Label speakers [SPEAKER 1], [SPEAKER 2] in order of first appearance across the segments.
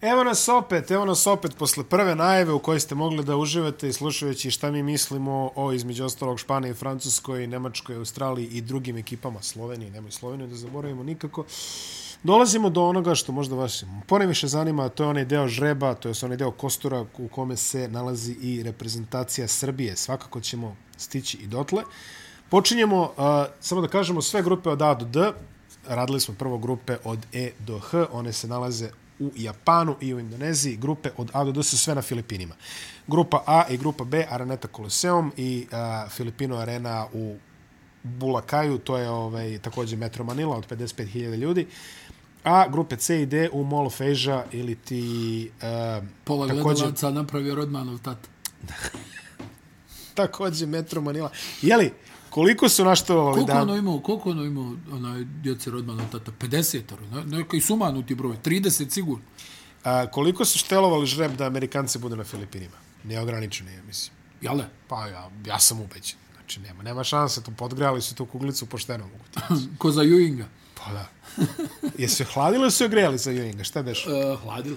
[SPEAKER 1] Evo nas opet, evo nas opet posle prve najave u kojoj ste mogli da uživate i slušajući šta mi mislimo o između ostalog Španiji, Francuskoj, Nemačkoj, Australiji i drugim ekipama Slovenije, nemoj Sloveniju da zaboravimo nikako. Dolazimo do onoga što možda vas poneviše zanima, to je onaj deo žreba, to je onaj deo kostura u kome se nalazi i reprezentacija Srbije. Svakako ćemo stići i dotle. Počinjemo, uh, samo da kažemo, sve grupe od A do D. Radili smo prvo grupe od E do H, one se nalaze u Japanu i u Indoneziji. Grupe od A do D su sve na Filipinima. Grupa A i grupa B, Araneta Coliseum i uh, Filipino Arena u Bulakaju, to je ovaj, također Metro Manila od 55.000 ljudi. A grupe C i D u Mall of Asia ili ti... Uh,
[SPEAKER 2] Pola također... gledalaca napravio Rodmanov tata.
[SPEAKER 1] također Metro Manila. Jeli, koliko su naštovali
[SPEAKER 2] Koliko
[SPEAKER 1] dan?
[SPEAKER 2] ono imao, koliko ono imao, onaj, djece Rodmanov tata? 50, ono, neki sumanuti broj, 30 sigurno.
[SPEAKER 1] A, koliko su štelovali žreb da Amerikanci budu na Filipinima? Neograničeno je, mislim.
[SPEAKER 2] Jel' da?
[SPEAKER 1] Pa ja, ja sam ubeđen. Znači, nema, nema šanse, to podgrali su tu kuglicu pošteno mogu ti.
[SPEAKER 2] Ko za Ewinga.
[SPEAKER 1] Pa da. Jesu je hladili ili su je grejali za Ewinga? Šta beš?
[SPEAKER 2] Uh, hladili.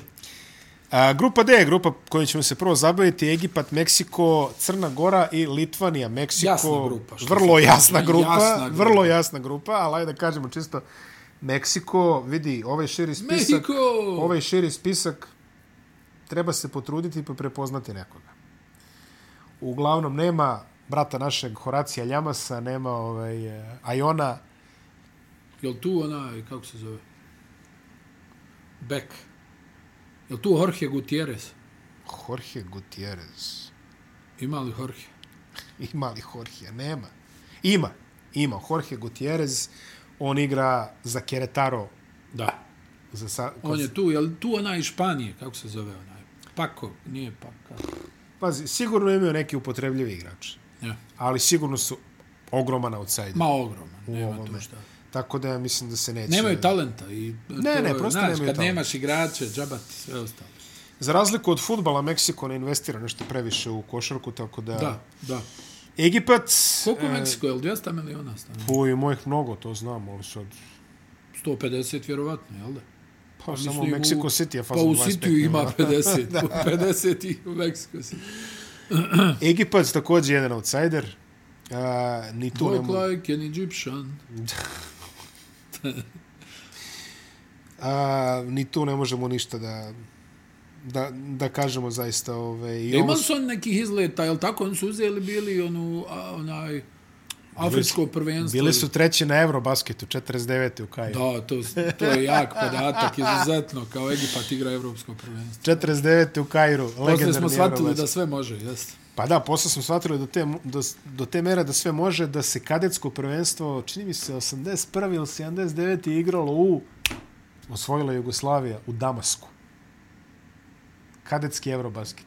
[SPEAKER 1] A, grupa D, grupa kojom ćemo se prvo zabaviti, Egipat, Meksiko, Crna Gora i Litvanija. Meksiko,
[SPEAKER 2] Jasna grupa, što
[SPEAKER 1] vrlo
[SPEAKER 2] se-
[SPEAKER 1] jasna grupa,
[SPEAKER 2] Jasna
[SPEAKER 1] jasna
[SPEAKER 2] grupa.
[SPEAKER 1] vrlo jasna grupa, ali ajde da kažemo čisto, Meksiko, vidi, ovaj širi spisak,
[SPEAKER 2] Mexico!
[SPEAKER 1] ovaj širi spisak, treba se potruditi pa prepoznati nekoga. Uglavnom, nema brata našeg Horacija Ljamasa, nema ovaj, eh, Ajona,
[SPEAKER 2] Jel tu onaj, kako se zove? Beck. Jel tu Jorge Gutierrez?
[SPEAKER 1] Jorge Gutierrez.
[SPEAKER 2] Ima li Jorge?
[SPEAKER 1] Ima li Jorge? Nema. Ima. Ima. Jorge Gutierrez, on igra za Querétaro.
[SPEAKER 2] Da.
[SPEAKER 1] Za sa,
[SPEAKER 2] On je tu, jel tu onaj iz Španije, kako se zove onaj? Pako, nije Paka.
[SPEAKER 1] Pazi, sigurno imaju neki upotrebljivi igrači,
[SPEAKER 2] Ja.
[SPEAKER 1] ali sigurno su ogroman outsider.
[SPEAKER 2] Ma ogroman, nema
[SPEAKER 1] ovome.
[SPEAKER 2] tu šta.
[SPEAKER 1] Tako da ja mislim da se neće...
[SPEAKER 2] Nemaju talenta. I
[SPEAKER 1] Znači, Ne, ne, prosto
[SPEAKER 2] znaš,
[SPEAKER 1] nemaju
[SPEAKER 2] kad
[SPEAKER 1] talenta.
[SPEAKER 2] nemaš igrače, džabati, sve ostalo.
[SPEAKER 1] Za razliku od futbala, Meksiko ne investira nešto previše u košarku, tako da...
[SPEAKER 2] Da, da.
[SPEAKER 1] Egipat...
[SPEAKER 2] Koliko e... Meksiko, je li 200 miliona stane?
[SPEAKER 1] Puj, mojih mnogo, to znam, ali sad...
[SPEAKER 2] 150 vjerovatno, jel da?
[SPEAKER 1] Pa, samo u
[SPEAKER 2] Mislim,
[SPEAKER 1] Meksiko City je
[SPEAKER 2] Pa
[SPEAKER 1] fazon
[SPEAKER 2] u
[SPEAKER 1] 25
[SPEAKER 2] Sitiju ima
[SPEAKER 1] miliona.
[SPEAKER 2] 50, da. 50 i u Meksiko City.
[SPEAKER 1] Egipat također jedan outsider. Uh, ni tu ne
[SPEAKER 2] Talk
[SPEAKER 1] mogu-
[SPEAKER 2] like an Egyptian.
[SPEAKER 1] A, ni tu ne možemo ništa da da, da kažemo zaista ove, i
[SPEAKER 2] Ja,
[SPEAKER 1] ovo
[SPEAKER 2] imali
[SPEAKER 1] su,
[SPEAKER 2] su on nekih izleta, jel tako? Oni su uzeli bili onu, a, onaj, afričko prvenstvo.
[SPEAKER 1] bili su treći na Eurobasketu 49. u Kaju.
[SPEAKER 2] Da, to, to je jak podatak, izuzetno, kao Egipat igra evropsko prvenstvo.
[SPEAKER 1] 49. u Kairu,
[SPEAKER 2] Posle
[SPEAKER 1] legendarni
[SPEAKER 2] smo shvatili
[SPEAKER 1] Eurobasket.
[SPEAKER 2] da sve može, jeste.
[SPEAKER 1] Pa da, posle smo shvatili do te, do, do te mere da sve može, da se kadetsko prvenstvo, čini mi se, 81. ili 79. igralo u, osvojila Jugoslavija, u Damasku. Kadetski Eurobasket.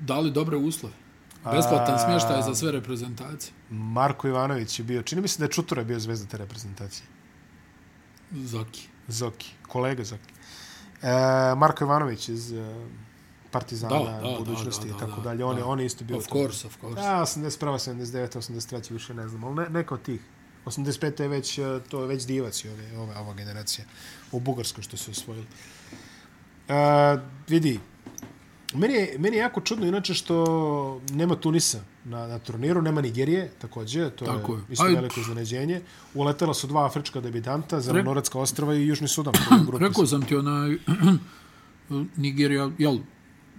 [SPEAKER 2] Dali dobre uslove. Besplatan smještaj za sve reprezentacije.
[SPEAKER 1] Marko Ivanović je bio, čini mi se da je Čutura bio zvezda te reprezentacije.
[SPEAKER 2] Zoki.
[SPEAKER 1] Zoki, kolega Zoki. E, Marko Ivanović iz e, Partizana,
[SPEAKER 2] Da, da, da,
[SPEAKER 1] budućnosti
[SPEAKER 2] da,
[SPEAKER 1] i
[SPEAKER 2] da,
[SPEAKER 1] tako
[SPEAKER 2] da,
[SPEAKER 1] dalje. On je,
[SPEAKER 2] da.
[SPEAKER 1] on je isto bio...
[SPEAKER 2] Of
[SPEAKER 1] tu.
[SPEAKER 2] course, of course.
[SPEAKER 1] Da, 81, 79, 83, više ne znam, ali ne, neka od tih. 85. je već, e, to je već divac i ove, ove, ova generacija u Bugarskoj što su osvojili. E, vidi, meni je, meni je jako čudno inače što nema Tunisa na, na turniru, nema Nigerije takođe, to
[SPEAKER 2] Tako
[SPEAKER 1] je
[SPEAKER 2] je.
[SPEAKER 1] isto
[SPEAKER 2] Aj,
[SPEAKER 1] veliko iznenađenje. Uletela su dva afrička debitanta, Zelenoradska ostrava i Južni Sudan. Rekao
[SPEAKER 2] Rekao sam ti onaj Nigerija, jel,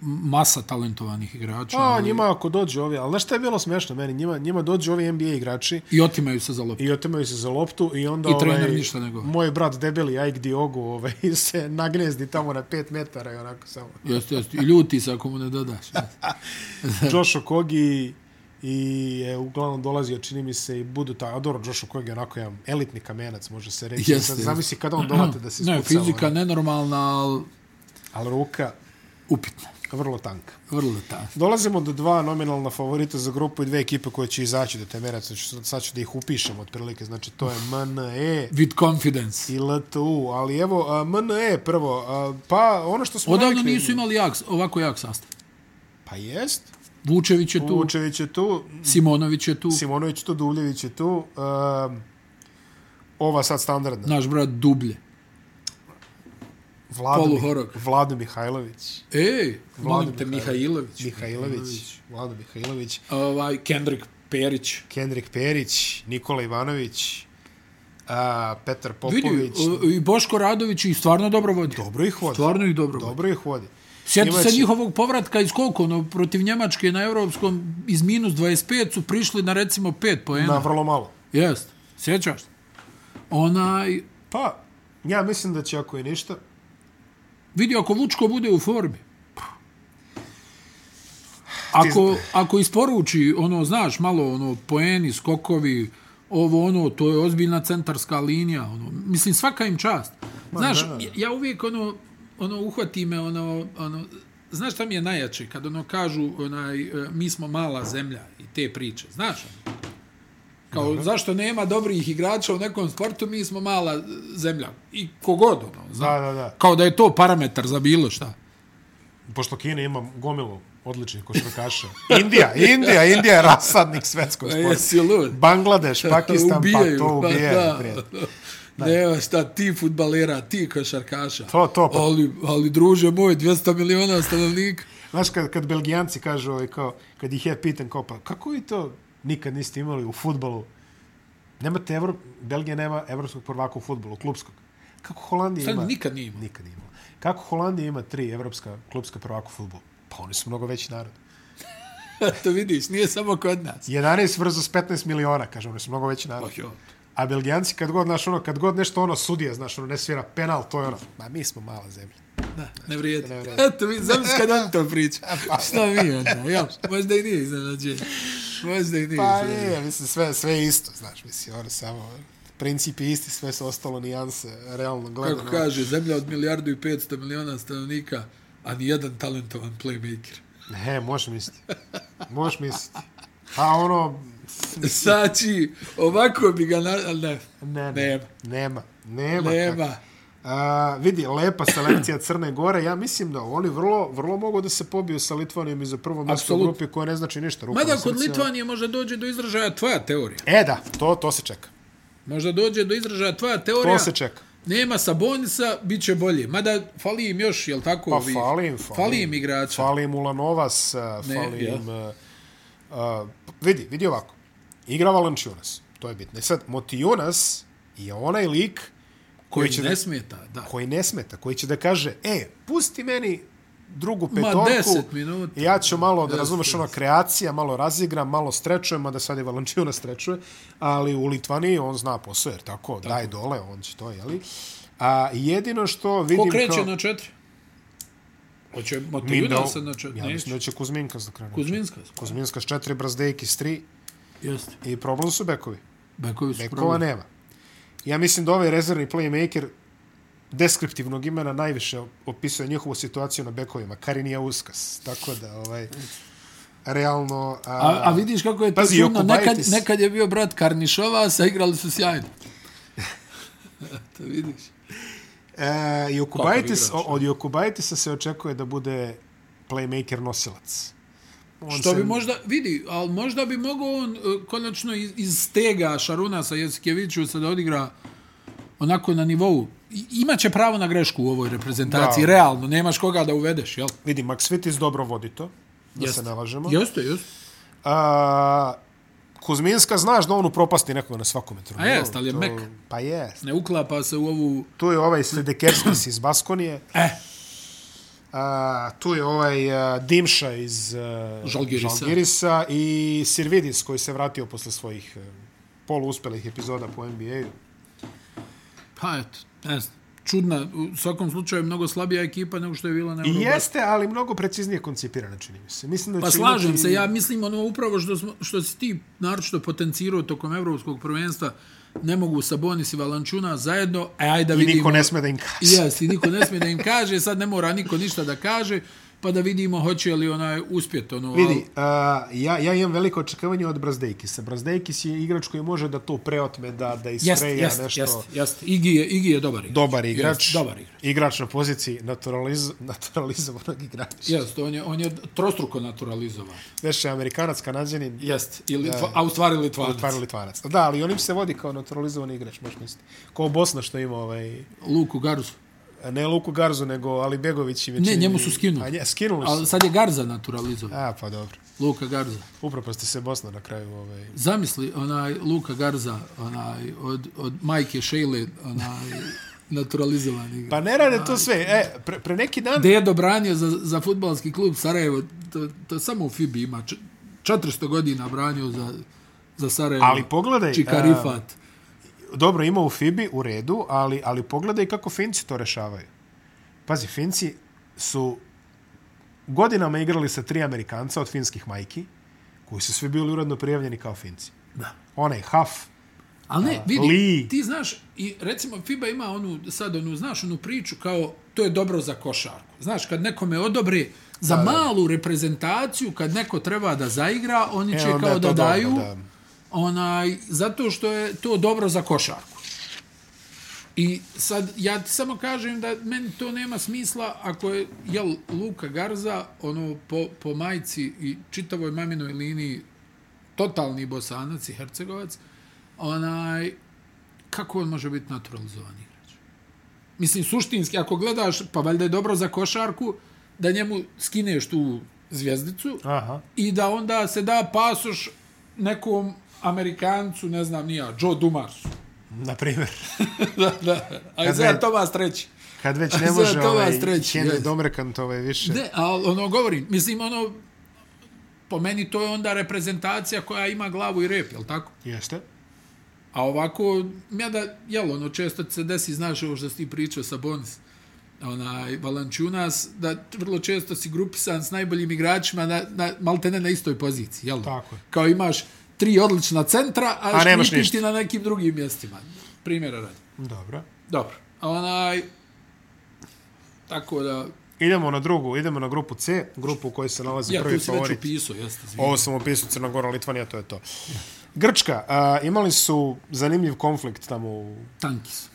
[SPEAKER 2] masa talentovanih igrača.
[SPEAKER 1] Pa,
[SPEAKER 2] ali-
[SPEAKER 1] njima ako dođu ovi, ali znaš šta je bilo smešno meni? Njima, njima dođu ovi NBA igrači
[SPEAKER 2] I otimaju se za loptu.
[SPEAKER 1] i otimaju se za loptu i onda... ovaj,
[SPEAKER 2] I trener ništa ne govori.
[SPEAKER 1] Moj brat debeli Ike Diogo ovaj, se nagnezdi tamo na 5 metara i onako samo.
[SPEAKER 2] Jeste, jeste. I ljuti se ako mu ne dodaš.
[SPEAKER 1] Josh Okogi i je uglavnom dolazio, čini mi se, i budu ta... A dobro, Josh Okogi je onako jedan elitni kamenac, može se reći.
[SPEAKER 2] Jeste,
[SPEAKER 1] Sad
[SPEAKER 2] jeste.
[SPEAKER 1] Zamisli kada on dolate da se ispucao. ono.
[SPEAKER 2] ne, fizika nenormalna, ali
[SPEAKER 1] Ali ruka
[SPEAKER 2] upitna.
[SPEAKER 1] vrlo tanka.
[SPEAKER 2] Vrlo ta.
[SPEAKER 1] Dolazimo do dva nominalna favorita za grupu i dve ekipe koje će izaći do te mere. Sad ću, sad ću da ih upišem otprilike. Znači, to je E, MNE
[SPEAKER 2] With confidence.
[SPEAKER 1] i LTU. Ali evo, a, MNE prvo. A, pa, ono što smo
[SPEAKER 2] Odavno
[SPEAKER 1] navikli-
[SPEAKER 2] nisu imali jak, ovako jak sastav.
[SPEAKER 1] Pa jest.
[SPEAKER 2] Vučević je tu,
[SPEAKER 1] Vučević je tu,
[SPEAKER 2] Simonović je tu,
[SPEAKER 1] Simonović je tu, Duvljević je tu. A, ova sad standardna.
[SPEAKER 2] naš brat Dublje.
[SPEAKER 1] Vlado,
[SPEAKER 2] Polu
[SPEAKER 1] Mih-
[SPEAKER 2] horog.
[SPEAKER 1] Vlado Mihajlović.
[SPEAKER 2] Ej, molim te,
[SPEAKER 1] Mihajlović.
[SPEAKER 2] Znači, Mihajlović.
[SPEAKER 1] Mihajlović. Vlado Mihajlović.
[SPEAKER 2] Ovaj, Kendrick Perić.
[SPEAKER 1] Kendrick Perić, Nikola Ivanović, a, Petar
[SPEAKER 2] Vidi,
[SPEAKER 1] Popović.
[SPEAKER 2] o, i Boško Radović i stvarno dobro vodi.
[SPEAKER 1] Dobro ih vodi.
[SPEAKER 2] Stvarno ih dobro vodi.
[SPEAKER 1] Dobro ih vodi.
[SPEAKER 2] Sjeti
[SPEAKER 1] Imaće-
[SPEAKER 2] se njihovog povratka iz koliko, ono, protiv Njemačke na Europskom iz minus 25 su prišli na recimo 5
[SPEAKER 1] Na
[SPEAKER 2] poena.
[SPEAKER 1] vrlo malo.
[SPEAKER 2] Jest, sjećaš se? Onaj,
[SPEAKER 1] Pa, ja mislim da će ako i ništa,
[SPEAKER 2] vidi, ako Vučko bude u formi, ako, ako isporuči, ono, znaš, malo, ono, poeni, skokovi, ovo, ono, to je ozbiljna centarska linija, ono, mislim, svaka im čast. Znaš,
[SPEAKER 1] da, da.
[SPEAKER 2] ja uvijek, ono, ono, uhvati me, ono, ono, znaš šta mi je najjače, kad, ono, kažu, onaj, e, mi smo mala zemlja i te priče, znaš, ono, kao, zašto nema dobrih igrača u nekom sportu, mi smo mala e, zemlja, i kogod, ono, znaš,
[SPEAKER 1] da, da, da.
[SPEAKER 2] kao da je to parametar za bilo šta.
[SPEAKER 1] Pošto Kina ima gomilu odličnih košarkaša. Indija, Indija, Indija je rasadnik svetskog
[SPEAKER 2] E,
[SPEAKER 1] sporta.
[SPEAKER 2] Jesi lud?
[SPEAKER 1] Bangladeš, Pakistan,
[SPEAKER 2] Ubijaju,
[SPEAKER 1] pa to
[SPEAKER 2] pa
[SPEAKER 1] ubijaju.
[SPEAKER 2] da.
[SPEAKER 1] prijatelj.
[SPEAKER 2] Nema šta, ti futbalera, ti košarkaša.
[SPEAKER 1] To, to, pa-
[SPEAKER 2] Ali, ali druže moj, 200 miliona stanovnika.
[SPEAKER 1] Znaš, kad, kad Belgijanci kažu, ovaj, kao, kad ih ja pitan, kao, pa kako vi to nikad niste imali u futbolu? Nemate Evro... Belgija nema evropskog prvaka u futbolu, klubskog. Kako Holandija
[SPEAKER 2] Sad
[SPEAKER 1] ima...
[SPEAKER 2] nikad nije imao.
[SPEAKER 1] Nikad nije imala. Kako Holandija ima tri evropska klubska prvaka u futbolu? Pa oni su mnogo veći narod.
[SPEAKER 2] to vidiš, nije samo kod nas.
[SPEAKER 1] 11 versus 15 miliona, kažem, oni su mnogo veći narod.
[SPEAKER 2] Oh, jo.
[SPEAKER 1] A Belgijanci kad god, znaš, ono, kad god nešto ono sudija, znaš, ono, ne svira penal, to je ono, ma mi smo mala zemlja.
[SPEAKER 2] Da, ne vrijedi.
[SPEAKER 1] Ne vrijedi. Pa-
[SPEAKER 2] Eto, vidi, znam se kad on to priča. Šta mi onda? Ja, možda i nije iznenađenje. Možda i nije
[SPEAKER 1] Pa
[SPEAKER 2] iznenađenje.
[SPEAKER 1] nije, mislim, sve, sve je isto, znaš, mislim, ono, samo, princip je isti, sve su ostalo nijanse, realno gledano.
[SPEAKER 2] Kako kaže, zemlja od milijardu i 500 miliona stanovnika, a ni jedan talentovan playmaker.
[SPEAKER 1] He, možeš misliti. Možeš misliti. A ono,
[SPEAKER 2] Sači, ovako bi ga... Na... ali Ne,
[SPEAKER 1] ne,
[SPEAKER 2] Nema.
[SPEAKER 1] ne, nema, nema.
[SPEAKER 2] nema.
[SPEAKER 1] A, vidi, lepa selekcija Crne Gore. Ja mislim da oni vrlo, vrlo mogu da se pobiju sa Litvanijom i za prvo mjesto u
[SPEAKER 2] Apsolutno.
[SPEAKER 1] grupi koja ne znači ništa. Rukom
[SPEAKER 2] Mada
[SPEAKER 1] na
[SPEAKER 2] kod
[SPEAKER 1] srcu.
[SPEAKER 2] Litvanije možda dođe do izražaja tvoja teorija.
[SPEAKER 1] E da, to, to se čeka.
[SPEAKER 2] Možda dođe do izražaja tvoja
[SPEAKER 1] To
[SPEAKER 2] teorija.
[SPEAKER 1] se čeka.
[SPEAKER 2] Nema Sabonisa, bit će bolje. Mada fali im još, jel tako?
[SPEAKER 1] Pa
[SPEAKER 2] ovih-
[SPEAKER 1] fali im, fali
[SPEAKER 2] Fali
[SPEAKER 1] im.
[SPEAKER 2] im igrača.
[SPEAKER 1] Fali im Ulanovas, a,
[SPEAKER 2] Ne,
[SPEAKER 1] fali
[SPEAKER 2] ja.
[SPEAKER 1] im... a, a, vidi, vidi ovako. Igra Valančiunas, to je bitno. I sad, Motijunas je onaj lik
[SPEAKER 2] koji
[SPEAKER 1] će
[SPEAKER 2] ne
[SPEAKER 1] da-
[SPEAKER 2] smeta, da.
[SPEAKER 1] koji ne smeta, koji će da kaže, e, pusti meni drugu
[SPEAKER 2] Ma
[SPEAKER 1] petorku,
[SPEAKER 2] 10 minuta.
[SPEAKER 1] ja ću malo, da
[SPEAKER 2] Jeste,
[SPEAKER 1] razumeš, ono, kreacija, malo razigram, malo strečujem, mada sad je Valančiuna strečuje, ali u Litvaniji on zna posao, jer tako, tako. daj dole, on će to, jeli? A jedino što vidim
[SPEAKER 2] Ko kreće
[SPEAKER 1] kao...
[SPEAKER 2] na četiri? Hoće
[SPEAKER 1] Mi
[SPEAKER 2] Motivina
[SPEAKER 1] do-
[SPEAKER 2] se na četiri?
[SPEAKER 1] Ja
[SPEAKER 2] znači, Neće.
[SPEAKER 1] mislim da će Kuzminkas da krene.
[SPEAKER 2] Kuzminska.
[SPEAKER 1] Kuzminkas četiri, Brazdejki s tri
[SPEAKER 2] Jeste.
[SPEAKER 1] i problem su bekovi.
[SPEAKER 2] Bekovi su
[SPEAKER 1] Bekova
[SPEAKER 2] problem.
[SPEAKER 1] nema. Ja mislim da ovaj rezervni playmaker deskriptivnog imena najviše opisuje njihovu situaciju na bekovima. Karinija Uskas. Tako da, ovaj, realno... A,
[SPEAKER 2] A, a vidiš kako je to
[SPEAKER 1] Pazi,
[SPEAKER 2] čudno. Nekad,
[SPEAKER 1] Jokubaitis.
[SPEAKER 2] nekad je bio brat Karnišova, a igrali su sjajno. to vidiš.
[SPEAKER 1] E, Jokubaitis,
[SPEAKER 2] Kakav igrač,
[SPEAKER 1] od Jokubaitisa se očekuje da bude playmaker nosilac. On
[SPEAKER 2] Što bi možda, vidi, ali možda bi mogao on e, konačno iz, iz stega Šaruna sa Jeskjevićusa da odigra onako na nivou. I, imaće pravo na grešku u ovoj reprezentaciji,
[SPEAKER 1] Da.
[SPEAKER 2] realno, nemaš koga da uvedeš, jel?
[SPEAKER 1] Vidi, Maksvitis dobro vodi to. Da
[SPEAKER 2] Jeste.
[SPEAKER 1] se nalažemo.
[SPEAKER 2] Jeste, jeste.
[SPEAKER 1] A, Kuzminska znaš da on upropasti nekoga na svakom metru.
[SPEAKER 2] A jest, ali je
[SPEAKER 1] to,
[SPEAKER 2] mek.
[SPEAKER 1] Pa jest.
[SPEAKER 2] Ne uklapa se u ovu...
[SPEAKER 1] Tu je ovaj Sedekerskis iz Baskonije.
[SPEAKER 2] Eh,
[SPEAKER 1] A, tu je ovaj a, Dimša iz a,
[SPEAKER 2] Žalgirisa.
[SPEAKER 1] Žalgirisa i Sirvidis koji se vratio posle svojih e, poluuspelih epizoda po NBA-u.
[SPEAKER 2] pa eto, ne znam. Čudna, u svakom slučaju mnogo slabija ekipa nego što je bila na
[SPEAKER 1] I
[SPEAKER 2] Eurobasketu.
[SPEAKER 1] jeste, ali mnogo preciznije koncipirana, čini mi se. Mislim da
[SPEAKER 2] Pa
[SPEAKER 1] će
[SPEAKER 2] slažem
[SPEAKER 1] Znači, imati-
[SPEAKER 2] se, ja mislim ono upravo što, smo, što si ti naročito potencirao tokom evropskog prvenstva, ne mogu Sabonis i Valančuna zajedno, e, ajde da
[SPEAKER 1] I
[SPEAKER 2] vidimo.
[SPEAKER 1] niko ne sme da im kaže.
[SPEAKER 2] Jes, i niko ne smije da im kaže, sad ne mora niko ništa da kaže, pa da vidimo hoće li onaj uspjet. Ono,
[SPEAKER 1] Vidi, a, ja, ja imam veliko očekivanje od Brazdejkisa. Brazdejkis je igrač koji može da to preotme, da, da
[SPEAKER 2] jest,
[SPEAKER 1] iskreja
[SPEAKER 2] jest,
[SPEAKER 1] nešto.
[SPEAKER 2] jest, jest. Igi je, Igi je dobar igrač.
[SPEAKER 1] Dobar igrač.
[SPEAKER 2] Jest, dobar igrač.
[SPEAKER 1] Igrač na poziciji naturaliz, naturalizovanog igrača.
[SPEAKER 2] Jest, on je, on je trostruko naturalizovan.
[SPEAKER 1] Znaš, Amerikanac, Kanadjanin,
[SPEAKER 2] Jest, i Litva, a u stvari Litvanac.
[SPEAKER 1] Litvan Litvanac. Da, ali onim se vodi kao naturalizovani igrač, možeš misliti. Kao Bosna što ima ovaj
[SPEAKER 2] Luku Garusu.
[SPEAKER 1] Ne Luku Garzu, nego Alibegović i većini.
[SPEAKER 2] Ne, njemu su skinuli.
[SPEAKER 1] A nje, skinuli su.
[SPEAKER 2] Ali sad je Garza naturalizovan.
[SPEAKER 1] A, pa dobro.
[SPEAKER 2] Luka Garza.
[SPEAKER 1] Upropasti se Bosna na kraju. Ovaj.
[SPEAKER 2] Zamisli onaj Luka Garza, onaj od, od majke Šejle, onaj naturalizovani.
[SPEAKER 1] Pa ne rade to sve. E, pre, pre neki dan...
[SPEAKER 2] Dedo branio za, za futbalski klub Sarajevo, to, to samo u FIBI ima. Č- 400 godina branio za, za Sarajevo.
[SPEAKER 1] Ali pogledaj, e,
[SPEAKER 2] Čikarifat.
[SPEAKER 1] dobro ima u FIBI, u redu, ali, ali pogledaj kako Finci to rešavaju. Pazi, Finci su godinama igrali sa tri Amerikanca od finskih majki, koji su svi bili uredno prijavljeni kao Finci.
[SPEAKER 2] da.
[SPEAKER 1] Onaj Haf,
[SPEAKER 2] Ali ne, vidi,
[SPEAKER 1] Lee.
[SPEAKER 2] ti znaš, i recimo FIBA ima onu, sad onu, znaš, onu priču kao to je dobro za košarku. Znaš, kad nekome odobre za da, malu reprezentaciju, kad neko treba da zaigra, oni
[SPEAKER 1] E,
[SPEAKER 2] će
[SPEAKER 1] onda
[SPEAKER 2] kao
[SPEAKER 1] je
[SPEAKER 2] da
[SPEAKER 1] to dobro,
[SPEAKER 2] daju
[SPEAKER 1] da.
[SPEAKER 2] onaj, zato što je to dobro za košarku. I sad, ja ti samo kažem da meni to nema smisla ako je, jel, Luka Garza, ono, po, po majci i čitavoj maminoj liniji totalni bosanac i hercegovac, onaj, kako on može biti naturalizovan igrač? Mislim, suštinski, ako gledaš, pa valjda je dobro za košarku, da njemu skineš tu zvijezdicu
[SPEAKER 1] Aha.
[SPEAKER 2] i da onda se da pasoš nekom Amerikancu, ne znam nija, Joe Dumarsu.
[SPEAKER 1] na primjer.
[SPEAKER 2] da, da. A
[SPEAKER 1] Kad
[SPEAKER 2] izgleda
[SPEAKER 1] ne-
[SPEAKER 2] Tomas treći.
[SPEAKER 1] Kad već ne
[SPEAKER 2] Za
[SPEAKER 1] može
[SPEAKER 2] to
[SPEAKER 1] ovaj
[SPEAKER 2] vas treći,
[SPEAKER 1] Henry
[SPEAKER 2] jest.
[SPEAKER 1] Domrekant ovaj više.
[SPEAKER 2] Ne, ali ono govorim, mislim ono, po meni to je onda reprezentacija koja ima glavu i rep, jel tako?
[SPEAKER 1] Jeste.
[SPEAKER 2] A ovako, ja da, jel, ono, često se desi, znaš ovo što si ti pričao sa Bonis, onaj, Valančunas, da vrlo često si grupisan s najboljim igračima na, na maltene na istoj poziciji, jel?
[SPEAKER 1] Tako je.
[SPEAKER 2] Kao imaš tri odlična centra, a,
[SPEAKER 1] A nemaš
[SPEAKER 2] škripiš
[SPEAKER 1] ništa.
[SPEAKER 2] ti na nekim drugim mjestima. Primjera radi.
[SPEAKER 1] Dobro.
[SPEAKER 2] Dobro. A onaj, tako da,
[SPEAKER 1] Idemo na drugu, idemo na grupu C, grupu u kojoj se nalazi
[SPEAKER 2] ja
[SPEAKER 1] prvi
[SPEAKER 2] tu si već
[SPEAKER 1] favorit.
[SPEAKER 2] upisao, jeste, izvini.
[SPEAKER 1] Ovo sam opisao Crna Gora, Litvanija, to je to. Grčka, a, imali su zanimljiv konflikt tamo u...
[SPEAKER 2] Tankis.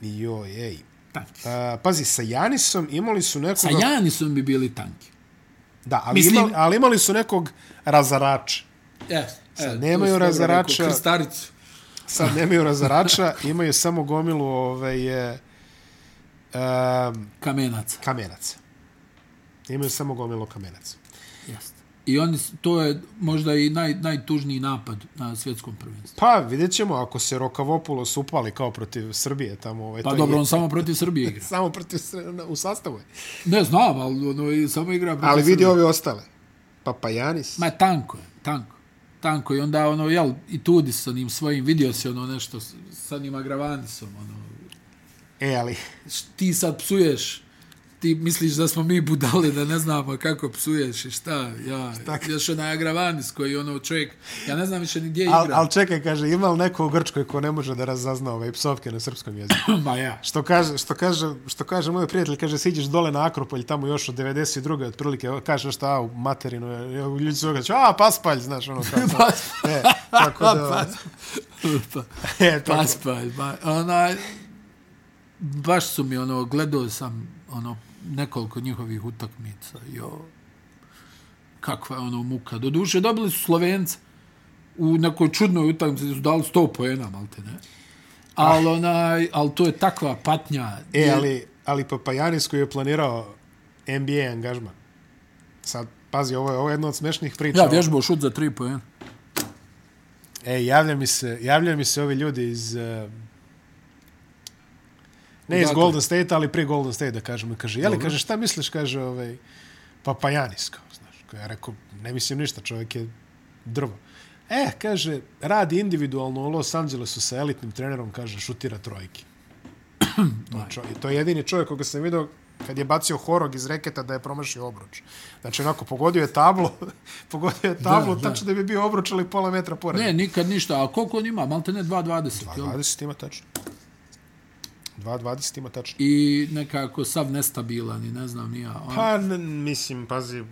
[SPEAKER 1] Joj, ej.
[SPEAKER 2] Tankis.
[SPEAKER 1] A, pazi, sa Janisom imali su
[SPEAKER 2] Sa
[SPEAKER 1] nekoga...
[SPEAKER 2] Janisom bi bili tanki.
[SPEAKER 1] Da, ali,
[SPEAKER 2] Mislim-
[SPEAKER 1] Mislim... imali, ali imali su nekog razarača.
[SPEAKER 2] Yes, Sad,
[SPEAKER 1] nemaju razarača.
[SPEAKER 2] Krstaricu.
[SPEAKER 1] Sad nemaju razarača, imaju samo gomilu ovaj, e, um,
[SPEAKER 2] Kamenaca.
[SPEAKER 1] kamenaca. Imaju samo gomilu kamenaca.
[SPEAKER 2] Jeste. I oni, s- to je možda i naj, najtužniji napad na svjetskom prvenstvu.
[SPEAKER 1] Pa, vidjet ćemo ako se Rokavopulos upali kao protiv Srbije tamo. Ovaj,
[SPEAKER 2] Pa
[SPEAKER 1] to
[SPEAKER 2] dobro,
[SPEAKER 1] je,
[SPEAKER 2] on samo protiv Srbije igra.
[SPEAKER 1] Samo protiv, Sre- u sastavu je.
[SPEAKER 2] Ne znam, ali ono, i samo igra protiv
[SPEAKER 1] Ali vidi
[SPEAKER 2] Srbije.
[SPEAKER 1] ove ostale. Papajanis.
[SPEAKER 2] Ma tanko je, tanko. Tanko i onda ono, jel, i tudi s onim svojim, vidio se ono nešto s- sa njima Gravandisom, ono,
[SPEAKER 1] E, ali,
[SPEAKER 2] š- ti sad psuješ, ti misliš da smo mi budali, da ne znamo kako psuješ i šta, ja,
[SPEAKER 1] Tako.
[SPEAKER 2] još onaj Gravandis koji ono čovjek, ja ne znam više ni gdje igra.
[SPEAKER 1] al, al čekaj, kaže, ima li neko u Grčkoj ko ne može da razazna ove psovke na srpskom jeziku?
[SPEAKER 2] Ma ja,
[SPEAKER 1] Što kaže, što kaže, što kaže moj prijatelj, kaže, siđeš dole na Akropolj, tamo još od 92. otprilike, kaže šta, a, u materinu, je, je, ljudi su kaže, a, paspalj, znaš, ono, kao,
[SPEAKER 2] pa,
[SPEAKER 1] e, tako da,
[SPEAKER 2] pa,
[SPEAKER 1] e, tako,
[SPEAKER 2] Paspalj, ba, ona, baš su mi, ono, gledao sam, ono, nekoliko njihovih utakmica, jo, kakva je, ono, muka. Doduše, dobili su Slovenca u nekoj čudnoj utakmici, su dali 100 pojena, malte ne. Ali, onaj, ali to je takva patnja.
[SPEAKER 1] Ah. e, ali, ali Papajanis koji je planirao NBA angažman, sad, pazi, ovo je, ovo je jedna od smešnih priča.
[SPEAKER 2] Ja vježbao šut za 3 pojena.
[SPEAKER 1] E, javlja mi se, javlja mi se ovi ljudi iz... eh, Ne iz
[SPEAKER 2] Odakle?
[SPEAKER 1] Golden State, ali prije Golden State, da kažemo. Kaže, jeli,
[SPEAKER 2] Dobro.
[SPEAKER 1] kaže, šta misliš, kaže, ovaj, Papajanis, kao, znaš. Kao ja rekao, ne mislim ništa, čovjek je drvo. E, kaže, radi individualno u Los Angelesu sa elitnim trenerom, kaže, šutira trojki. To, je čo, i to je jedini čovjek koga sam vidio kad je bacio horog iz reketa da je promašio obruč. Znači, onako, pogodio je tablo, pogodio je tablo,
[SPEAKER 2] da.
[SPEAKER 1] tačno da bi bio obruč, ali pola metra pored.
[SPEAKER 2] Ne, nikad ništa. A koliko on ima? Malte ne 2.20. jel?
[SPEAKER 1] 2.20 ima tačno. 2.20 ima tačno.
[SPEAKER 2] I nekako sav nestabilan i ne znam nija. Ono,
[SPEAKER 1] Pa, n- mislim, pazi,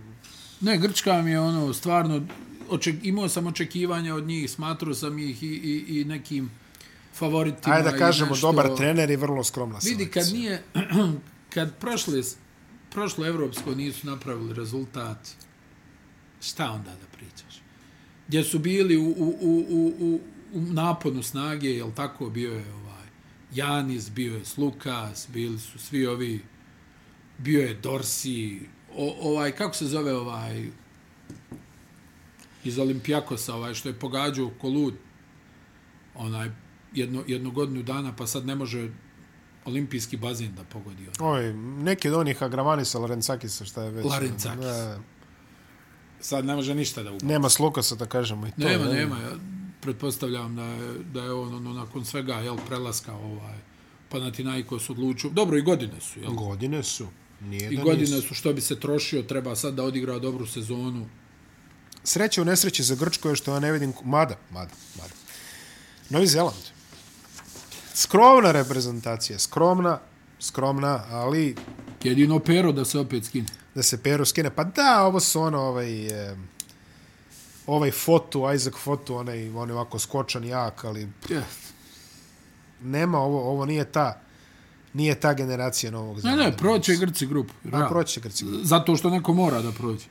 [SPEAKER 2] Ne, Grčka mi je ono, stvarno, oček, imao sam očekivanja od njih, smatrao sam ih i, i, i nekim favoritima.
[SPEAKER 1] ajde da
[SPEAKER 2] i
[SPEAKER 1] kažemo,
[SPEAKER 2] nešto...
[SPEAKER 1] dobar trener i vrlo skromna
[SPEAKER 2] Vidi,
[SPEAKER 1] selekcija.
[SPEAKER 2] kad nije, kad prošle, prošlo evropsko nisu napravili rezultat, šta onda da pričaš? Gdje su bili u, u, u, u, u, u naponu snage, jel tako bio je ovaj, Janis, bio je Slukas, bili su svi ovi, bio je Dorsi, o, ovaj, kako se zove ovaj, iz Olimpijakosa, ovaj, što je pogađao Kolut, onaj, jedno, jednu godinu dana, pa sad ne može olimpijski bazen da pogodi. Ono.
[SPEAKER 1] Oj, neki od onih Agravanisa, Larencakisa, šta je već.
[SPEAKER 2] Larencakis.
[SPEAKER 1] Da,
[SPEAKER 2] Sad ne može ništa da ubaci.
[SPEAKER 1] nema slukasa, da kažemo. I to,
[SPEAKER 2] Nema,
[SPEAKER 1] ne.
[SPEAKER 2] nema. Ja pretpostavljam da je, da je on ono, nakon svega jel, prelaska ovaj, Panathinaikos odlučio. Dobro, i godine su. Jel?
[SPEAKER 1] Godine su. Nije
[SPEAKER 2] I
[SPEAKER 1] da
[SPEAKER 2] godine
[SPEAKER 1] nisu.
[SPEAKER 2] su što bi se trošio, treba sad da odigra dobru sezonu.
[SPEAKER 1] Sreća u nesreći za Grčko je što ja ne vidim... ku- Mada, mada, mada. Novi Zeland. Skromna reprezentacija, skromna, skromna, ali
[SPEAKER 2] Jedino pero da se opet skine.
[SPEAKER 1] da se Peru skine. Pa da, ovo su ono, ovaj, eh, ovaj fotu, Isaac fotu, onaj, on je ovako skočan, jak, ali
[SPEAKER 2] Ja.
[SPEAKER 1] nema ovo, ovo nije ta, nije ta generacija Novog
[SPEAKER 2] Ne,
[SPEAKER 1] Zelanda.
[SPEAKER 2] ne, proće Grci grupu.
[SPEAKER 1] Da,
[SPEAKER 2] realno.
[SPEAKER 1] proći će Grci.
[SPEAKER 2] Zato što neko mora da prođe.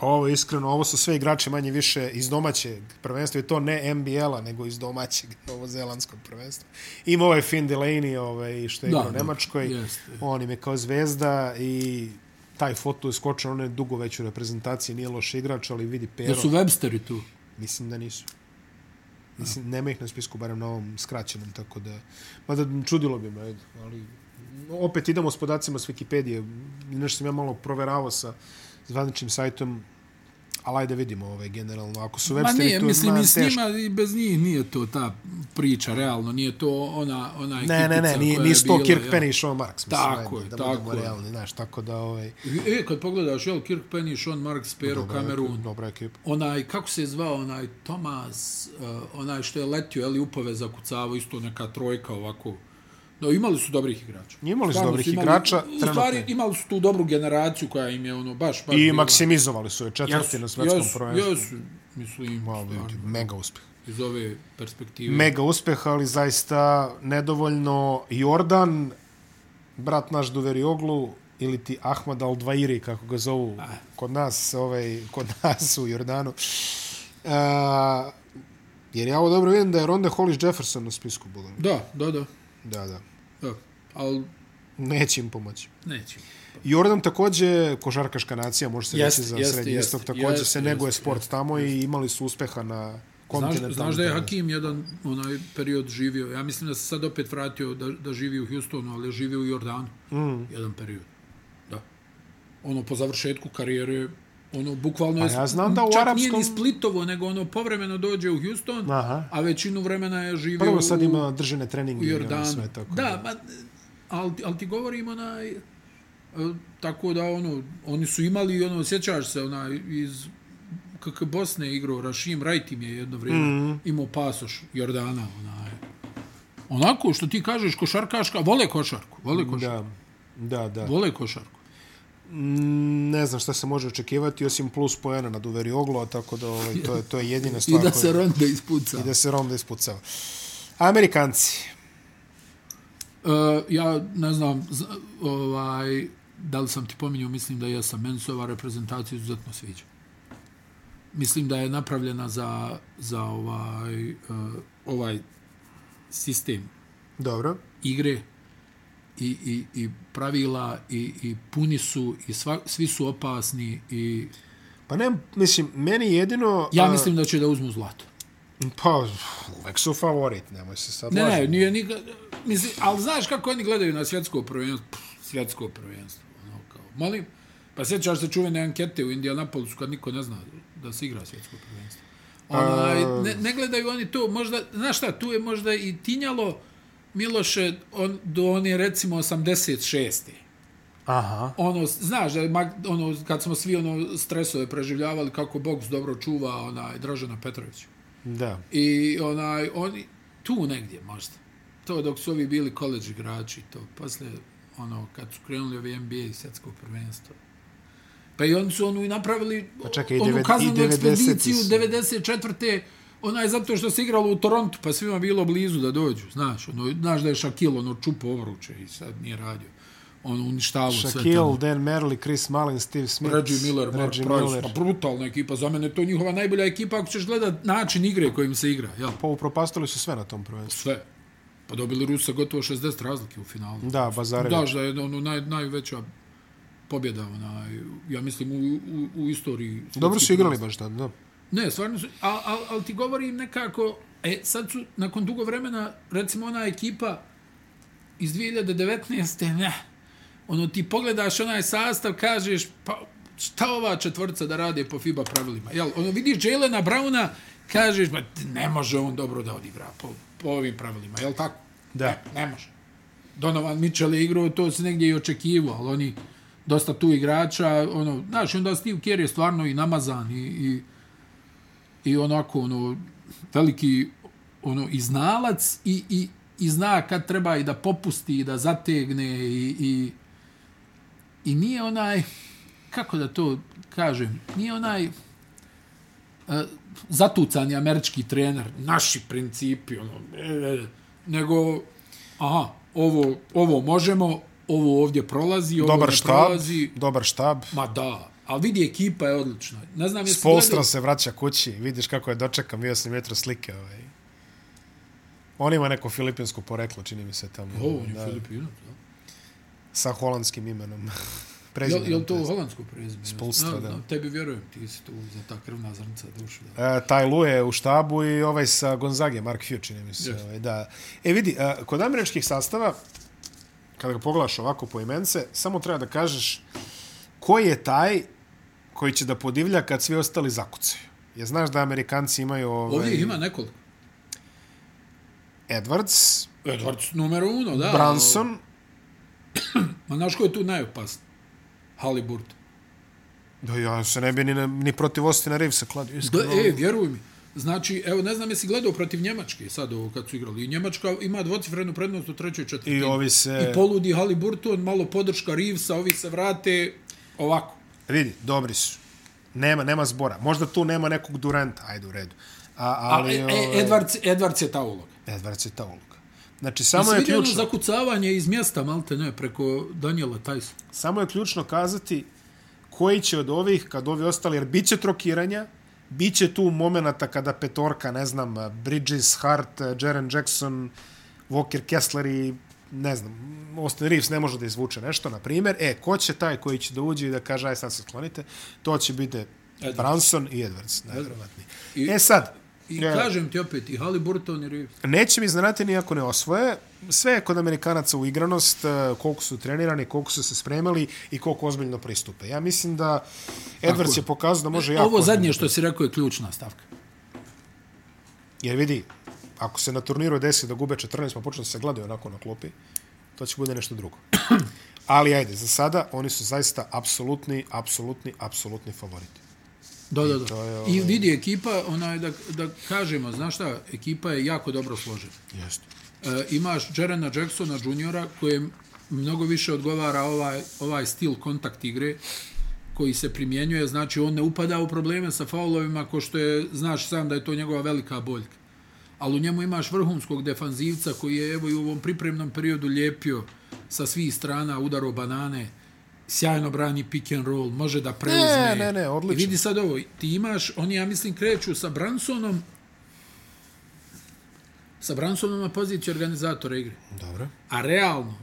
[SPEAKER 1] Ovo je iskreno, ovo su sve igrači manje više iz domaćeg prvenstva i to ne NBL-a, nego iz domaćeg novozelandskog prvenstva. Ima ovaj Finn Delaney, ovaj, što je
[SPEAKER 2] Da,
[SPEAKER 1] igrao u
[SPEAKER 2] da,
[SPEAKER 1] Nemačkoj,
[SPEAKER 2] jeste.
[SPEAKER 1] on im je kao zvezda i taj foto je skočan, on je dugo već u reprezentaciji, nije loš igrač, ali vidi pero.
[SPEAKER 2] Jer su Websteri tu.
[SPEAKER 1] Mislim da nisu. Mislim, nema ih na spisku, barem na ovom skraćenom, tako da... Mada čudilo bi me, ajde, ali... Opet idemo s podacima s Wikipedije. Nešto sam ja malo proveravao sa zvaničnim sajtom, ali ajde vidimo ovaj, generalno. Ako su
[SPEAKER 2] Ma
[SPEAKER 1] Websteri
[SPEAKER 2] nije,
[SPEAKER 1] tu,
[SPEAKER 2] mislim
[SPEAKER 1] ma,
[SPEAKER 2] i s
[SPEAKER 1] teško.
[SPEAKER 2] njima i bez njih nije to ta priča, realno. Nije to ona, ona
[SPEAKER 1] Ne, ne, ne,
[SPEAKER 2] ekipica
[SPEAKER 1] nije,
[SPEAKER 2] koja je
[SPEAKER 1] nisu to
[SPEAKER 2] bila, jel?
[SPEAKER 1] Kirk Penny i Sean Marks. Mislim,
[SPEAKER 2] Tako
[SPEAKER 1] ajde,
[SPEAKER 2] je,
[SPEAKER 1] da
[SPEAKER 2] tako
[SPEAKER 1] budemo
[SPEAKER 2] je.
[SPEAKER 1] realni, znaš, tako da... Ovaj,
[SPEAKER 2] E, kad pogledaš, jel, Kirk Penny, Sean Marks, Pero,
[SPEAKER 1] dobra ekipa,
[SPEAKER 2] Kamerun,
[SPEAKER 1] Dobra ekipa.
[SPEAKER 2] onaj, kako se je zvao, onaj Tomas, uh, onaj što je letio, jeli, upove zakucavao, isto neka trojka ovako. No, imali su dobrih igrača.
[SPEAKER 1] Imali su
[SPEAKER 2] Stvarno
[SPEAKER 1] dobrih
[SPEAKER 2] imali-
[SPEAKER 1] igrača,
[SPEAKER 2] U stvari,
[SPEAKER 1] trenutno.
[SPEAKER 2] imali su tu dobru generaciju koja im je, ono, baš, baš...
[SPEAKER 1] I
[SPEAKER 2] bila-
[SPEAKER 1] maksimizovali su je četvrti
[SPEAKER 2] Jesu,
[SPEAKER 1] na svetskom
[SPEAKER 2] jesu,
[SPEAKER 1] prvenstvu.
[SPEAKER 2] Jesu, mislim,
[SPEAKER 1] Ma, vidi,
[SPEAKER 2] stvarno,
[SPEAKER 1] Mega uspeh.
[SPEAKER 2] iz ove perspektive.
[SPEAKER 1] mega uspeh, ali zaista nedovoljno Jordan, brat naš Duverioglu, ili ti Ahmad Al-Dvairi, kako ga zovu
[SPEAKER 2] Ah.
[SPEAKER 1] kod nas, ovaj, kod nas u Jordanu. Uh, jer ja ovo dobro vidim da je Ronda Hollis Jefferson na spisku budan.
[SPEAKER 2] Da, da, da,
[SPEAKER 1] Da, da.
[SPEAKER 2] da. Ali
[SPEAKER 1] Neće im pomoći.
[SPEAKER 2] neće.
[SPEAKER 1] Jordan takođe košarkaška nacija, može se
[SPEAKER 2] Jeste,
[SPEAKER 1] reći za
[SPEAKER 2] jeste,
[SPEAKER 1] srednji
[SPEAKER 2] jeste,
[SPEAKER 1] istok, takođe
[SPEAKER 2] jeste,
[SPEAKER 1] se neguje
[SPEAKER 2] jeste,
[SPEAKER 1] sport tamo i imali su uspeha na
[SPEAKER 2] Znaš,
[SPEAKER 1] kontinentalnom.
[SPEAKER 2] znaš da je
[SPEAKER 1] terenu.
[SPEAKER 2] Hakim jedan onaj period živio, ja mislim da se sad opet vratio da, da živi u Houstonu, ali je živio u Jordanu, mm. jedan period. Da. Ono, po završetku karijere, ono, bukvalno je...
[SPEAKER 1] Pa ja znam da u
[SPEAKER 2] čak nije
[SPEAKER 1] arapskom-
[SPEAKER 2] ni Splitovo, nego ono, povremeno dođe u Houston,
[SPEAKER 1] Aha.
[SPEAKER 2] a većinu vremena je živio
[SPEAKER 1] Prvo Pa sad
[SPEAKER 2] u-
[SPEAKER 1] ima držene
[SPEAKER 2] u
[SPEAKER 1] treninge i ono
[SPEAKER 2] Jordanu.
[SPEAKER 1] sve tako.
[SPEAKER 2] da, ma, ali, ali ti govorim onaj, e, tako da ono, oni su imali, ono, sjećaš se, onaj, iz KK Bosne igrao, Rašim Rajtim je jedno vrijeme
[SPEAKER 1] Mhm.
[SPEAKER 2] mm -hmm. imao pasoš Jordana, onaj. Onako, što ti kažeš, košarkaška, vole košarku, vole košarku,
[SPEAKER 1] Da, da, da.
[SPEAKER 2] vole košarku.
[SPEAKER 1] Mm, Ne znam šta se može očekivati, osim plus poena na Duveri Oglo, tako da ovaj, to, je, to je jedina
[SPEAKER 2] I
[SPEAKER 1] stvar.
[SPEAKER 2] da se
[SPEAKER 1] koju-
[SPEAKER 2] ronda ispuca.
[SPEAKER 1] I da se Ronda ispucava. Amerikanci.
[SPEAKER 2] E, ja ne znam, z- ovaj, da li sam ti pominjao, mislim da jesam, meni se ova reprezentacija izuzetno sviđa. Mislim da je napravljena za, za ovaj, uh, ovaj sistem
[SPEAKER 1] Dobro.
[SPEAKER 2] igre i, i, i pravila i, i puni su i sva, svi su opasni i
[SPEAKER 1] Pa ne, mislim, meni jedino...
[SPEAKER 2] ja
[SPEAKER 1] a,
[SPEAKER 2] mislim da će da uzmu zlato.
[SPEAKER 1] Pa, uvek su favorit, nemoj se sad
[SPEAKER 2] Ne, ne,
[SPEAKER 1] lažemo.
[SPEAKER 2] nije nikad... Mislim, ali znaš kako oni gledaju na svjetsko prvenstvo? Pff, svjetsko prvenstvo. Ono, kao, molim, pa sjećaš se čuvene ankete u Indianapolisu kad niko ne zna da se igra svjetsko prvenstvo. Onaj, ne, ne gledaju oni to, možda, znaš šta, tu je možda i tinjalo Miloše on, do one recimo 86.
[SPEAKER 1] Aha.
[SPEAKER 2] Ono, znaš, da, je mak- ono, kad smo svi ono stresove preživljavali kako boks dobro čuva onaj, Dražana Petrovića.
[SPEAKER 1] Da.
[SPEAKER 2] I onaj, oni tu negdje možda. To dok su ovi bili koleđ igrači, to posle ono, kad su krenuli ovi NBA i svjetsko prvenstvo. Pa i oni su ono i napravili pa
[SPEAKER 1] čekaj, i
[SPEAKER 2] onu
[SPEAKER 1] devet- i
[SPEAKER 2] kaznenu
[SPEAKER 1] 90-ti
[SPEAKER 2] ekspediciju
[SPEAKER 1] su.
[SPEAKER 2] 94. Onaj, zato što se igralo u Torontu, pa svima bilo blizu da dođu, znaš. Ono, znaš da je Shaquille ono čupo obruče i sad nije radio. Ono, uništavao sve
[SPEAKER 1] Shaquille, Dan Merli, Chris Mullin, Steve Smith,
[SPEAKER 2] Reggie Miller, Mark
[SPEAKER 1] Reggie
[SPEAKER 2] Price,
[SPEAKER 1] Miller.
[SPEAKER 2] pa brutalna ekipa. Za mene je to njihova najbolja ekipa ako ćeš gledat način igre kojim se igra, jel?
[SPEAKER 1] Pa upropastili su sve na tom prvenstvu.
[SPEAKER 2] Sve. Pa dobili Rusa gotovo 60 razlike u finalu.
[SPEAKER 1] Da, Bazarević.
[SPEAKER 2] Daš da je ono naj, najveća pobjeda, onaj, ja mislim, u, u, u istoriji.
[SPEAKER 1] Dobro su
[SPEAKER 2] svjetskih
[SPEAKER 1] igrali baš tad, da.
[SPEAKER 2] Ne, stvarno su, ali al, al ti govorim nekako, e, sad su, nakon dugo vremena, recimo ona ekipa iz 2019. Ne, ono ti pogledaš onaj sastav, kažeš, pa šta ova četvorca da rade po FIBA pravilima? Jel, ono vidiš Jelena Brauna, kažeš, ba ne može on dobro da odigra po, po ovim pravilima, jel tako?
[SPEAKER 1] Da.
[SPEAKER 2] Ne, ne može. Donovan Mitchell je igrao, to se negdje i očekivao, ali oni dosta tu igrača, ono, znaš, i onda Steve Kerr je stvarno i namazan i, i i onako ono veliki ono i znalac i, i, i zna kad treba i da popusti i da zategne i, i, i nije onaj kako da to kažem nije onaj e, zatucani američki trener naši principi ono e, e, nego aha ovo ovo možemo ovo ovdje prolazi ovo
[SPEAKER 1] Dobar
[SPEAKER 2] ne
[SPEAKER 1] štab,
[SPEAKER 2] prolazi
[SPEAKER 1] dobar štab.
[SPEAKER 2] ma da ali vidi ekipa je odlična ne znam jesi
[SPEAKER 1] Spolstra se vraća kući, vidiš kako je dočekan, bio sam jutro slike. Ovaj. On ima neko filipinsko poreklo, čini mi se tamo.
[SPEAKER 2] gledao- Ovo, on je
[SPEAKER 1] da,
[SPEAKER 2] Filipinac, da.
[SPEAKER 1] Sa holandskim imenom.
[SPEAKER 2] Jel,
[SPEAKER 1] Prezimenom.
[SPEAKER 2] jel to
[SPEAKER 1] to jest.
[SPEAKER 2] holandsko prezime?
[SPEAKER 1] Spolstra, da.
[SPEAKER 2] Tebi vjerujem, ti si tu za ta krvna zrnca duša. Da.
[SPEAKER 1] E, taj Lu je u štabu i ovaj sa Gonzage, Mark Hugh, čini mi se.
[SPEAKER 2] Jeste.
[SPEAKER 1] Ovaj, da. E vidi, e, kod američkih sastava, kada ga pogledaš ovako po imence, samo treba da kažeš ko je taj koji će da podivlja kad svi ostali zakucaju. Ja znaš da Amerikanci imaju ovaj,
[SPEAKER 2] Ovdje ih ima nekoliko.
[SPEAKER 1] Edwards,
[SPEAKER 2] Edwards numero uno, da.
[SPEAKER 1] Branson,
[SPEAKER 2] Ma znaš ko je tu najopasniji? Halliburton.
[SPEAKER 1] Da, ja se ne bi ni, na- ni protiv Ostina Reevesa kladio.
[SPEAKER 2] Da,
[SPEAKER 1] Iskreno.
[SPEAKER 2] e, vjeruj mi. Znači, evo, ne znam jesi gledao protiv Njemačke sad ovo kad su igrali. I Njemačka ima dvocifrenu prednost u trećoj četvrtini.
[SPEAKER 1] I ovi e, se-
[SPEAKER 2] I poludi Halliburton, malo podrška Reevesa, ovi se vrate ovako.
[SPEAKER 1] Vidi, dobri su. Nema, nema zbora. Možda tu nema nekog Duranta, ajde u redu. A, ali,
[SPEAKER 2] Ali, e,
[SPEAKER 1] ovaj,
[SPEAKER 2] e, Edwards, Edwards je ta uloga.
[SPEAKER 1] Edwards je ta uloga. Znači,
[SPEAKER 2] Samo
[SPEAKER 1] samo je
[SPEAKER 2] je ono
[SPEAKER 1] ključno,
[SPEAKER 2] zakucavanje iz mjesta, malte ne, preko Daniela Tyson.
[SPEAKER 1] samo je ključno kazati koji će od ovih, kad ovi ostali, jer bit će trokiranja, bit će tu momenata kada petorka, ne znam, Bridges, Hart, Jaren Jackson, Walker Kessler i ne znam, Austin Reeves ne može da izvuče nešto, na primjer. E, ko će taj koji će da uđe i da kaže, aj sad se sklonite, to će biti
[SPEAKER 2] Edwards.
[SPEAKER 1] Branson i Edwards, najvjerovatniji.
[SPEAKER 2] I-
[SPEAKER 1] E sad,
[SPEAKER 2] I
[SPEAKER 1] e,
[SPEAKER 2] kažem ti opet, i Halliburton i Reeves.
[SPEAKER 1] Neće mi znati ni ako ne osvoje. Sve je kod Amerikanaca uigranost, e, koliko su trenirani, koliko su se spremali i koliko ozbiljno pristupe. Ja mislim da Edwards
[SPEAKER 2] je. E,
[SPEAKER 1] je pokazao da može jako...
[SPEAKER 2] Ovo zadnje
[SPEAKER 1] ozbiljno
[SPEAKER 2] što si rekao je ključna stavka.
[SPEAKER 1] pristupe. Jer vidi, ako se na turniru desi da gube 14, pa počne da se gledaju onako na klopi, to će bude nešto drugo. Ali ajde, za sada oni su zaista apsolutni, apsolutni, apsolutni favoriti.
[SPEAKER 2] Da, da, da.
[SPEAKER 1] to je, ovaj-
[SPEAKER 2] I vidi ekipa, onaj, da, da kažemo, znaš šta, ekipa je jako dobro složena.
[SPEAKER 1] Jeste.
[SPEAKER 2] E, imaš Jarena Jacksona juniora kojem mnogo više odgovara ovaj, ovaj stil kontakt igre koji se primjenjuje, znači on ne upada u probleme sa faulovima ko što je, znaš sam da je to njegova velika boljka. Ali u njemu imaš vrhunskog defanzivca koji je evo i u ovom pripremnom periodu lijepio sa svih strana udaro banane, sjajno brani pick and roll, može da preuzme.
[SPEAKER 1] ne, ne, odlično.
[SPEAKER 2] I vidi sad ovo, ti imaš, oni ja mislim kreću sa Bransonom, sa Bransonom na poziciji organizatora igre.
[SPEAKER 1] Dobro.
[SPEAKER 2] A realno,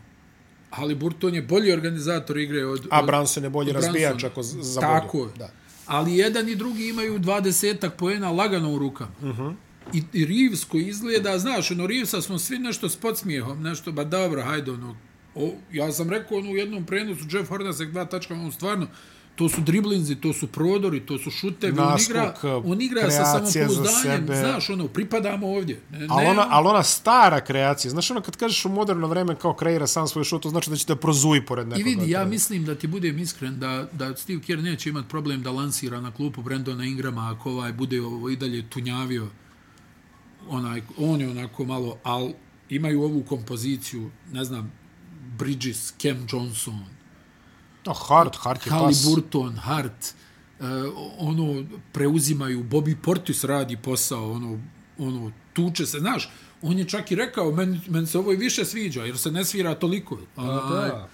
[SPEAKER 2] Haliburton je bolji organizator igre od...
[SPEAKER 1] A
[SPEAKER 2] od-
[SPEAKER 1] Branson je bolji
[SPEAKER 2] od Bransona.
[SPEAKER 1] razbijač ako z- za
[SPEAKER 2] Tako je.
[SPEAKER 1] bolju. Da.
[SPEAKER 2] Ali jedan i drugi imaju dvadesetak poena lagano u rukama. Uh
[SPEAKER 1] Mhm.
[SPEAKER 2] -huh. I, I Reeves koji izgleda, znaš, ono, Reevesa smo svi nešto s podsmijehom, nešto, ba dobro, hajde, ono, o, ja sam rekao ono, u jednom prenosu, Jeff Hornacek dva tačka, on stvarno, to su driblinzi, to su prodori, to su šutevi,
[SPEAKER 1] Naskok,
[SPEAKER 2] on igra, on igra sa
[SPEAKER 1] kreacije za
[SPEAKER 2] samopouzdanjem,
[SPEAKER 1] sebe.
[SPEAKER 2] znaš, ono, pripadamo ovdje. Ne,
[SPEAKER 1] Ali ona,
[SPEAKER 2] ne, ono-
[SPEAKER 1] ali ona stara kreacija, znaš ono kad kažeš u moderno vreme kao kreira sam svoj šut, to znači da će da prozuji pored nekoga.
[SPEAKER 2] I vidi, ja
[SPEAKER 1] To je-
[SPEAKER 2] mislim da ti budem iskren da, da Steve Kerr neće imat problem da lansira na klupu Brendona Ingrama ako ovaj bude ovo i dalje tunjavio. Onaj, on je onako malo, al imaju ovu kompoziciju, ne znam, Bridges, Cam Johnson,
[SPEAKER 1] No, hard, hard je pas.
[SPEAKER 2] Haliburton, Hart, uh, ono, preuzimaju, Bobby Portis radi posao, ono, ono, tuče se, znaš, on je čak i rekao, meni, meni se ovo i više sviđa, jer se ne svira toliko. A,
[SPEAKER 1] da.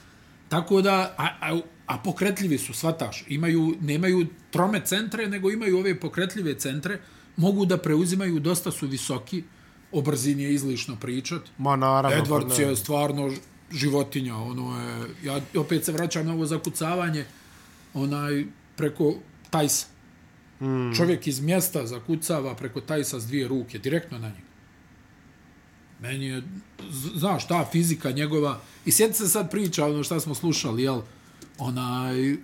[SPEAKER 2] Tako da, a, a, a pokretljivi su, svataš, imaju, nemaju trome centre, nego imaju ove pokretljive centre, mogu da preuzimaju, dosta su visoki, o brzini je izlišno pričati.
[SPEAKER 1] Ma naravno. pa
[SPEAKER 2] Edwards
[SPEAKER 1] ne.
[SPEAKER 2] je stvarno ž- životinja, ono je, ja opet se vraćam na ovo zakucavanje, onaj, preko Tajsa. Mm. Čovjek iz mjesta zakucava preko Tajsa s dvije ruke, direktno na njega. Meni je, z- znaš, ta fizika njegova, i sjeti se sad priča, ono šta smo slušali, jel, onaj, eh,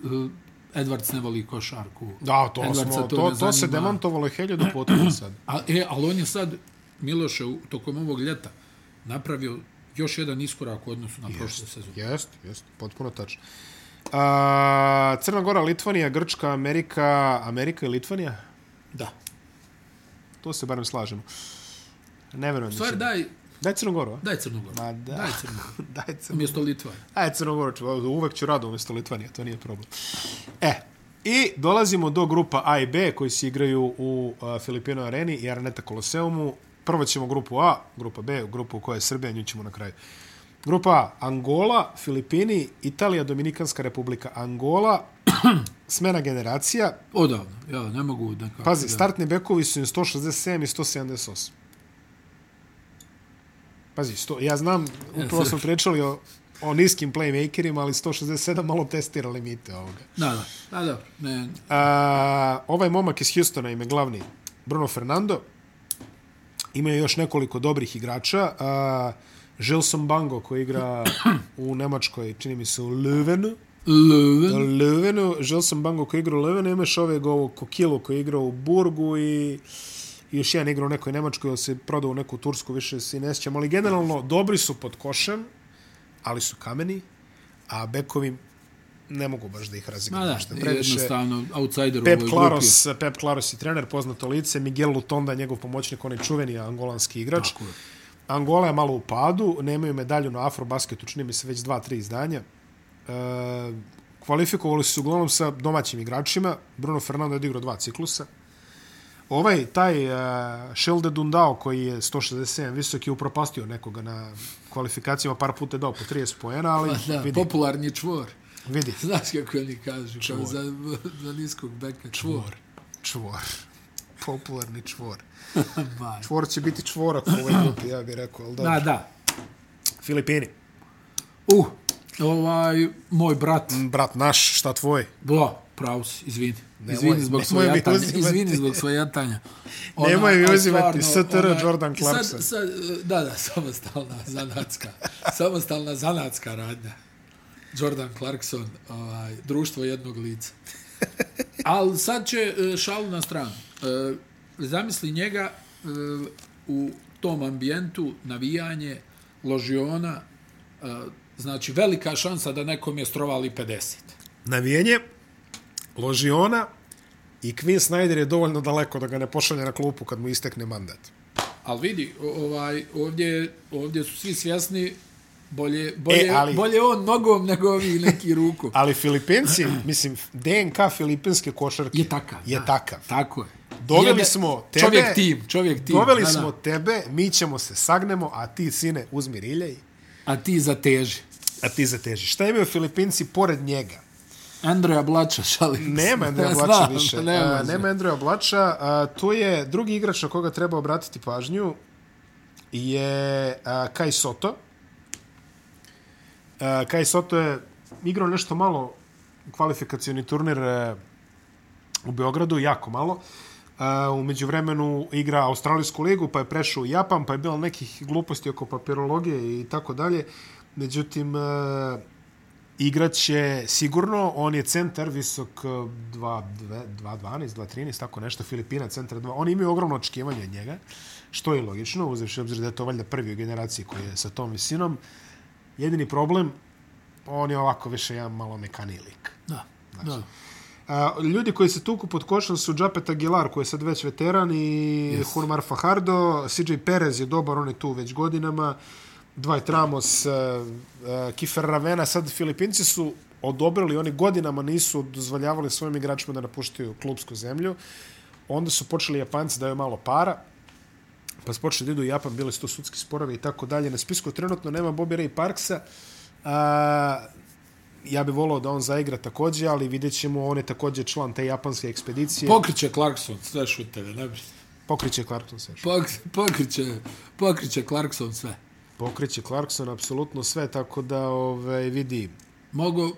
[SPEAKER 2] Edwards ne voli košarku.
[SPEAKER 1] Da, to,
[SPEAKER 2] Edwardsa
[SPEAKER 1] smo,
[SPEAKER 2] to
[SPEAKER 1] to,
[SPEAKER 2] ne
[SPEAKER 1] to, to se
[SPEAKER 2] zanima.
[SPEAKER 1] demantovalo hiljadu puta sad.
[SPEAKER 2] A, e, ali on je sad, Miloše, u- tokom ovog ljeta napravio još jedan iskorak u odnosu na prošlu sezonu.
[SPEAKER 1] Jest, jest, potpuno tačno. A, Crna Gora, Litvanija, Grčka, Amerika, Amerika i Litvanija?
[SPEAKER 2] Da.
[SPEAKER 1] To se barem slažemo. Ne verujem.
[SPEAKER 2] Stvar,
[SPEAKER 1] će-
[SPEAKER 2] daj,
[SPEAKER 1] Daj Crnu Goru, a?
[SPEAKER 2] daj Crnogoru.
[SPEAKER 1] Ma da.
[SPEAKER 2] Daj Crnogoru.
[SPEAKER 1] Daj Crnu
[SPEAKER 2] Umjesto Litva.
[SPEAKER 1] Aj, Crnogorač, uvek E, ću rado umjesto Litvanije, to nije problem. E, i dolazimo do grupa A i B koji se igraju u uh, Filipino areni i Araneta Koloseumu. Prvo ćemo grupu A, grupa B, grupu u kojoj je Srbija, nju ćemo na kraju. Grupa A, Angola, Filipini, Italija, Dominikanska republika, Angola, smena generacija.
[SPEAKER 2] Odavno. Ja ne mogu da kako.
[SPEAKER 1] Pazi,
[SPEAKER 2] da.
[SPEAKER 1] startni bekovi su im 167 i 178. Pazi, sto, ja znam, upravo smo pričali o, o niskim playmakerima, ali 167 malo testira limite ovoga.
[SPEAKER 2] Da, da. Da, da. Ne,
[SPEAKER 1] A, ovaj momak iz Houstona im je glavni Bruno Fernando. Ima još nekoliko dobrih igrača. A, Gilson Bango koji igra u Nemačkoj, čini mi se u Löwenu.
[SPEAKER 2] Leuven.
[SPEAKER 1] Levenu, Gelson Bango koji igra u Levenu, imaš ovog ovog Kokilu koji igra u Burgu i, i još jedan igra u nekoj Nemačkoj, ali se prodao u neku Tursku, više se i ne sjećam, ali generalno dobri su pod košem, ali su kameni, a bekovi ne mogu baš da ih razigraju.
[SPEAKER 2] Ma da,
[SPEAKER 1] nešto previše.
[SPEAKER 2] jednostavno, outsider u ovoj
[SPEAKER 1] Pep
[SPEAKER 2] grupi.
[SPEAKER 1] Klaros, Pep Klaros je trener, poznato lice, Miguel Lutonda, njegov pomoćnik, onaj čuveni angolanski igrač.
[SPEAKER 2] Tako je.
[SPEAKER 1] Angola je malo u padu, nemaju medalju na Afrobasketu, čini mi se već dva, tri izdanja. E, kvalifikovali su se uglavnom sa domaćim igračima. Bruno Fernando je odigrao dva ciklusa. Ovaj, taj uh, Shelde Dundao koji je 167 visok je upropastio nekoga na kvalifikacijama, par puta je dao po 30 poena, ali
[SPEAKER 2] Pa Da,
[SPEAKER 1] vidi,
[SPEAKER 2] popularni čvor.
[SPEAKER 1] vidi,
[SPEAKER 2] Znaš kako oni kažu, čvor. kao za, za niskog beka. Čvor.
[SPEAKER 1] čvor, popularni čvor.
[SPEAKER 2] Maj.
[SPEAKER 1] Čvor će biti čvorak u ovoj grupi, ja bih rekao, ali da.
[SPEAKER 2] Da, da.
[SPEAKER 1] Filipini.
[SPEAKER 2] Uh, ovaj, moj brat,
[SPEAKER 1] Brat naš, šta tvoj?
[SPEAKER 2] Bla, pravo si, izvini. Izvini zbog
[SPEAKER 1] nemoj mi
[SPEAKER 2] svojatanja.
[SPEAKER 1] uzimati.
[SPEAKER 2] Izvini zbog svojatanja.
[SPEAKER 1] Nemoj mi
[SPEAKER 2] a
[SPEAKER 1] uzimati
[SPEAKER 2] stvarno,
[SPEAKER 1] STR
[SPEAKER 2] ona-
[SPEAKER 1] Jordan Clarkson.
[SPEAKER 2] Sad, sad, eh, da, da, samostalna zanatska. samostalna zanatska radnja. Jordan Clarkson, ovaj, društvo jednog lica. Ali sad će e, šalu na stranu. E, Zamisli njega e, u tom ambijentu, navijanje, ložiona, e, znači velika šansa da nekom je strovali 50.
[SPEAKER 1] Navijenje, ložiona i Quinn Snyder je dovoljno daleko da ga ne pošalje na klupu kad mu istekne mandat.
[SPEAKER 2] Ali vidi, o- ovaj, ovdje, ovdje su svi svjesni bolje, bolje,
[SPEAKER 1] E,
[SPEAKER 2] e,
[SPEAKER 1] ali-
[SPEAKER 2] ali... bolje on nogom nego ovi neki ruku.
[SPEAKER 1] Ali Filipinci, mislim, DNK filipinske košarke
[SPEAKER 2] Je takav.
[SPEAKER 1] Je
[SPEAKER 2] da.
[SPEAKER 1] takav.
[SPEAKER 2] Tako je.
[SPEAKER 1] Doveli
[SPEAKER 2] Jede-
[SPEAKER 1] smo tebe-
[SPEAKER 2] Čovjek tim, čovjek tim.
[SPEAKER 1] Doveli
[SPEAKER 2] da, da.
[SPEAKER 1] smo tebe, mi ćemo se sagnemo, a ti, sine, uzmi riljaj,
[SPEAKER 2] A ti zateži.
[SPEAKER 1] a ti zateži. Šta imaju Filipinci pored njega?
[SPEAKER 2] Andreja Blača, šalim. se.
[SPEAKER 1] Nema Andreja
[SPEAKER 2] Ja
[SPEAKER 1] Blača
[SPEAKER 2] znam,
[SPEAKER 1] više.
[SPEAKER 2] Nema,
[SPEAKER 1] Nema, nema Andreja Blača. A, tu je drugi igrač na koga treba obratiti pažnju je a, Kai Soto. A, Kai Soto je igrao nešto malo kvalifikacioni turnir e, u Beogradu, jako malo. A, umeđu vremenu igra Australijsku ligu, pa je prešao u Japan, pa je bilo nekih gluposti oko papirologije i tako dalje. Međutim, e, igraće sigurno, on je centar visok eh, 2 2 2.12, 2.13, tako nešto, Filipina centar 2. Oni imaju ogromno očekivanje od njega, što je logično, uzevši obzir da je to valjda prvi u generaciji koji je sa tom visinom. Jedini problem, on je ovako više jedan malo mekani lik.
[SPEAKER 2] Da,
[SPEAKER 1] Znači,
[SPEAKER 2] da.
[SPEAKER 1] A, ljudi koji se tuku pod košom su Džapet Aguilar, koji je sad već veteran, i yes. Hurmar Fajardo. CJ Perez je dobar, on je tu već godinama. Dwight Ramos, uh, uh, Kifer Ravena. Sad Filipinci su odobrili, oni godinama nisu dozvoljavali svojim igračima da napuštaju klubsku zemlju. Onda su počeli Japanci daju malo para, pa su počeli da idu u Japan, bili su to sudski sporovi i tako dalje. Na spisku trenutno nema Bobby Ray Parksa. A, ja bih volao da on zaigra takođe, ali vidjet ćemo, on je takođe član te japanske ekspedicije.
[SPEAKER 2] Pokriće Clarkson, sve šuteve, ne brinite.
[SPEAKER 1] Pokriće Clarkson sve.
[SPEAKER 2] Pok, pokriće, pokriće Clarkson sve.
[SPEAKER 1] Pokriće Clarkson apsolutno sve, tako da ovaj, vidi.
[SPEAKER 2] Mogu,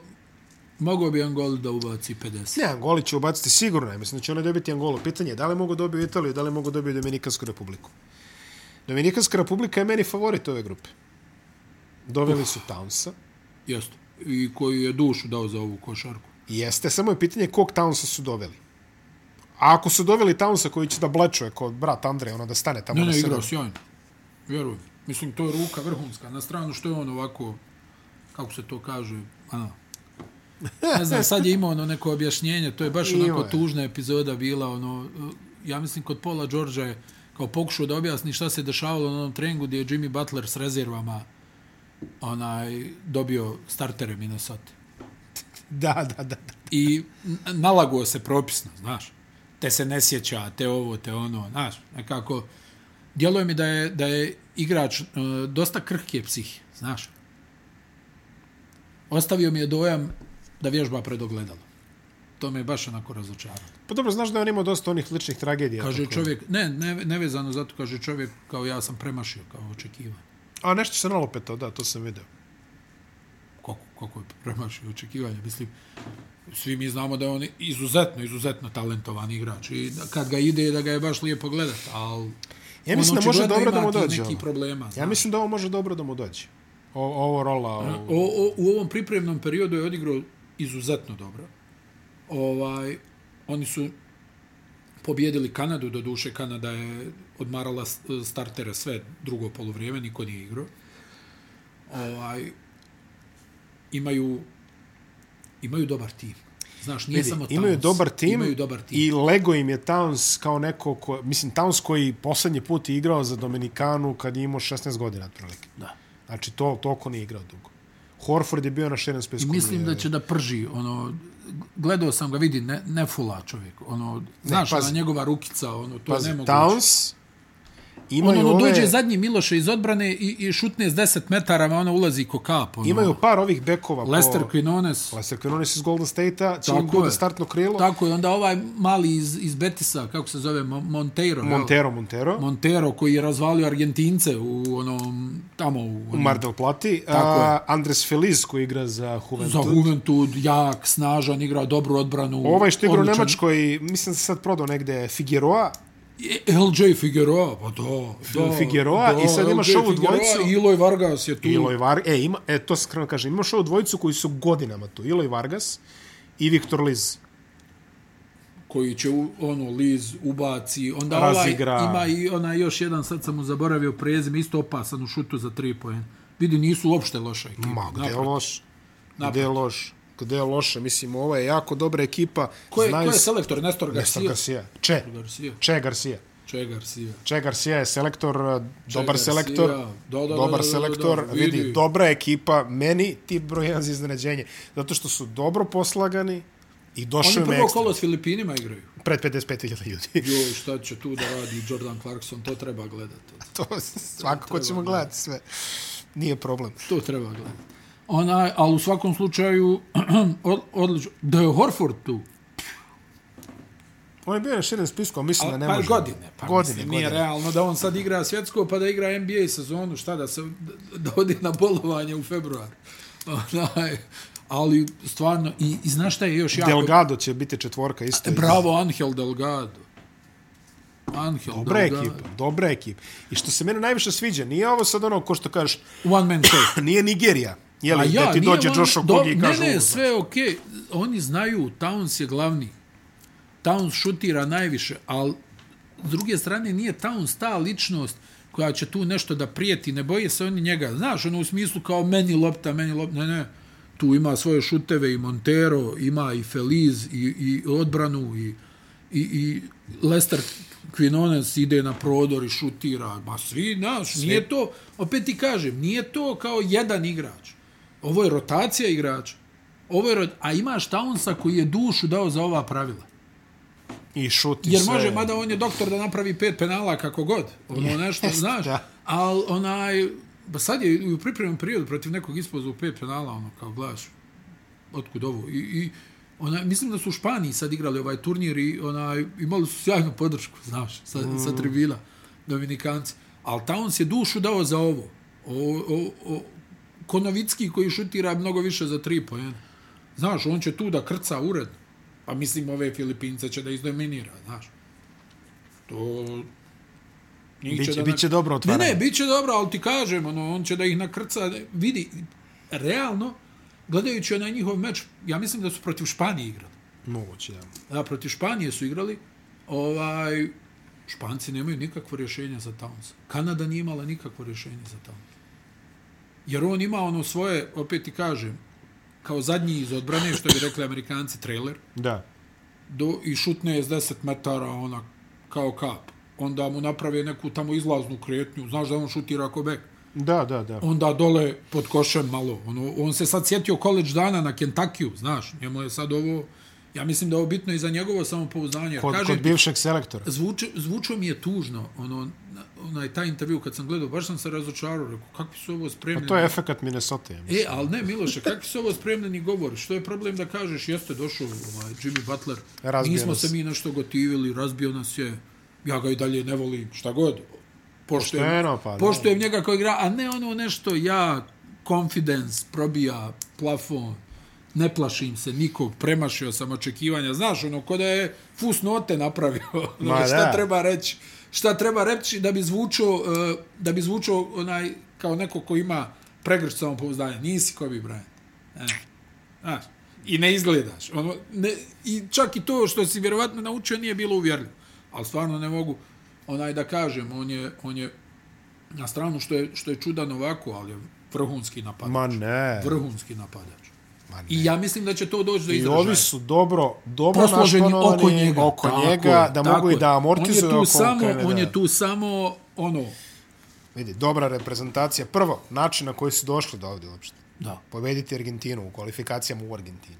[SPEAKER 2] mogo bi Angolu da ubaci 50.
[SPEAKER 1] Ne, Angoli će ubaciti sigurno, ja mislim da će ona dobiti Angolu. Pitanje je da li mogu dobiju Italiju, da li mogu dobiju Dominikansku republiku. Dominikanska republika je meni favorit ove grupe. Doveli su Townsa,
[SPEAKER 2] Jeste. I koji je dušu dao za ovu košarku.
[SPEAKER 1] Jeste, samo je pitanje kog Townsa su doveli. A ako su doveli Townsa koji će da blečuje kod brat Andre, ono da stane tamo
[SPEAKER 2] Ne,
[SPEAKER 1] na
[SPEAKER 2] ne,
[SPEAKER 1] sredini.
[SPEAKER 2] igrao sjajno. Vjerujem. Mislim, to je ruka vrhunska. Na stranu što je on ovako, kako se to kaže, ano, ne znam, sad je imao ono neko objašnjenje, to je baš
[SPEAKER 1] Imao
[SPEAKER 2] onako
[SPEAKER 1] je.
[SPEAKER 2] tužna epizoda bila, ono, ja mislim kod Paula George'a je kao pokušao da objasni šta se dešavalo na onom treningu gdje je Jimmy Butler s rezervama onaj, dobio startere Minnesota.
[SPEAKER 1] Da, da, da. da.
[SPEAKER 2] I n- nalaguo se propisno, znaš. Te se ne sjeća, te ovo, te ono, znaš. Nekako, djeluje mi da je, da je igrač e, dosta krhke psihe, znaš. Ostavio mi je dojam da vježba pred ogledalo. To me je baš onako razočaralo.
[SPEAKER 1] Pa dobro, znaš da je on imao dosta onih ličnih tragedija.
[SPEAKER 2] Kaže
[SPEAKER 1] tako da.
[SPEAKER 2] čovjek, ne, ne, nevezano zato, kaže čovjek kao ja sam premašio, kao očekivanje.
[SPEAKER 1] A nešto se nalopetao, da, to sam video.
[SPEAKER 2] koliko, koliko je premašio očekivanja. Mislim, svi mi znamo da je on izuzetno, izuzetno talentovan igrač i da- kad ga ide da ga je baš lijepo gledat, ali...
[SPEAKER 1] Ja mislim da može dobro da mu dođe.
[SPEAKER 2] Neki
[SPEAKER 1] ono.
[SPEAKER 2] problema.
[SPEAKER 1] Ja
[SPEAKER 2] znaš. Ono,
[SPEAKER 1] mislim da ovo može dobro da mu dođe. O, ovo rola, ovo...
[SPEAKER 2] O, o, u ovom pripremnom periodu je odigrao izuzetno dobro. Ovaj, oni su pobjedili Kanadu, do duše Kanada je odmarala s- startere sve drugo polovrijeme, niko nije igrao. Ovaj, imaju, imaju dobar tim. Znaš, nije
[SPEAKER 1] Vidi,
[SPEAKER 2] samo Towns,
[SPEAKER 1] imaju dobar tim,
[SPEAKER 2] imaju dobar tim.
[SPEAKER 1] i Lego im je Towns kao neko ko, mislim Towns koji posljednji put je igrao za Dominikanu kad je imao 16 godina otprilike.
[SPEAKER 2] Da.
[SPEAKER 1] Znači to toliko nije igrao dugo. Horford je bio na šenem
[SPEAKER 2] I
[SPEAKER 1] spisku.
[SPEAKER 2] mislim da će da prži, ono, gledao sam ga, vidi, ne, ne fula čovjek, ono, znaš,
[SPEAKER 1] pazi.
[SPEAKER 2] ona njegova rukica, ono, to
[SPEAKER 1] Pazi,
[SPEAKER 2] je nemoguće.
[SPEAKER 1] Towns
[SPEAKER 2] Ono,
[SPEAKER 1] imaju
[SPEAKER 2] ono
[SPEAKER 1] ove,
[SPEAKER 2] dođe zadnji Miloše iz odbrane i, i šutne s 10 metara, ma ono ulazi ko kap. Ono.
[SPEAKER 1] imaju par ovih bekova
[SPEAKER 2] Lester
[SPEAKER 1] po...
[SPEAKER 2] Quinones.
[SPEAKER 1] Lester Quinones iz Golden State-a, će
[SPEAKER 2] Tako
[SPEAKER 1] im bude
[SPEAKER 2] je.
[SPEAKER 1] startno krilo.
[SPEAKER 2] Tako je, onda ovaj mali iz, iz Betisa, kako se zove, Mo- Monteiro. jel?
[SPEAKER 1] Montero, Montero.
[SPEAKER 2] Montero koji je razvalio Argentince u onom, tamo u,
[SPEAKER 1] u
[SPEAKER 2] onom,
[SPEAKER 1] Mar del Plati.
[SPEAKER 2] Tako
[SPEAKER 1] A, Andres Feliz koji igra za Juventud.
[SPEAKER 2] za Juventud, jak, snažan, igra dobru odbranu.
[SPEAKER 1] Ovaj što igra u
[SPEAKER 2] odličan-
[SPEAKER 1] Nemačkoj, mislim da se sad prodao negde Figueroa,
[SPEAKER 2] E, LJ Figueroa, pa da. da
[SPEAKER 1] Figueroa
[SPEAKER 2] da,
[SPEAKER 1] i sad imaš
[SPEAKER 2] LJ
[SPEAKER 1] ovu
[SPEAKER 2] Figueroa,
[SPEAKER 1] dvojicu.
[SPEAKER 2] Iloj Vargas je tu.
[SPEAKER 1] Iloj Vargas, e, ima, e, to se krenu kažem, imaš ovu dvojicu koji su godinama tu, Iloj Vargas i Viktor Liz.
[SPEAKER 2] koji će u- ono Liz ubaci onda Razigra.
[SPEAKER 1] Razigra.
[SPEAKER 2] ovaj ima i ona još jedan sad sam mu zaboravio prezime isto opasan u šutu za 3 poena vidi nisu uopšte loša ekipa
[SPEAKER 1] Ma, gde je
[SPEAKER 2] Naprotiv.
[SPEAKER 1] loš? Gde je
[SPEAKER 2] Naprotiv.
[SPEAKER 1] loš? Gde je loše? Mislim, ovo je jako dobra ekipa.
[SPEAKER 2] ko je, ko
[SPEAKER 1] Znaju
[SPEAKER 2] je
[SPEAKER 1] se-
[SPEAKER 2] selektor Nestor
[SPEAKER 1] Nestor
[SPEAKER 2] Garcia
[SPEAKER 1] Garcia. Če.
[SPEAKER 2] Garcia
[SPEAKER 1] Če Garcia.
[SPEAKER 2] Če Garcia
[SPEAKER 1] Če Garcia je selektor, eh, dobar
[SPEAKER 2] Garcia,
[SPEAKER 1] selektor,
[SPEAKER 2] da, da, da, da, da,
[SPEAKER 1] dobar
[SPEAKER 2] da,
[SPEAKER 1] selektor,
[SPEAKER 2] da,
[SPEAKER 1] vidi.
[SPEAKER 2] vidi.
[SPEAKER 1] dobra ekipa, meni tip broj 1 za iznenađenje, zato što su dobro poslagani i došli
[SPEAKER 2] Oni
[SPEAKER 1] me
[SPEAKER 2] prvo
[SPEAKER 1] ekstra,
[SPEAKER 2] kolo s Filipinima igraju.
[SPEAKER 1] pred 55.000 ljudi.
[SPEAKER 2] Joj, šta će tu da radi Jordan Clarkson, to treba gledati.
[SPEAKER 1] to svakako ćemo gledati sve. Nije problem.
[SPEAKER 2] To treba gledati. Ona, ali u svakom slučaju, od- odlično. Da je Horford tu.
[SPEAKER 1] On je bio na širen spisku, a mislim da ne
[SPEAKER 2] pa
[SPEAKER 1] može.
[SPEAKER 2] godine. Pa
[SPEAKER 1] godine,
[SPEAKER 2] mislim,
[SPEAKER 1] godine.
[SPEAKER 2] Nije realno da on sad igra svjetsko, pa da igra NBA sezonu, šta da se da- da ode na bolovanje u februar. Onaj, ali stvarno, i, i znaš šta je još jako?
[SPEAKER 1] Delgado će biti četvorka isto.
[SPEAKER 2] E, Bravo, Angel Delgado. Angel
[SPEAKER 1] Dobra
[SPEAKER 2] Delgado.
[SPEAKER 1] ekipa, dobra ekipa. I što se mene najviše sviđa, nije ovo sad ono, ko što kažeš,
[SPEAKER 2] One man show.
[SPEAKER 1] nije Nigerija. Jeli, ja, gde ti
[SPEAKER 2] nije
[SPEAKER 1] dođe
[SPEAKER 2] on-
[SPEAKER 1] Josh
[SPEAKER 2] do-
[SPEAKER 1] Okogi i kaže...
[SPEAKER 2] Ne, ne,
[SPEAKER 1] "Ugo,
[SPEAKER 2] sve je okej. Oni znaju, Towns je glavni. Towns šutira najviše, ali s druge strane nije Towns ta ličnost koja će tu nešto da prijeti, ne boje se oni njega. Znaš, ono u smislu kao meni lopta, meni lopta, ne, ne. Tu ima svoje šuteve i Montero, ima i Feliz, i, i odbranu, i, i, i Lester Quinones ide na prodor i šutira. Ma svi, znaš, nije to, opet ti kažem, nije to kao jedan igrač. Ovo je rotacija igrača. Ovo je, ro- a imaš Townsa koji je dušu dao za ova pravila.
[SPEAKER 1] I šuti
[SPEAKER 2] Jer
[SPEAKER 1] sve.
[SPEAKER 2] može, mada on je doktor da napravi pet penala kako god. Ono nešto, znaš.
[SPEAKER 1] da.
[SPEAKER 2] Ali onaj, ba sad je i u pripremnom periodu protiv nekog ispozu pet penala, ono, kao gledaš, otkud ovo. I, i Ona, mislim da su u Španiji sad igrali ovaj turnir i onaj, imali su sjajnu podršku, znaš, sa, mm. sa tribila, Dominikanci. Ali Towns je dušu dao za ovo. O, o, o, Konovicki koji šutira mnogo više za tri pojena. Znaš, on će tu da krca uredno. Pa mislim, ove Filipince će da izdominira, znaš. To... njih će
[SPEAKER 1] Biće,
[SPEAKER 2] da na-
[SPEAKER 1] biće dobro
[SPEAKER 2] Ne,
[SPEAKER 1] otvaranje.
[SPEAKER 2] ne, bit će dobro, ali ti kažem, ono, on će da ih nakrca. Vidi, realno, gledajući onaj njihov meč, ja mislim da su protiv Španije igrali.
[SPEAKER 1] Moguće, da.
[SPEAKER 2] Da, protiv Španije su igrali. Ovaj, Španci nemaju nikakvo rješenje za Towns. Kanada nije imala nikakvo rješenje za Towns. Jer on ima ono svoje, opet ti kažem, kao zadnji iz odbrane, što bi rekli amerikanci, trailer,
[SPEAKER 1] Da.
[SPEAKER 2] do, i šutne iz 10 metara, ona, kao kap. Onda mu naprave neku tamo izlaznu kretnju, znaš da on šutira ako bek
[SPEAKER 1] Da, da, da.
[SPEAKER 2] onda dole pod košem malo. Ono, on se sad sjetio college dana na Kentakiju, znaš, njemu je sad ovo, ja mislim da je ovo bitno i za njegovo samopouzdanje. Jer
[SPEAKER 1] Kod,
[SPEAKER 2] kažem
[SPEAKER 1] kod
[SPEAKER 2] ti,
[SPEAKER 1] bivšeg selektora.
[SPEAKER 2] zvuče, zvučao mi je tužno, ono, na- onaj, taj intervju kad sam gledao, baš sam se razočarao, rekao, kakvi su ovo
[SPEAKER 1] Pa
[SPEAKER 2] spremljeni.
[SPEAKER 1] To je efekat Minnesota, ja mislim.
[SPEAKER 2] E, ali ne, Miloše, kakvi su ovo spremljeni govori? Što je problem da kažeš, jeste došao ovaj, Jimmy Butler,
[SPEAKER 1] Razbio
[SPEAKER 2] nismo
[SPEAKER 1] nas.
[SPEAKER 2] se mi nešto gotivili, razbio nas je, ja ga i dalje ne volim, šta god. Poštujem,
[SPEAKER 1] Pošteno, pa da.
[SPEAKER 2] poštujem njega koji igra, a ne ono nešto ja, confidence, probija plafon, ne plašim se nikog, premašio sam očekivanja. Znaš, ono, ko da je fusnote napravio. Ono,
[SPEAKER 1] Ma
[SPEAKER 2] šta
[SPEAKER 1] da.
[SPEAKER 2] treba reći? Šta treba reći da bi zvučao, eh, da bi zvučao onaj, kao neko ko ima pregršt samopouzdanja. Nisi Kobe Bryant. E, znaš, I ne izgledaš. Ono, ne, I čak i to što si vjerovatno naučio nije bilo uvjerljivo. Ali stvarno ne mogu onaj da kažem, on je, on je na stranu što je, što je čudan ovako, ali je vrhunski napadač.
[SPEAKER 1] Ma ne.
[SPEAKER 2] Vrhunski napadač.
[SPEAKER 1] Ma ne.
[SPEAKER 2] I ja mislim da će to doći do
[SPEAKER 1] I
[SPEAKER 2] izražaja.
[SPEAKER 1] ovi su dobro, dobro
[SPEAKER 2] posloženi
[SPEAKER 1] našpanovani
[SPEAKER 2] oko njega,
[SPEAKER 1] oko
[SPEAKER 2] Tako
[SPEAKER 1] njega
[SPEAKER 2] je,
[SPEAKER 1] da
[SPEAKER 2] tako
[SPEAKER 1] mogu i
[SPEAKER 2] je.
[SPEAKER 1] da amortizuju
[SPEAKER 2] On je tu samo, on je
[SPEAKER 1] tu...
[SPEAKER 2] tu samo ono,
[SPEAKER 1] Vidi, dobra reprezentacija. Prvo, način na koji su došli do ovdje uopšte.
[SPEAKER 2] da.
[SPEAKER 1] Pobediti Argentinu u kvalifikacijama u Argentini.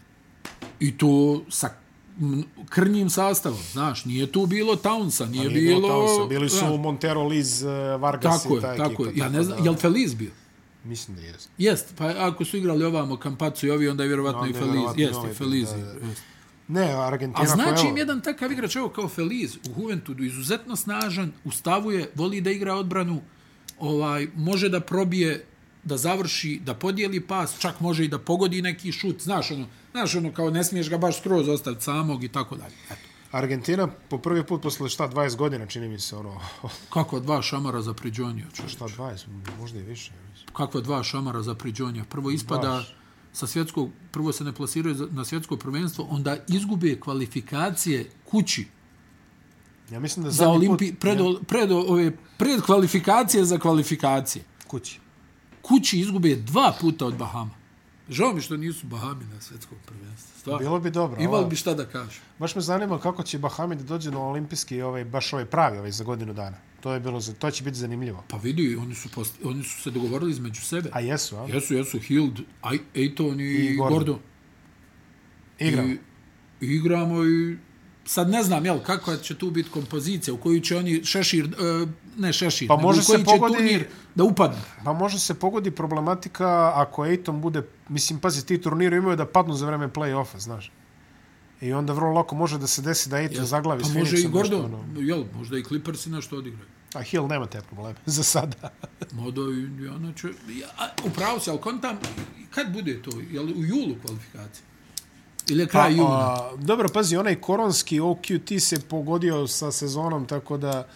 [SPEAKER 2] I to sa m- krnjim sastavom, znaš, nije tu bilo Townsa, nije,
[SPEAKER 1] Pa Nije
[SPEAKER 2] bilo...
[SPEAKER 1] bilo Townsa, Bili su
[SPEAKER 2] znaš,
[SPEAKER 1] Montero, Liz, eh, Vargas
[SPEAKER 2] tako
[SPEAKER 1] i ta
[SPEAKER 2] je, tako
[SPEAKER 1] ekipa.
[SPEAKER 2] je. Ja ne znam,
[SPEAKER 1] da-
[SPEAKER 2] jel Feliz bio?
[SPEAKER 1] Mislim da jest.
[SPEAKER 2] Jest, pa ako su igrali ovamo Kampacu i ovi, onda je vjerovatno
[SPEAKER 1] Onda
[SPEAKER 2] i
[SPEAKER 1] je
[SPEAKER 2] Feliz.
[SPEAKER 1] vjerovatno
[SPEAKER 2] Jeste,
[SPEAKER 1] ovaj,
[SPEAKER 2] i Feliz.
[SPEAKER 1] da,
[SPEAKER 2] je,
[SPEAKER 1] da.
[SPEAKER 2] jest.
[SPEAKER 1] Ne,
[SPEAKER 2] A
[SPEAKER 1] Argentina pa
[SPEAKER 2] znači
[SPEAKER 1] koja,
[SPEAKER 2] im jedan takav igrač, evo kao Feliz u Juventudu, izuzetno snažan, u stavu je, voli da igra odbranu, ovaj, može da probije, da završi, da podijeli pas, čak može i da pogodi neki šut, znaš ono, znaš ono kao ne smiješ ga baš skroz ostaviti samog i tako dalje. Eto,
[SPEAKER 1] Argentina po prvi put posle šta 20 godina čini mi se ono
[SPEAKER 2] kako dva šamara za priđonio, čovječ.
[SPEAKER 1] šta 20 možda i više ja mislim.
[SPEAKER 2] Kakva dva šamara za priđonija. Prvo ispada
[SPEAKER 1] Baš.
[SPEAKER 2] sa svjetskog, prvo se ne plasiraju za- na svjetsko prvenstvo, onda izgube kvalifikacije kući
[SPEAKER 1] Ja mislim da
[SPEAKER 2] za
[SPEAKER 1] zadnji
[SPEAKER 2] olimpi, pred, pred, ove, pred kvalifikacije za kvalifikacije.
[SPEAKER 1] put kući.
[SPEAKER 2] Kući izgube dva puta od Bahama. Žao mi što nisu Bahami na svjetskom prvenstvu. Stvarno.
[SPEAKER 1] Bilo bi dobro.
[SPEAKER 2] Imali
[SPEAKER 1] Imali
[SPEAKER 2] bi šta da kažu.
[SPEAKER 1] Baš me zanima kako će Bahami da dođe na olimpijski ovaj baš ovaj pravi ovaj za godinu dana. To je bilo za to će biti zanimljivo.
[SPEAKER 2] Pa vidi, oni su, post, oni su se dogovorili između sebe.
[SPEAKER 1] A jesu, a?
[SPEAKER 2] Jesu, jesu Hild, Aj- Ejton i,
[SPEAKER 1] I Gordon.
[SPEAKER 2] Gordon. Gordon.
[SPEAKER 1] Igra.
[SPEAKER 2] I, i igramo i sad ne znam jel kakva će tu biti kompozicija u koju će oni šešir e, ne šešir
[SPEAKER 1] Pa
[SPEAKER 2] nego
[SPEAKER 1] može
[SPEAKER 2] u koji
[SPEAKER 1] se
[SPEAKER 2] će
[SPEAKER 1] pogodi-
[SPEAKER 2] turnir da upadne.
[SPEAKER 1] Pa može se pogodi problematika ako Ejton bude, mislim, pazi, ti turniri imaju da padnu za vreme play-offa, znaš. I onda vrlo lako može da se desi da Ejton zaglavi
[SPEAKER 2] pa
[SPEAKER 1] s
[SPEAKER 2] može i
[SPEAKER 1] Phoenixom, nešto
[SPEAKER 2] Gordon,
[SPEAKER 1] ono.
[SPEAKER 2] jel, možda i Clippersi nešto odigraju.
[SPEAKER 1] A Hill nema te probleme, za sada.
[SPEAKER 2] Modo i Indiana će... Ja, a, upravo se, ali kontam, kad bude to? Jel u julu kvalifikacije? Ili je kraj
[SPEAKER 1] Pa,
[SPEAKER 2] juna?
[SPEAKER 1] a, dobro, pazi, onaj koronski OQT se pogodio sa sezonom, tako da...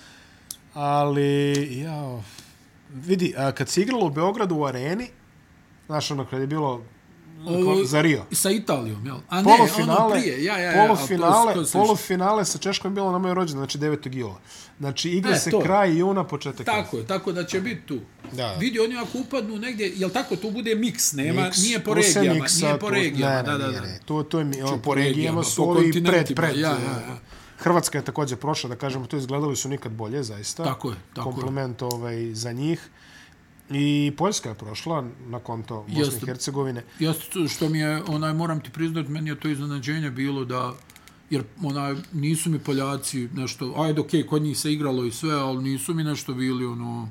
[SPEAKER 1] Ali, jao... Vidi, a, kad se igralo u Beogradu u areni, znaš ono, kad je bilo
[SPEAKER 2] Ovo-
[SPEAKER 1] za Rio.
[SPEAKER 2] Sa Italijom, jel? A ne,
[SPEAKER 1] Polufinale,
[SPEAKER 2] ono prije. Ja, ja, ja,
[SPEAKER 1] polufinale,
[SPEAKER 2] a to- to se-
[SPEAKER 1] polufinale sa Češkom je bilo na moj rođendan, znači 9. jula. Znači igra
[SPEAKER 2] E,
[SPEAKER 1] se
[SPEAKER 2] to.
[SPEAKER 1] kraj juna, početak. jula.
[SPEAKER 2] Tako je, tako da će biti tu.
[SPEAKER 1] Da.
[SPEAKER 2] Vidi, oni ako upadnu negdje, jel tako, tu bude miks, nema,
[SPEAKER 1] Miks,
[SPEAKER 2] nije po
[SPEAKER 1] tu se
[SPEAKER 2] regijama,
[SPEAKER 1] miksa,
[SPEAKER 2] nije po
[SPEAKER 1] tu-
[SPEAKER 2] regijama,
[SPEAKER 1] ne, ne,
[SPEAKER 2] da, da,
[SPEAKER 1] nije,
[SPEAKER 2] da.
[SPEAKER 1] ne. To, to je, mi- o,
[SPEAKER 2] po
[SPEAKER 1] po
[SPEAKER 2] regijama,
[SPEAKER 1] regijama su
[SPEAKER 2] po
[SPEAKER 1] ovi
[SPEAKER 2] kontinentima,
[SPEAKER 1] pred, pred.
[SPEAKER 2] ja, ja, ja.
[SPEAKER 1] Hrvatska je također prošla, da kažemo, to izgledali su nikad bolje, zaista.
[SPEAKER 2] Tako je, tako je.
[SPEAKER 1] Kompliment ovaj, za njih. I Poljska je prošla na konto Bosne
[SPEAKER 2] Jeste.
[SPEAKER 1] i Hercegovine.
[SPEAKER 2] Ja s- što mi je, onaj, moram ti priznat, meni je to iznenađenje bilo da, jer onaj, nisu mi Poljaci nešto, ajde, okej, kod njih se igralo i sve, ali nisu mi nešto bili, ono,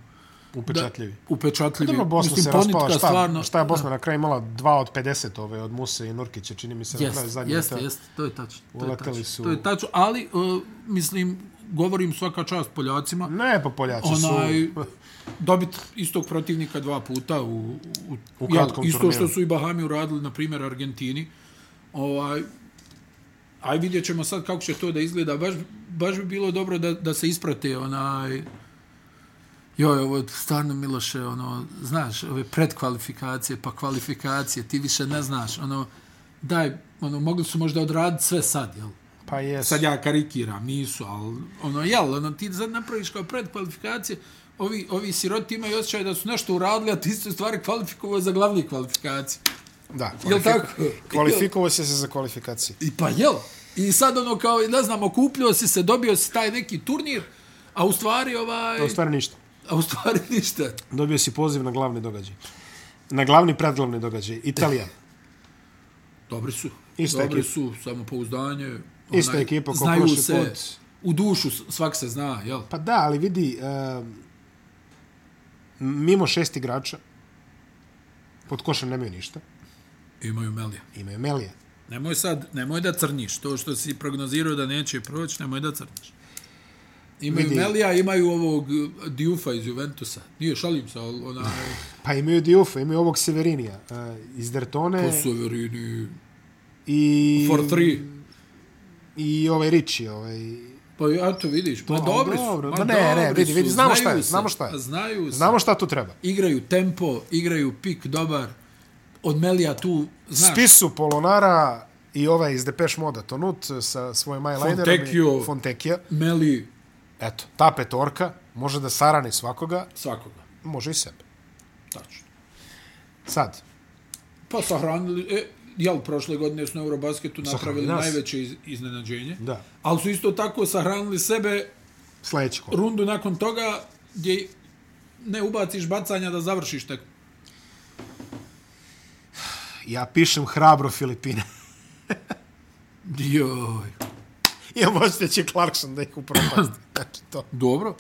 [SPEAKER 1] upečatljivi.
[SPEAKER 2] upečatljivi.
[SPEAKER 1] Pa Dobro, Bosna
[SPEAKER 2] Mislim,
[SPEAKER 1] se raspala.
[SPEAKER 2] Ponitka
[SPEAKER 1] Šta, stvarno, šta je Bosna na kraju imala? Dva od 50 ove, od Muse i Nurkića, čini mi se na kraju
[SPEAKER 2] Jeste,
[SPEAKER 1] zadnje.
[SPEAKER 2] jeste,
[SPEAKER 1] ta-
[SPEAKER 2] jeste, to je tačno. To je
[SPEAKER 1] Uleteli
[SPEAKER 2] tačno.
[SPEAKER 1] su-
[SPEAKER 2] To je tačno, ali uh, mislim govorim svaka čast Poljacima.
[SPEAKER 1] Ne, pa Poljaci
[SPEAKER 2] Onaj
[SPEAKER 1] su...
[SPEAKER 2] dobit istog protivnika dva puta u, u,
[SPEAKER 1] U kratkom
[SPEAKER 2] isto
[SPEAKER 1] turniru.
[SPEAKER 2] što su i Bahami uradili na primjer Argentini. Ovaj aj vidjet ćemo sad kako će to da izgleda. Baš, baš bi bilo dobro da, da se isprate onaj Joj, ovo je stvarno Miloše, ono, znaš, ove predkvalifikacije, pa kvalifikacije, ti više ne znaš, ono, daj, ono, mogli su možda odraditi sve sad, jel?
[SPEAKER 1] Pa jesu.
[SPEAKER 2] Sad ja karikiram, nisu, ali ono, jel, ono, ti sad napraviš kao predkvalifikacije, ovi, ovi siroti imaju osjećaj da su nešto uradili, a ti su u stvari kvalifikovao za glavni kvalifikacije.
[SPEAKER 1] Da,
[SPEAKER 2] Jel
[SPEAKER 1] kvalifik-
[SPEAKER 2] tako?
[SPEAKER 1] Kvalifikovao si se za kvalifikacije.
[SPEAKER 2] I pa jel? I sad ono kao, ne znam, okupljio si se, dobio si taj neki turnir, a u stvari ovaj...
[SPEAKER 1] A u stvari ništa.
[SPEAKER 2] A u stvari ništa.
[SPEAKER 1] Dobio si poziv na glavni događaj. Na glavni predglavni događaj. Italija.
[SPEAKER 2] Dobri su.
[SPEAKER 1] Ista
[SPEAKER 2] Dobri
[SPEAKER 1] ekipa.
[SPEAKER 2] su, samopouzdanje.
[SPEAKER 1] Ista ekipa ko
[SPEAKER 2] znaju
[SPEAKER 1] prošli
[SPEAKER 2] se,
[SPEAKER 1] put.
[SPEAKER 2] U dušu s- svak se zna, jel?
[SPEAKER 1] Pa da, ali vidi, uh, mimo šest igrača, pod košem nemaju ništa,
[SPEAKER 2] Imaju Melija.
[SPEAKER 1] imaju Melija.
[SPEAKER 2] Nemoj sad, nemoj da crniš. To što si prognozirao da neće proći, nemoj da crniš. Imaju
[SPEAKER 1] Vidi.
[SPEAKER 2] Vidi. Melija, imaju ovog eh, Diufa iz Juventusa. Nije, šalim se, ali ona...
[SPEAKER 1] Pa imaju Diofa, imaju ovog Severinija uh, iz Dertone
[SPEAKER 2] Posoverini,
[SPEAKER 1] i,
[SPEAKER 2] for three.
[SPEAKER 1] i ovaj Riči. Ovaj.
[SPEAKER 2] Pa ja to vidiš, pa
[SPEAKER 1] To,
[SPEAKER 2] dobri
[SPEAKER 1] dobro.
[SPEAKER 2] su.
[SPEAKER 1] Ma
[SPEAKER 2] Pa
[SPEAKER 1] ne, ne,
[SPEAKER 2] dobri
[SPEAKER 1] vidi,
[SPEAKER 2] su,
[SPEAKER 1] vidi, znamo
[SPEAKER 2] znaju
[SPEAKER 1] šta je,
[SPEAKER 2] se,
[SPEAKER 1] znamo šta je.
[SPEAKER 2] pa Znaju se.
[SPEAKER 1] Znamo šta tu treba.
[SPEAKER 2] Igraju tempo, igraju pik dobar. Od Melija tu, znaš,
[SPEAKER 1] Spisu Polonara i ovaj iz Depeche Moda, Tonut, sa svojim eyelinerom.
[SPEAKER 2] Fontekio.
[SPEAKER 1] i- Fontekija.
[SPEAKER 2] Meli
[SPEAKER 1] Eto, ta petorka može da sarani svakoga,
[SPEAKER 2] svakoga.
[SPEAKER 1] može i sebe.
[SPEAKER 2] Tačno.
[SPEAKER 1] Sad,
[SPEAKER 2] Pa sahranili, e, jel, prošle godine su na Eurobasketu napravili
[SPEAKER 1] nas.
[SPEAKER 2] najveće iz, iznenađenje.
[SPEAKER 1] Da.
[SPEAKER 2] Ali su isto tako sahranili sebe
[SPEAKER 1] sledeći korak.
[SPEAKER 2] rundu nakon toga gdje ne ubaciš bacanja da završiš tek.
[SPEAKER 1] Ja pišem hrabro Filipine.
[SPEAKER 2] Joj.
[SPEAKER 1] Ja možda će Clarkson da ih upropasti. Znači to.
[SPEAKER 2] Dobro.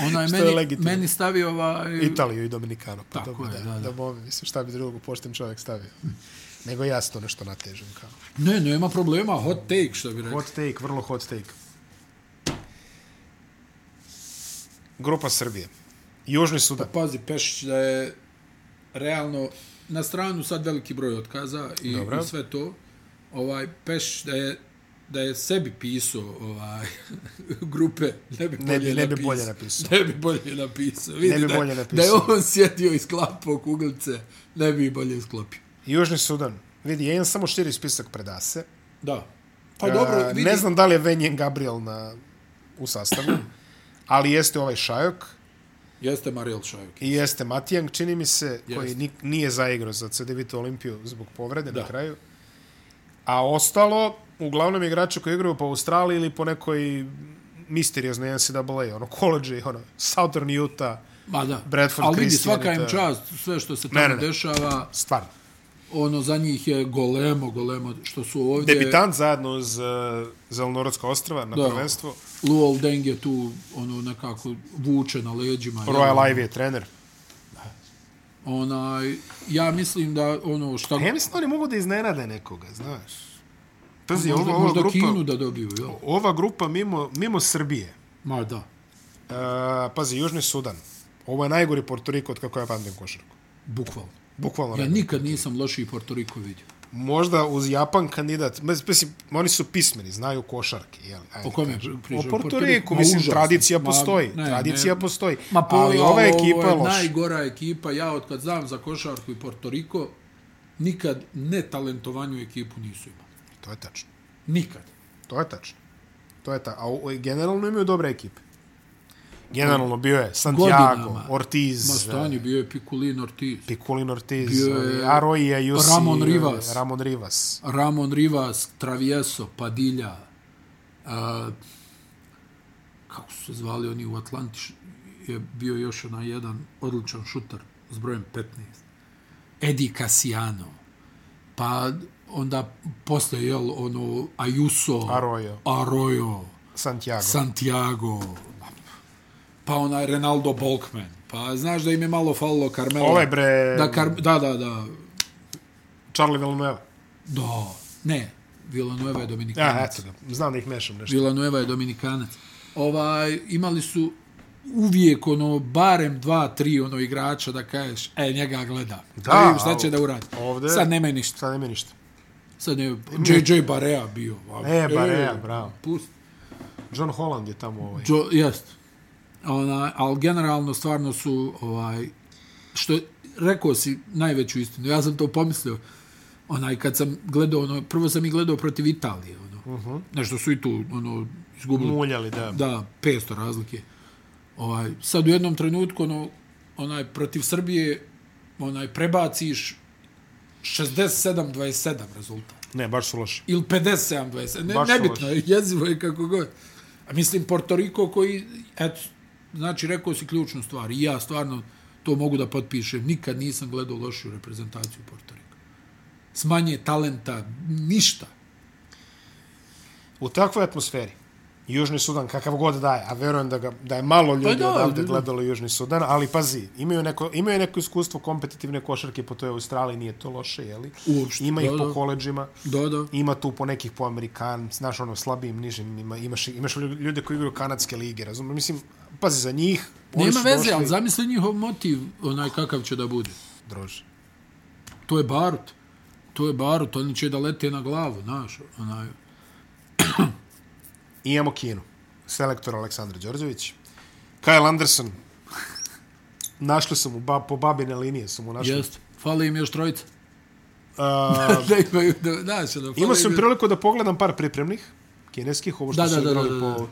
[SPEAKER 2] Ona je
[SPEAKER 1] Što je
[SPEAKER 2] meni,
[SPEAKER 1] legitimno.
[SPEAKER 2] meni stavio ovaj...
[SPEAKER 1] Italiju i Dominikano. Pa
[SPEAKER 2] Tako
[SPEAKER 1] dobro,
[SPEAKER 2] je, da, da.
[SPEAKER 1] da bome, mislim, šta bi drugog pošten čovjek stavio. Nego ja se to nešto natežem. Kao.
[SPEAKER 2] Ne, nema problema, hot take što bi rekao.
[SPEAKER 1] Hot take, vrlo hot take. Grupa Srbije. Južni Sudan.
[SPEAKER 2] Pazi, Pešić da je realno na stranu sad veliki broj otkaza i,
[SPEAKER 1] Dobro.
[SPEAKER 2] i sve to. Ovaj Pešić da je da je sebi pisao ovaj grupe ne bi bolje
[SPEAKER 1] Ne bi- ne bi
[SPEAKER 2] napisao.
[SPEAKER 1] bolje napisao.
[SPEAKER 2] ne bi bolje napisao vidi
[SPEAKER 1] Ne bi
[SPEAKER 2] da,
[SPEAKER 1] bolje
[SPEAKER 2] da je
[SPEAKER 1] napisao.
[SPEAKER 2] on sjedio i sklapao kuglice ne bi ih bolje sklopio
[SPEAKER 1] Južni Sudan. Vidi, ja imam samo širi spisak predase.
[SPEAKER 2] da pa dobro
[SPEAKER 1] E,
[SPEAKER 2] vidi
[SPEAKER 1] Ne znam da li je Venjen Gabriel na, u sastavu, ali jeste ovaj Šajok
[SPEAKER 2] jeste Mariel Šajok
[SPEAKER 1] i jeste Matijang, čini mi se, koji
[SPEAKER 2] Jeste.
[SPEAKER 1] ni, nije zaigrao za CD Vito Olimpiju zbog povrede da. na
[SPEAKER 2] Da.
[SPEAKER 1] kraju. A ostalo, uglavnom igrači koji igraju po Australiji ili po nekoj misterioznoj NCAA, ono, college, ono, Southern Utah,
[SPEAKER 2] ma da
[SPEAKER 1] Bradford,
[SPEAKER 2] ali vidi
[SPEAKER 1] Christian i
[SPEAKER 2] svaka im
[SPEAKER 1] to-
[SPEAKER 2] čast sve što se
[SPEAKER 1] Ne,
[SPEAKER 2] tamo
[SPEAKER 1] ne, ne.
[SPEAKER 2] dešava
[SPEAKER 1] stvarno.
[SPEAKER 2] ono za njih je golemo golemo što su ovdje
[SPEAKER 1] Debitant zajedno uz uh, Zelenorodska ostrava na
[SPEAKER 2] Da.
[SPEAKER 1] prvenstvo.
[SPEAKER 2] Luol Deng je tu ono nekako vuče na leđima. jel?
[SPEAKER 1] Royal Ivy je trener.
[SPEAKER 2] Onaj, ja mislim da ono šta...
[SPEAKER 1] Ja mislim da oni mogu da iznenade nekoga, znaš. Pazi,
[SPEAKER 2] možda,
[SPEAKER 1] ova, ova
[SPEAKER 2] možda
[SPEAKER 1] grupa...
[SPEAKER 2] Kinu da dobiju, jel?
[SPEAKER 1] ova grupa mimo, mimo Srbije,
[SPEAKER 2] Ma da.
[SPEAKER 1] e, pazi, Južni Sudan, ovo je najgori Porto Riko od kako ja pamtim košarku.
[SPEAKER 2] Bukvalno.
[SPEAKER 1] Bukvalno
[SPEAKER 2] Ja
[SPEAKER 1] ja,
[SPEAKER 2] nikad nisam lošiji Porto Riko vidio.
[SPEAKER 1] Možda uz Japan kandidat, mes- mislim, oni su pismeni, znaju košarke, jel? Ajde,
[SPEAKER 2] O kome pričamo?
[SPEAKER 1] O Porto
[SPEAKER 2] Porto
[SPEAKER 1] Riku,
[SPEAKER 2] Riku, ma
[SPEAKER 1] mislim,
[SPEAKER 2] užasno.
[SPEAKER 1] tradicija
[SPEAKER 2] Ma,
[SPEAKER 1] postoji.
[SPEAKER 2] ne,
[SPEAKER 1] tradicija
[SPEAKER 2] ne.
[SPEAKER 1] postoji.
[SPEAKER 2] Ma po,
[SPEAKER 1] ali ova ekipa je
[SPEAKER 2] je
[SPEAKER 1] loša.
[SPEAKER 2] najgora ekipa. Ja od kad znam za košarku i Porto Riko, nikad netalentovanju ekipu nisu imali.
[SPEAKER 1] To je tačno.
[SPEAKER 2] Nikad.
[SPEAKER 1] To je tačno. To je ta. A o, generalno imaju dobre ekipe. Generalno bio je Santiago,
[SPEAKER 2] Godinama. Ma
[SPEAKER 1] Ortiz,
[SPEAKER 2] stanje, bio je Piculin Ortiz.
[SPEAKER 1] Piculin Ortiz,
[SPEAKER 2] Bio je
[SPEAKER 1] ovi, Aroija, Jusi,
[SPEAKER 2] Ramon Rivas.
[SPEAKER 1] Ramon Rivas.
[SPEAKER 2] Ramon Rivas, Travieso, Padilja, a, kako su se zvali oni u Atlantiš, je bio još onaj jedan odličan šuter s brojem 15. Edi Casciano, pa onda posle, jel, ono, Ayuso,
[SPEAKER 1] Arroyo.
[SPEAKER 2] Arroyo
[SPEAKER 1] Santiago. San...
[SPEAKER 2] Santiago, pa onaj Renaldo Bolkman. Pa znaš da im je malo falilo Carmelo.
[SPEAKER 1] Ovaj bre-
[SPEAKER 2] Da, Car... da, da, da.
[SPEAKER 1] Charlie Villanueva.
[SPEAKER 2] Da, ne. Villanueva je
[SPEAKER 1] Ja,
[SPEAKER 2] Dominikanac.
[SPEAKER 1] eto ga. Znam da ih mešam nešto.
[SPEAKER 2] Villanueva je Dominikanac. Ovaj, imali su uvijek ono barem dva, tri ono igrača da kažeš, e, njega gleda. Da, da vidim šta će
[SPEAKER 1] al-
[SPEAKER 2] da uradi.
[SPEAKER 1] ovde-
[SPEAKER 2] Sad nema ništa.
[SPEAKER 1] Sad nema ništa.
[SPEAKER 2] Sad je JJ Barea bio. a-
[SPEAKER 1] E, Barea, bravo.
[SPEAKER 2] Pust.
[SPEAKER 1] John Holland je tamo ovaj.
[SPEAKER 2] Jo, jest. Ona, ali generalno stvarno su, ovaj, što je- rekao si najveću istinu, ja sam to pomislio, onaj, kad sam gledao, ono, prvo sam i gledao protiv Italije, ono,
[SPEAKER 1] Mhm.
[SPEAKER 2] uh -huh. nešto su i tu, ono, izgubili
[SPEAKER 1] Muljali, da.
[SPEAKER 2] da, 500 razlike. Ovaj, sad u jednom trenutku, ono, onaj, protiv Srbije, onaj, prebaciš 67-27 rezultat.
[SPEAKER 1] Ne, baš su loši.
[SPEAKER 2] Ili 57-27, ne,
[SPEAKER 1] Baš su
[SPEAKER 2] nebitno je, jezivo je kako god. A mislim, Porto Riko koji, eto, znači, rekao si ključnu stvar i ja stvarno to mogu da potpišem. Nikad nisam gledao lošiju reprezentaciju Porto Riko. Smanje talenta, ništa.
[SPEAKER 1] U takvoj atmosferi, Južni Sudan, kakav god daje, a verujem da, ga, da je malo ljudi
[SPEAKER 2] Pa da,
[SPEAKER 1] da, odavde
[SPEAKER 2] da.
[SPEAKER 1] gledalo Južni Sudan, ali pazi, imaju neko, imaju neko iskustvo kompetitivne košarke po toj Australiji, nije to loše, jeli?
[SPEAKER 2] Uopšte,
[SPEAKER 1] Ima ih
[SPEAKER 2] da, da.
[SPEAKER 1] po koleđima.
[SPEAKER 2] Da, da.
[SPEAKER 1] ima tu po nekih po Amerikan, znaš ono slabijim, nižim, ima, imaš, imaš ljude koji igraju kanadske lige, razumiješ? Mislim, pazi, za njih... oni
[SPEAKER 2] Nema
[SPEAKER 1] su
[SPEAKER 2] veze,
[SPEAKER 1] došli-
[SPEAKER 2] ali zamisli njihov motiv, onaj kakav će da bude.
[SPEAKER 1] Druže,
[SPEAKER 2] To je Barut. To je Barut, oni će da lete na glavu, znaš. Onaj.
[SPEAKER 1] imamo Kinu. Selektor Aleksandar Đorđević. Kyle Anderson. Našli su mu, ba, po babine linije su mu našli. Yes.
[SPEAKER 2] Jest, fali im još trojica.
[SPEAKER 1] Uh,
[SPEAKER 2] da imaju, da, znaš, ono, fali
[SPEAKER 1] imao
[SPEAKER 2] im
[SPEAKER 1] sam
[SPEAKER 2] još-
[SPEAKER 1] priliku da pogledam par pripremnih kineskih, ovo što
[SPEAKER 2] Da,
[SPEAKER 1] su
[SPEAKER 2] da, da,
[SPEAKER 1] igrali
[SPEAKER 2] da, da, da.
[SPEAKER 1] po...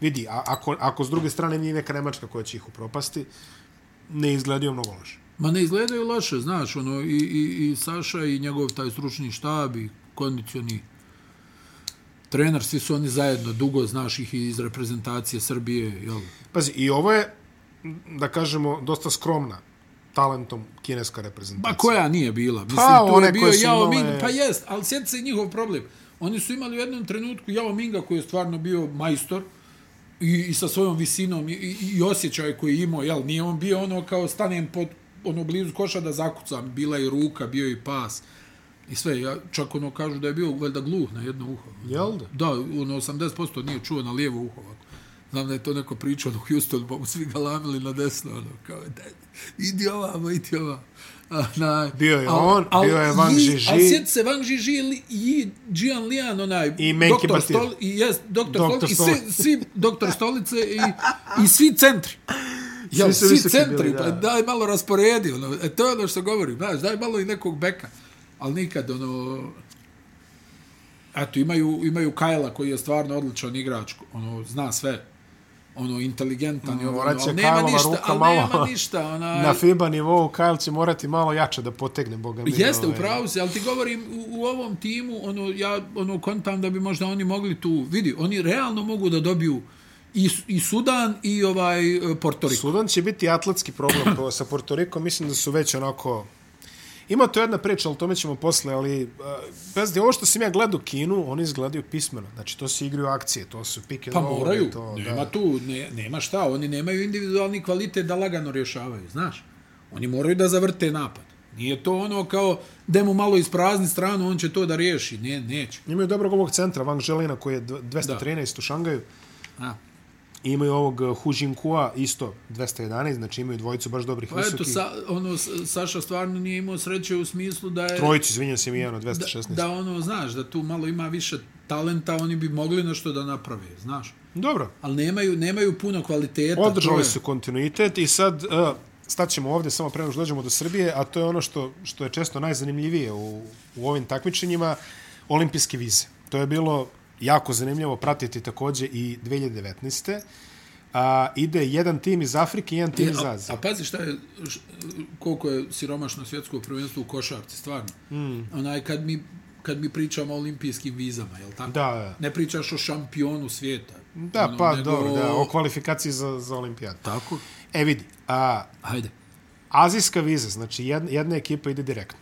[SPEAKER 1] Vidi, a, ako, ako s druge strane nije neka Nemačka koja će ih upropasti, ne izgledaju mnogo loše.
[SPEAKER 2] Ma ne izgledaju loše, znaš, ono, i, i, i Saša i njegov taj stručni štab i kondicioni trener, svi su oni zajedno, dugo znaš ih iz reprezentacije Srbije, jel?
[SPEAKER 1] Pazi, i ovo je, da kažemo, dosta skromna talentom kineska reprezentacija.
[SPEAKER 2] Pa koja nije bila? Mislim,
[SPEAKER 1] Pa,
[SPEAKER 2] tu
[SPEAKER 1] one
[SPEAKER 2] je bio
[SPEAKER 1] koje su
[SPEAKER 2] Yao
[SPEAKER 1] imale-
[SPEAKER 2] Ming, pa jest, ali sjeti se njihov problem. Oni su imali u jednom trenutku Yao Minga koji je stvarno bio majstor i, i sa svojom visinom i, i, i osjećaj koji je imao, jel, nije on bio ono kao stanem pod ono blizu koša da zakucam, bila je i ruka, bio je i pas i sve, ja, čak ono kažu da je bio valjda gluh na jedno uho.
[SPEAKER 1] Jel da?
[SPEAKER 2] Da, ono 80% nije čuo na lijevo uho ovako. Znam da je to neko pričao ono, Houston, pa mu svi ga lamili na desno, ono, kao, daj, idi ovamo, idi ovamo. A, na,
[SPEAKER 1] Bio je on, bio je Wang Jiji.
[SPEAKER 2] Ali sjeti se Wang Jiji ili i Jian Lian, onaj,
[SPEAKER 1] I Menki
[SPEAKER 2] doktor
[SPEAKER 1] Batir.
[SPEAKER 2] Stol, i jest, doktor,
[SPEAKER 1] Doktor
[SPEAKER 2] Stol, i svi, svi doktor Stolice i, i svi centri. Ja,
[SPEAKER 1] su
[SPEAKER 2] svi, svi
[SPEAKER 1] visoki
[SPEAKER 2] centri,
[SPEAKER 1] bili,
[SPEAKER 2] bili, da. pa
[SPEAKER 1] da.
[SPEAKER 2] daj malo rasporedi, ono, e, to je ono što govorim, znaš, daj malo i nekog beka, ali nikad, ono, eto, imaju, imaju Kajla koji je stvarno odličan igrač, ono, zna sve, ono, inteligentan i ovo, ono,
[SPEAKER 1] Mm, Morat će
[SPEAKER 2] ali nema
[SPEAKER 1] Kylova
[SPEAKER 2] ništa,
[SPEAKER 1] ruka
[SPEAKER 2] ali
[SPEAKER 1] malo
[SPEAKER 2] nema ništa, onaj,
[SPEAKER 1] Na FIBA nivou Kyle će morati malo jače da potegne Boga mi.
[SPEAKER 2] Jeste,
[SPEAKER 1] ovaj.
[SPEAKER 2] upravo si, ali ti govorim u, u ovom timu, ono, ja ono, kontam da bi možda oni mogli tu, vidi, oni realno mogu da dobiju i, i Sudan i ovaj e, Porto Riko.
[SPEAKER 1] Sudan će biti atletski problem pro- sa Portorikom, mislim da su već onako... Ima to jedna priča, ali o tome ćemo posle, ali eh, bez da ovo što sam ja gledao Kinu, oni izgledaju pismeno. Znači, to se igraju akcije, to su pick and
[SPEAKER 2] Pa
[SPEAKER 1] roll,
[SPEAKER 2] moraju,
[SPEAKER 1] to,
[SPEAKER 2] nema tu, ne, nema šta, oni nemaju individualni kvalitet da lagano rješavaju, znaš. Oni moraju da zavrte napad. Nije to ono kao, da mu malo isprazni stranu, on će to da riješi. Ne, neće.
[SPEAKER 1] Imaju dobrog ovog centra, Wang Želina, koji je dv- 213 u Šangaju.
[SPEAKER 2] A.
[SPEAKER 1] I imaju ovog eh, Hu Jinkua, isto 211, znači imaju dvojicu baš dobrih
[SPEAKER 2] Pa eto,
[SPEAKER 1] visokih.
[SPEAKER 2] sa, ono, S- Saša stvarno nije imao sreće u smislu da je...
[SPEAKER 1] Trojicu, izvinjam se, mi jedno, 216.
[SPEAKER 2] da ono, znaš, da tu malo ima više talenta, oni bi mogli nešto da naprave, znaš.
[SPEAKER 1] Dobro,
[SPEAKER 2] Ali nemaju, nemaju puno kvaliteta. to
[SPEAKER 1] održali
[SPEAKER 2] je-
[SPEAKER 1] su kontinuitet i sad uh, staćemo ovdje samo prema što dođemo do Srbije, a to je ono što, što je često najzanimljivije u, u ovim takmičenjima, olimpijske vize. To je bilo jako zanimljivo pratiti takođe i 2019. A, ide jedan tim iz Afrike i jedan tim iz
[SPEAKER 2] E, a,
[SPEAKER 1] Azije.
[SPEAKER 2] a pazi šta je, š, koliko je siromašno svjetsko prvenstvo u košarci, stvarno. Mm. Onaj, kad mi, kad mi pričamo o olimpijskim vizama, jel tako?
[SPEAKER 1] Da, da.
[SPEAKER 2] Ne pričaš o šampionu svijeta. Ono,
[SPEAKER 1] Da, pa dobro, da, o kvalifikaciji za, za olimpijadu.
[SPEAKER 2] Tako?
[SPEAKER 1] E vidi, a,
[SPEAKER 2] Hajde.
[SPEAKER 1] Azijska viza, znači jedna, jedna ekipa ide direktno.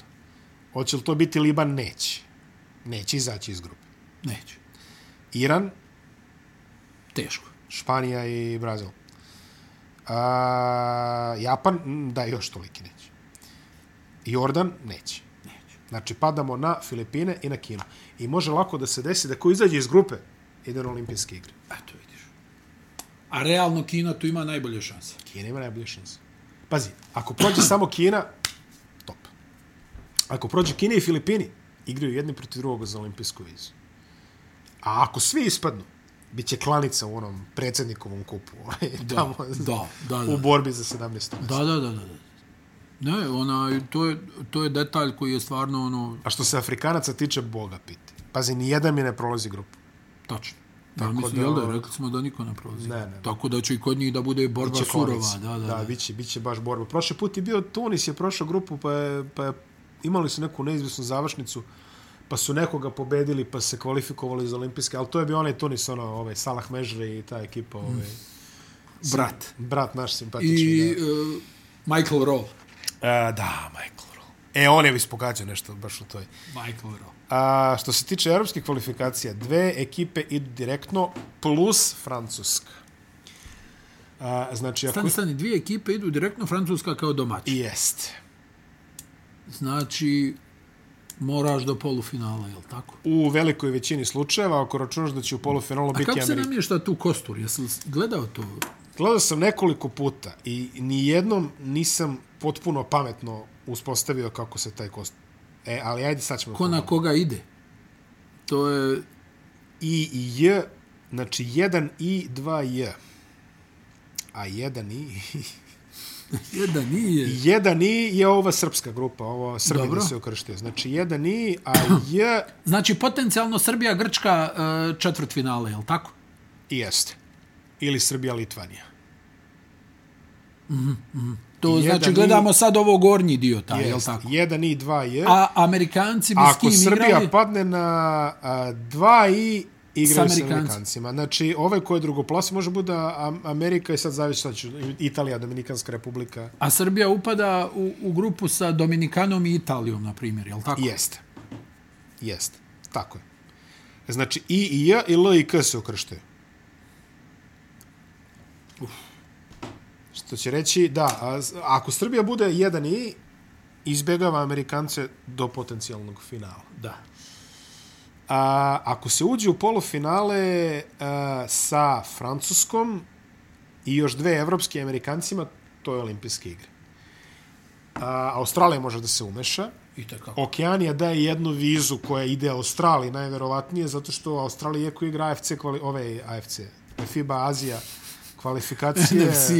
[SPEAKER 1] Hoće li to biti Liban? Neće. Neće izaći iz grupe.
[SPEAKER 2] Neće.
[SPEAKER 1] Iran,
[SPEAKER 2] Teško.
[SPEAKER 1] Španija i Brazil. A, Japan, mm, da, još toliki neće. Jordan, neće. Znači, padamo na Filipine i na Kinu. I može lako da se desi da ko izađe iz grupe ide na olimpijske igre.
[SPEAKER 2] Eto vidiš. A realno Kina tu ima najbolje šanse.
[SPEAKER 1] Kina ima najbolje šanse. Pazi, ako prođe samo Kina, top. Ako prođe Kina i Filipini, igraju jedni protiv drugog za olimpijsku vizu. A ako svi ispadnu, bit će klanica u onom predsjednikovom kupu. ovaj, tamo,
[SPEAKER 2] da, da, da.
[SPEAKER 1] U borbi za 17.
[SPEAKER 2] Da, da, da, da. da. Ne, ona, to, je, to je detalj koji je stvarno ono,
[SPEAKER 1] A što se Afrikanaca tiče, Boga piti. Pazi, nijedan mi ne prolazi grupu.
[SPEAKER 2] tačno. Da,
[SPEAKER 1] Tako
[SPEAKER 2] mislim,
[SPEAKER 1] da-
[SPEAKER 2] jel da, rekli smo da niko ne prolazi.
[SPEAKER 1] Ne, ne, ne.
[SPEAKER 2] Tako da će i kod njih da bude borba
[SPEAKER 1] Biće
[SPEAKER 2] surova.
[SPEAKER 1] klanica.
[SPEAKER 2] Da, da,
[SPEAKER 1] da
[SPEAKER 2] da.
[SPEAKER 1] biće, biće baš borba. Prošli put je bio Tunis, je prošao grupu, pa, je, pa je, imali su neku neizvjesnu završnicu, pa su nekoga pobedili, pa se kvalifikovali za olimpijske, ali to je bio onaj Tunis, ono, ovaj, Salah Mežre i ta ekipa, ovaj,
[SPEAKER 2] Brat.
[SPEAKER 1] brat naš simpatični.
[SPEAKER 2] Mm. I E, uh, Michael Rowe.
[SPEAKER 1] da. A, da, Michael Rowe. E, on je ispogađao nešto baš u toj.
[SPEAKER 2] Michael Rowe.
[SPEAKER 1] A, što se tiče europskih kvalifikacija, dve ekipe idu direktno, plus Francuska. A, znači, ako...
[SPEAKER 2] Stani, stani, dvije ekipe idu direktno Francuska kao domaći.
[SPEAKER 1] Jeste.
[SPEAKER 2] Znači, moraš do polufinala, jel tako?
[SPEAKER 1] u velikoj većini slučajeva, ako računaš da će u polufinalu
[SPEAKER 2] A
[SPEAKER 1] biti
[SPEAKER 2] kako se
[SPEAKER 1] Amerika.
[SPEAKER 2] namješta tu kostur? Jesi li gledao to?
[SPEAKER 1] Gledao sam nekoliko puta i nijednom nisam potpuno pametno uspostavio kako se taj kost... E, ali ajde sad ćemo...
[SPEAKER 2] Ko na
[SPEAKER 1] ponovno.
[SPEAKER 2] koga ide? To je...
[SPEAKER 1] I i J, znači 1 I, 2 J. A 1 I...
[SPEAKER 2] Jedan nije.
[SPEAKER 1] 1 I je ova srpska grupa, ovo Srbina
[SPEAKER 2] Dobro.
[SPEAKER 1] se ukrštio. Znači 1 I, a J
[SPEAKER 2] Znači, potencijalno Srbija, Grčka, e, četvrtfinale, jel tako?
[SPEAKER 1] i jeste. Ili Srbija, Litvanija.
[SPEAKER 2] To
[SPEAKER 1] Jedan
[SPEAKER 2] znači,
[SPEAKER 1] i-
[SPEAKER 2] gledamo sad ovo gornji dio, taj, jel
[SPEAKER 1] Jeste.
[SPEAKER 2] tako?
[SPEAKER 1] 1 I, 2 J.
[SPEAKER 2] A Amerikanci bi s
[SPEAKER 1] Ako
[SPEAKER 2] kim
[SPEAKER 1] Srbija pa-
[SPEAKER 2] igrali?
[SPEAKER 1] padne na a, dva i igraju
[SPEAKER 2] S
[SPEAKER 1] sa
[SPEAKER 2] Amerikancima.
[SPEAKER 1] Amerikancima. Znači, ovaj ko je drugoplas može bude Am- Amerika i sad zavisi šta će. Italija, Dominikanska republika.
[SPEAKER 2] A Srbija upada u, u grupu sa Dominikanom i Italijom, na primjer, jel tako?
[SPEAKER 1] Jeste. Jeste. Tako je. Znači, I i J i L i K se ukrštaju. Što će reći, da, a, s- ako Srbija bude 1 i, izbjegava Amerikance do potencijalnog finala.
[SPEAKER 2] Da.
[SPEAKER 1] A, ako se uđe u polufinale a, sa Francuskom i još dve evropske i Amerikancima, to je olimpijske igre. A, Australija može da se umeša.
[SPEAKER 2] I tako.
[SPEAKER 1] Okeanija daje jednu vizu koja ide Australiji najverovatnije, zato što Australija iako igra AFC, kvali, ove AFC, FIBA Azija, kvalifikacije.
[SPEAKER 2] NFC,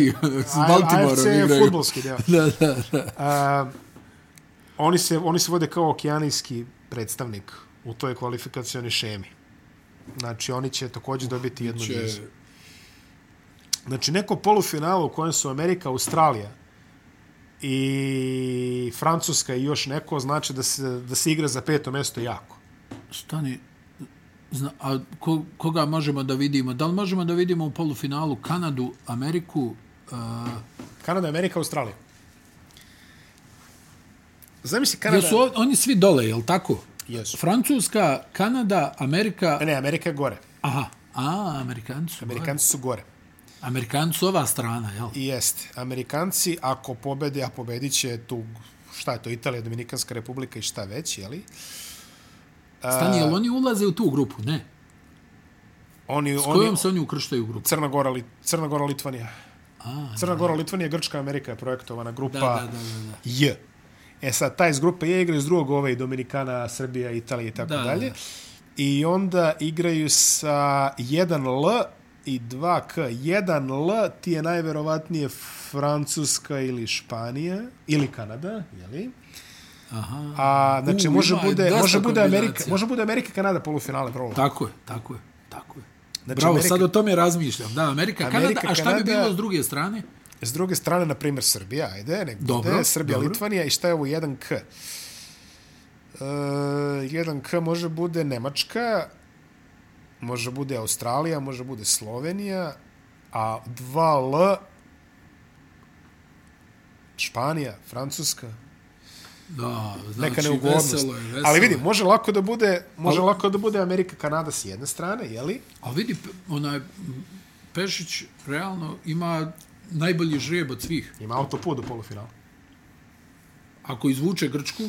[SPEAKER 2] s
[SPEAKER 1] A-
[SPEAKER 2] Baltimoreom
[SPEAKER 1] AFC je
[SPEAKER 2] igraju.
[SPEAKER 1] futbolski deo.
[SPEAKER 2] Da, da, da.
[SPEAKER 1] A, Um, oni, se, oni se vode kao okeanijski predstavnik u toj kvalifikacioni šemi. Znači, oni će također dobiti jednu
[SPEAKER 2] Će-
[SPEAKER 1] vizu. Znači, neko polufinalo u kojem su Amerika, Australija i Francuska i još neko, znači da se, da se igra za peto mesto jako.
[SPEAKER 2] Stani, zna, a ko, koga možemo da vidimo? Da li možemo da vidimo u polufinalu Kanadu, Ameriku? Uh,
[SPEAKER 1] Kanada, Amerika, Australija. Zamisli
[SPEAKER 2] jer
[SPEAKER 1] Kanada...
[SPEAKER 2] su o- oni svi dole, jel tako?
[SPEAKER 1] Jesu.
[SPEAKER 2] Francuska, Kanada, Amerika...
[SPEAKER 1] Ne, Amerika je gore.
[SPEAKER 2] Aha, a, Amerikanci su... gore.
[SPEAKER 1] Amerikanci su gore.
[SPEAKER 2] Amerikanci su ova strana, jel?
[SPEAKER 1] I Jeste. Amerikanci, ako pobede, a pobedit će tu, šta je to, Italija, Dominikanska republika i šta već, jeli?
[SPEAKER 2] Stani, jel oni ulaze u tu grupu? Ne.
[SPEAKER 1] Oni,
[SPEAKER 2] S kojom
[SPEAKER 1] oni,
[SPEAKER 2] se oni ukrštaju u grupu?
[SPEAKER 1] Crna Gora, Li, Crna Gora, Litvanija.
[SPEAKER 2] A,
[SPEAKER 1] Crna Gora, Litvanija, Grčka, Amerika je projektovana grupa
[SPEAKER 2] da, da, da, da. da.
[SPEAKER 1] J. E sad, taj iz grupe J igra iz drugog ove i Dominikana, Srbija, Italija i tako
[SPEAKER 2] Da, da,
[SPEAKER 1] dalje.
[SPEAKER 2] da.
[SPEAKER 1] I onda igraju sa 1L i 2K. 1L ti je najverovatnije Francuska ili Španija ili Kanada, jeli?
[SPEAKER 2] Aha.
[SPEAKER 1] A znači
[SPEAKER 2] U,
[SPEAKER 1] U, može
[SPEAKER 2] ima
[SPEAKER 1] bude
[SPEAKER 2] dosta
[SPEAKER 1] može bude Amerika,
[SPEAKER 2] kombinacija.
[SPEAKER 1] može bude Amerika i Kanada polufinale vrlo.
[SPEAKER 2] Tako je, tako je, tako je.
[SPEAKER 1] Znači,
[SPEAKER 2] Bravo,
[SPEAKER 1] Amerika-
[SPEAKER 2] sad o tome razmišljam. Da, Amerika,
[SPEAKER 1] Amerika,
[SPEAKER 2] Kanada, a šta bi
[SPEAKER 1] Kanada-
[SPEAKER 2] bilo s druge strane?
[SPEAKER 1] S druge strane na primjer Srbija, ajde, nek
[SPEAKER 2] Dobro,
[SPEAKER 1] bude Srbija,
[SPEAKER 2] dobro.
[SPEAKER 1] Litvanija i šta je ovo 1K? E, 1K može bude Nemačka, može bude Australija, može bude Slovenija, a 2L Španija, Francuska,
[SPEAKER 2] Da, znači,
[SPEAKER 1] neka neugodnost.
[SPEAKER 2] veselo je, veselo
[SPEAKER 1] Ali
[SPEAKER 2] je.
[SPEAKER 1] vidi, može lako da bude, može lako da bude Amerika, Kanada s jedne strane, je li?
[SPEAKER 2] A vidi, p- onaj, m, Pešić realno ima najbolji žreb od svih.
[SPEAKER 1] Ima autoput do polufinala.
[SPEAKER 2] Ako izvuče Grčku,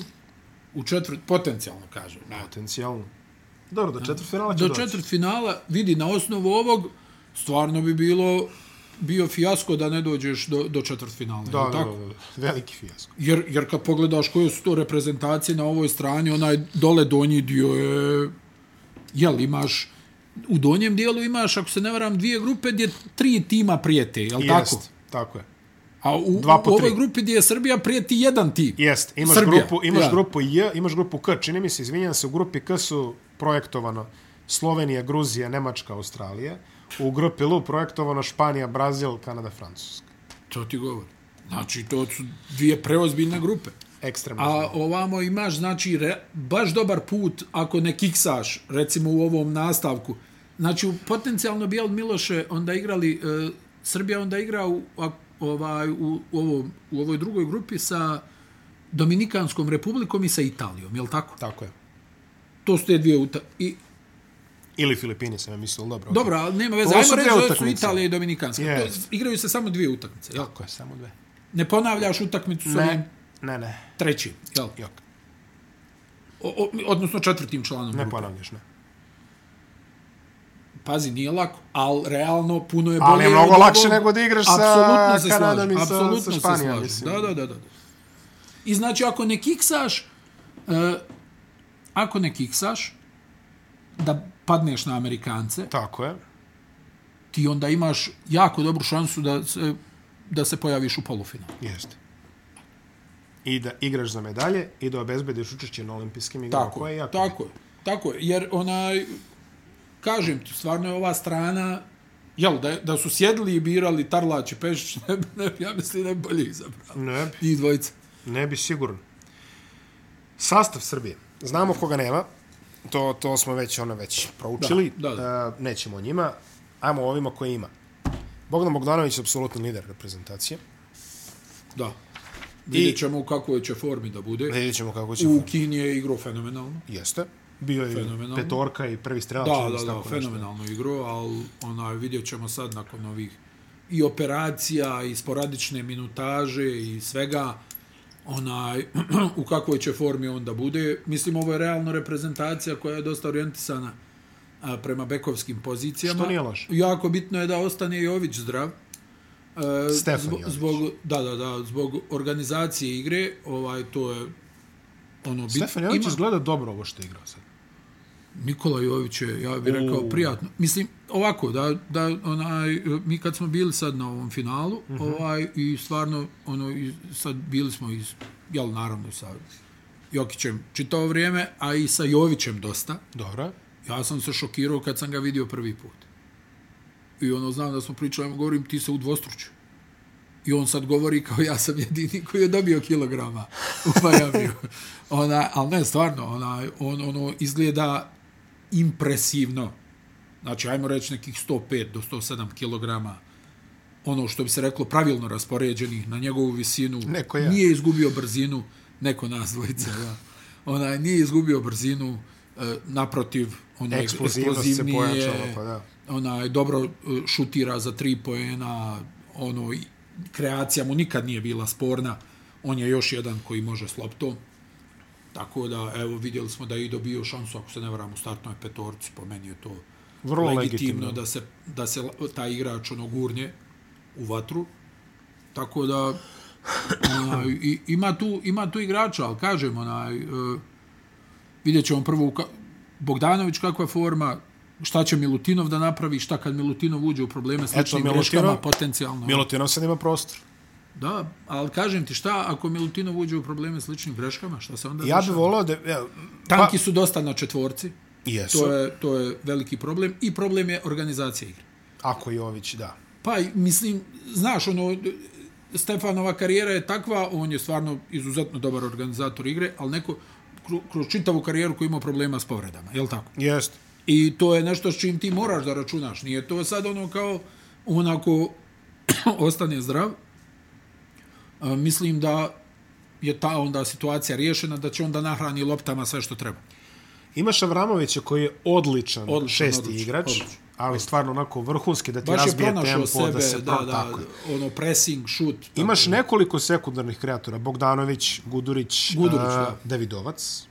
[SPEAKER 2] u četvrt, potencijalno kažem, na,
[SPEAKER 1] Potencijalno. Dobro, do četvrtfinala će
[SPEAKER 2] do
[SPEAKER 1] doći.
[SPEAKER 2] četvrt finala, vidi, na osnovu ovog, stvarno bi bilo bio fijasko da ne dođeš do, do četvrt finala.
[SPEAKER 1] Da, da,
[SPEAKER 2] tako?
[SPEAKER 1] da, da. Veliki fijasko.
[SPEAKER 2] Jer, jer kad pogledaš koje su to reprezentacije na ovoj strani, onaj dole donji dio je... Jel, imaš... U donjem dijelu imaš, ako se ne varam, dvije grupe gdje tri tima prijete, jel tako?
[SPEAKER 1] Jest, tako je.
[SPEAKER 2] A u,
[SPEAKER 1] Dva po
[SPEAKER 2] u ovoj
[SPEAKER 1] tri.
[SPEAKER 2] grupi gdje je Srbija prijeti jedan tim.
[SPEAKER 1] Jest, imaš
[SPEAKER 2] Srbija,
[SPEAKER 1] grupu, imaš
[SPEAKER 2] ja.
[SPEAKER 1] grupu J, imaš grupu K, čini mi se, izvinjam se, u grupi K su projektovano Slovenija, Gruzija, Nemačka, Australija. U grupi L projektovano Španija, Brazil, Kanada, Francuska.
[SPEAKER 2] To ti govori. Znači, to su dvije preozbiljne grupe.
[SPEAKER 1] Ekstremno.
[SPEAKER 2] A ovamo imaš, znači, re, baš dobar put ako ne kiksaš, recimo u ovom nastavku. Znači, u- potencijalno bi od Miloše onda igrali, e, Srbija onda igra u, a- ovaj, u, u, ovom, u ovoj drugoj grupi sa Dominikanskom republikom i sa Italijom, jel tako?
[SPEAKER 1] Tako je.
[SPEAKER 2] To su te dvije uta... I,
[SPEAKER 1] Ili Filipini sam ja mislio, dobro. okej.
[SPEAKER 2] dobro, ali nema veze.
[SPEAKER 1] To
[SPEAKER 2] Ajmo
[SPEAKER 1] su
[SPEAKER 2] reći
[SPEAKER 1] dvije
[SPEAKER 2] da su
[SPEAKER 1] utakmice.
[SPEAKER 2] Italija i Dominikanska. Yes.
[SPEAKER 1] Jest.
[SPEAKER 2] To, igraju se samo dvije utakmice, jel?
[SPEAKER 1] Tako je, samo dve.
[SPEAKER 2] Ne ponavljaš utakmicu sa ovim
[SPEAKER 1] Ne, ne, ne.
[SPEAKER 2] trećim, jel?
[SPEAKER 1] Jok.
[SPEAKER 2] O, o, odnosno četvrtim članom
[SPEAKER 1] Ne
[SPEAKER 2] grupe.
[SPEAKER 1] ponavljaš, ne.
[SPEAKER 2] pazi, nije lako, ali realno puno je bolje.
[SPEAKER 1] Ali je mnogo
[SPEAKER 2] od ovog-
[SPEAKER 1] lakše nego da igraš sa
[SPEAKER 2] Apsolutno se
[SPEAKER 1] Kanadom i sa-
[SPEAKER 2] slažem,
[SPEAKER 1] sa
[SPEAKER 2] apsolutno se
[SPEAKER 1] Španijom,
[SPEAKER 2] slažem.
[SPEAKER 1] mislim.
[SPEAKER 2] Da, da, da, da. I znači, ako ne kiksaš, uh, ako ne kiksaš, da padneš na Amerikance,
[SPEAKER 1] Tako je.
[SPEAKER 2] ti onda imaš jako dobru šansu da se, da se pojaviš u polufinalu.
[SPEAKER 1] Jeste. I da igraš za medalje i da obezbediš učešće na olimpijskim igrama.
[SPEAKER 2] Tako
[SPEAKER 1] koje je
[SPEAKER 2] je,
[SPEAKER 1] jako
[SPEAKER 2] tako je, tako je, jer onaj, kažem ti, stvarno je ova strana, jel, da, je- da su sjedili i birali Tarlać i Pešić, ne, bi- ne, bi- ja mislim da je bolje izabrao.
[SPEAKER 1] Ne bi,
[SPEAKER 2] Njih dvojica.
[SPEAKER 1] ne bi sigurno. Sastav Srbije. Znamo koga nema. To, to smo već ono već proučili.
[SPEAKER 2] Da, da,
[SPEAKER 1] E, nećemo o njima. Ajmo o ovima koje ima. Bogdan Bogdanović je apsolutni lider reprezentacije.
[SPEAKER 2] Da. Vidjet ćemo u kakvoj će formi da bude.
[SPEAKER 1] Vidjet ćemo kako će...
[SPEAKER 2] U
[SPEAKER 1] fun-
[SPEAKER 2] Kini je igro fenomenalno.
[SPEAKER 1] Jeste. Bio je
[SPEAKER 2] Fenomenalno.
[SPEAKER 1] petorka i prvi strelac. čini
[SPEAKER 2] Da,
[SPEAKER 1] mi se,
[SPEAKER 2] da, da,
[SPEAKER 1] tako nešto.
[SPEAKER 2] fenomenalno igro, ali onaj, vidjet ćemo sad nakon ovih i operacija, i sporadične minutaže, i svega, onaj, u kakvoj će formi on da bude. Mislim, ovo je realno reprezentacija koja je dosta orijentisana a, prema bekovskim pozicijama.
[SPEAKER 1] Što nije loše.
[SPEAKER 2] Jako bitno je da ostane Jović zdrav. E,
[SPEAKER 1] Stefan
[SPEAKER 2] zbog,
[SPEAKER 1] Jović.
[SPEAKER 2] zbog, da, da, da, zbog organizacije igre, ovaj, to je ono, bit,
[SPEAKER 1] Stefan Jović
[SPEAKER 2] ima-
[SPEAKER 1] izgleda dobro ovo što je igrao sad.
[SPEAKER 2] Nikola Jović je, ja bih rekao,
[SPEAKER 1] U.
[SPEAKER 2] prijatno. Mislim, ovako, da, da onaj, mi kad smo bili sad na ovom finalu, uh -huh. ovaj, i stvarno, ono, i sad bili smo iz, jel, naravno, sa Jokićem čitao vrijeme, a i sa Jovićem dosta.
[SPEAKER 1] Dobro.
[SPEAKER 2] Ja sam se šokirao kad sam ga vidio prvi put. I ono, znam da smo pričali, ja mu govorim, ti se udvostručio. I on sad govori kao ja sam jedini koji je dobio kilograma u Majamiju. Ona, ali ne, stvarno, ona, on ono izgleda impresivno. Znači, ajmo reći nekih 105 do 107 kilograma ono što bi se reklo pravilno raspoređenih na njegovu visinu.
[SPEAKER 1] Neko ja.
[SPEAKER 2] Nije izgubio brzinu, neko nas dvojica, da. Ona, nije izgubio brzinu, e, naprotiv, on je
[SPEAKER 1] Eksplozivnost se
[SPEAKER 2] eksplozivniji je,
[SPEAKER 1] pojačala, pa da.
[SPEAKER 2] onaj, dobro e, šutira za tri poena, ono, i kreacija mu nikad nije bila sporna, on je još jedan koji može s loptom, tako da, evo, vidjeli smo da je i dobio šansu, ako se ne varam, u startnoj petorci, po meni je to
[SPEAKER 1] Vrlo legitimno.
[SPEAKER 2] da se, da se la- taj igrač ono gurnje u vatru, tako da, onaj, i, ima, tu, ima tu igrača, ali kažem, onaj, e, vidjet ćemo prvo u ka- Bogdanović kakva je forma, šta će Milutinov da napravi, šta kad Milutinov uđe u probleme s ličnim
[SPEAKER 1] Milutinov-
[SPEAKER 2] greškama potencijalno.
[SPEAKER 1] Milutinov sad ima prostor.
[SPEAKER 2] Da, ali kažem ti šta, ako Milutinov uđe u probleme s ličnim greškama, šta se onda
[SPEAKER 1] Ja pa- bih
[SPEAKER 2] dešava?
[SPEAKER 1] volao da... Ja,
[SPEAKER 2] Tanki su dosta na četvorci,
[SPEAKER 1] Jesu.
[SPEAKER 2] to je, to je veliki problem i problem je organizacija igre.
[SPEAKER 1] Ako Jović, da.
[SPEAKER 2] Pa, i mislim, znaš, ono, d- Stefanova karijera je takva, on je stvarno izuzetno dobar organizator igre, ali neko kru- kroz čitavu karijeru koji ima problema s povredama, je li tako?
[SPEAKER 1] Jeste.
[SPEAKER 2] I to je nešto s čim ti moraš da računaš. Nije to sad ono kao onako ostane zdrav. A, mislim da je ta onda situacija riješena, da će onda nahrani loptama sve što treba.
[SPEAKER 1] Imaš Avramovića koji je odličan,
[SPEAKER 2] Odličan,
[SPEAKER 1] šesti
[SPEAKER 2] odličan,
[SPEAKER 1] igrač.
[SPEAKER 2] odličan.
[SPEAKER 1] ali stvarno onako vrhunski da ti
[SPEAKER 2] Baš je
[SPEAKER 1] razbije
[SPEAKER 2] pronašao
[SPEAKER 1] tempo,
[SPEAKER 2] sebe,
[SPEAKER 1] da se
[SPEAKER 2] da,
[SPEAKER 1] pro,
[SPEAKER 2] da,
[SPEAKER 1] tako je.
[SPEAKER 2] ono pressing, šut. tako.
[SPEAKER 1] Imaš nekoliko sekundarnih kreatora, Bogdanović, Gudurić,
[SPEAKER 2] Gudurić,
[SPEAKER 1] a,
[SPEAKER 2] da.
[SPEAKER 1] Davidovac,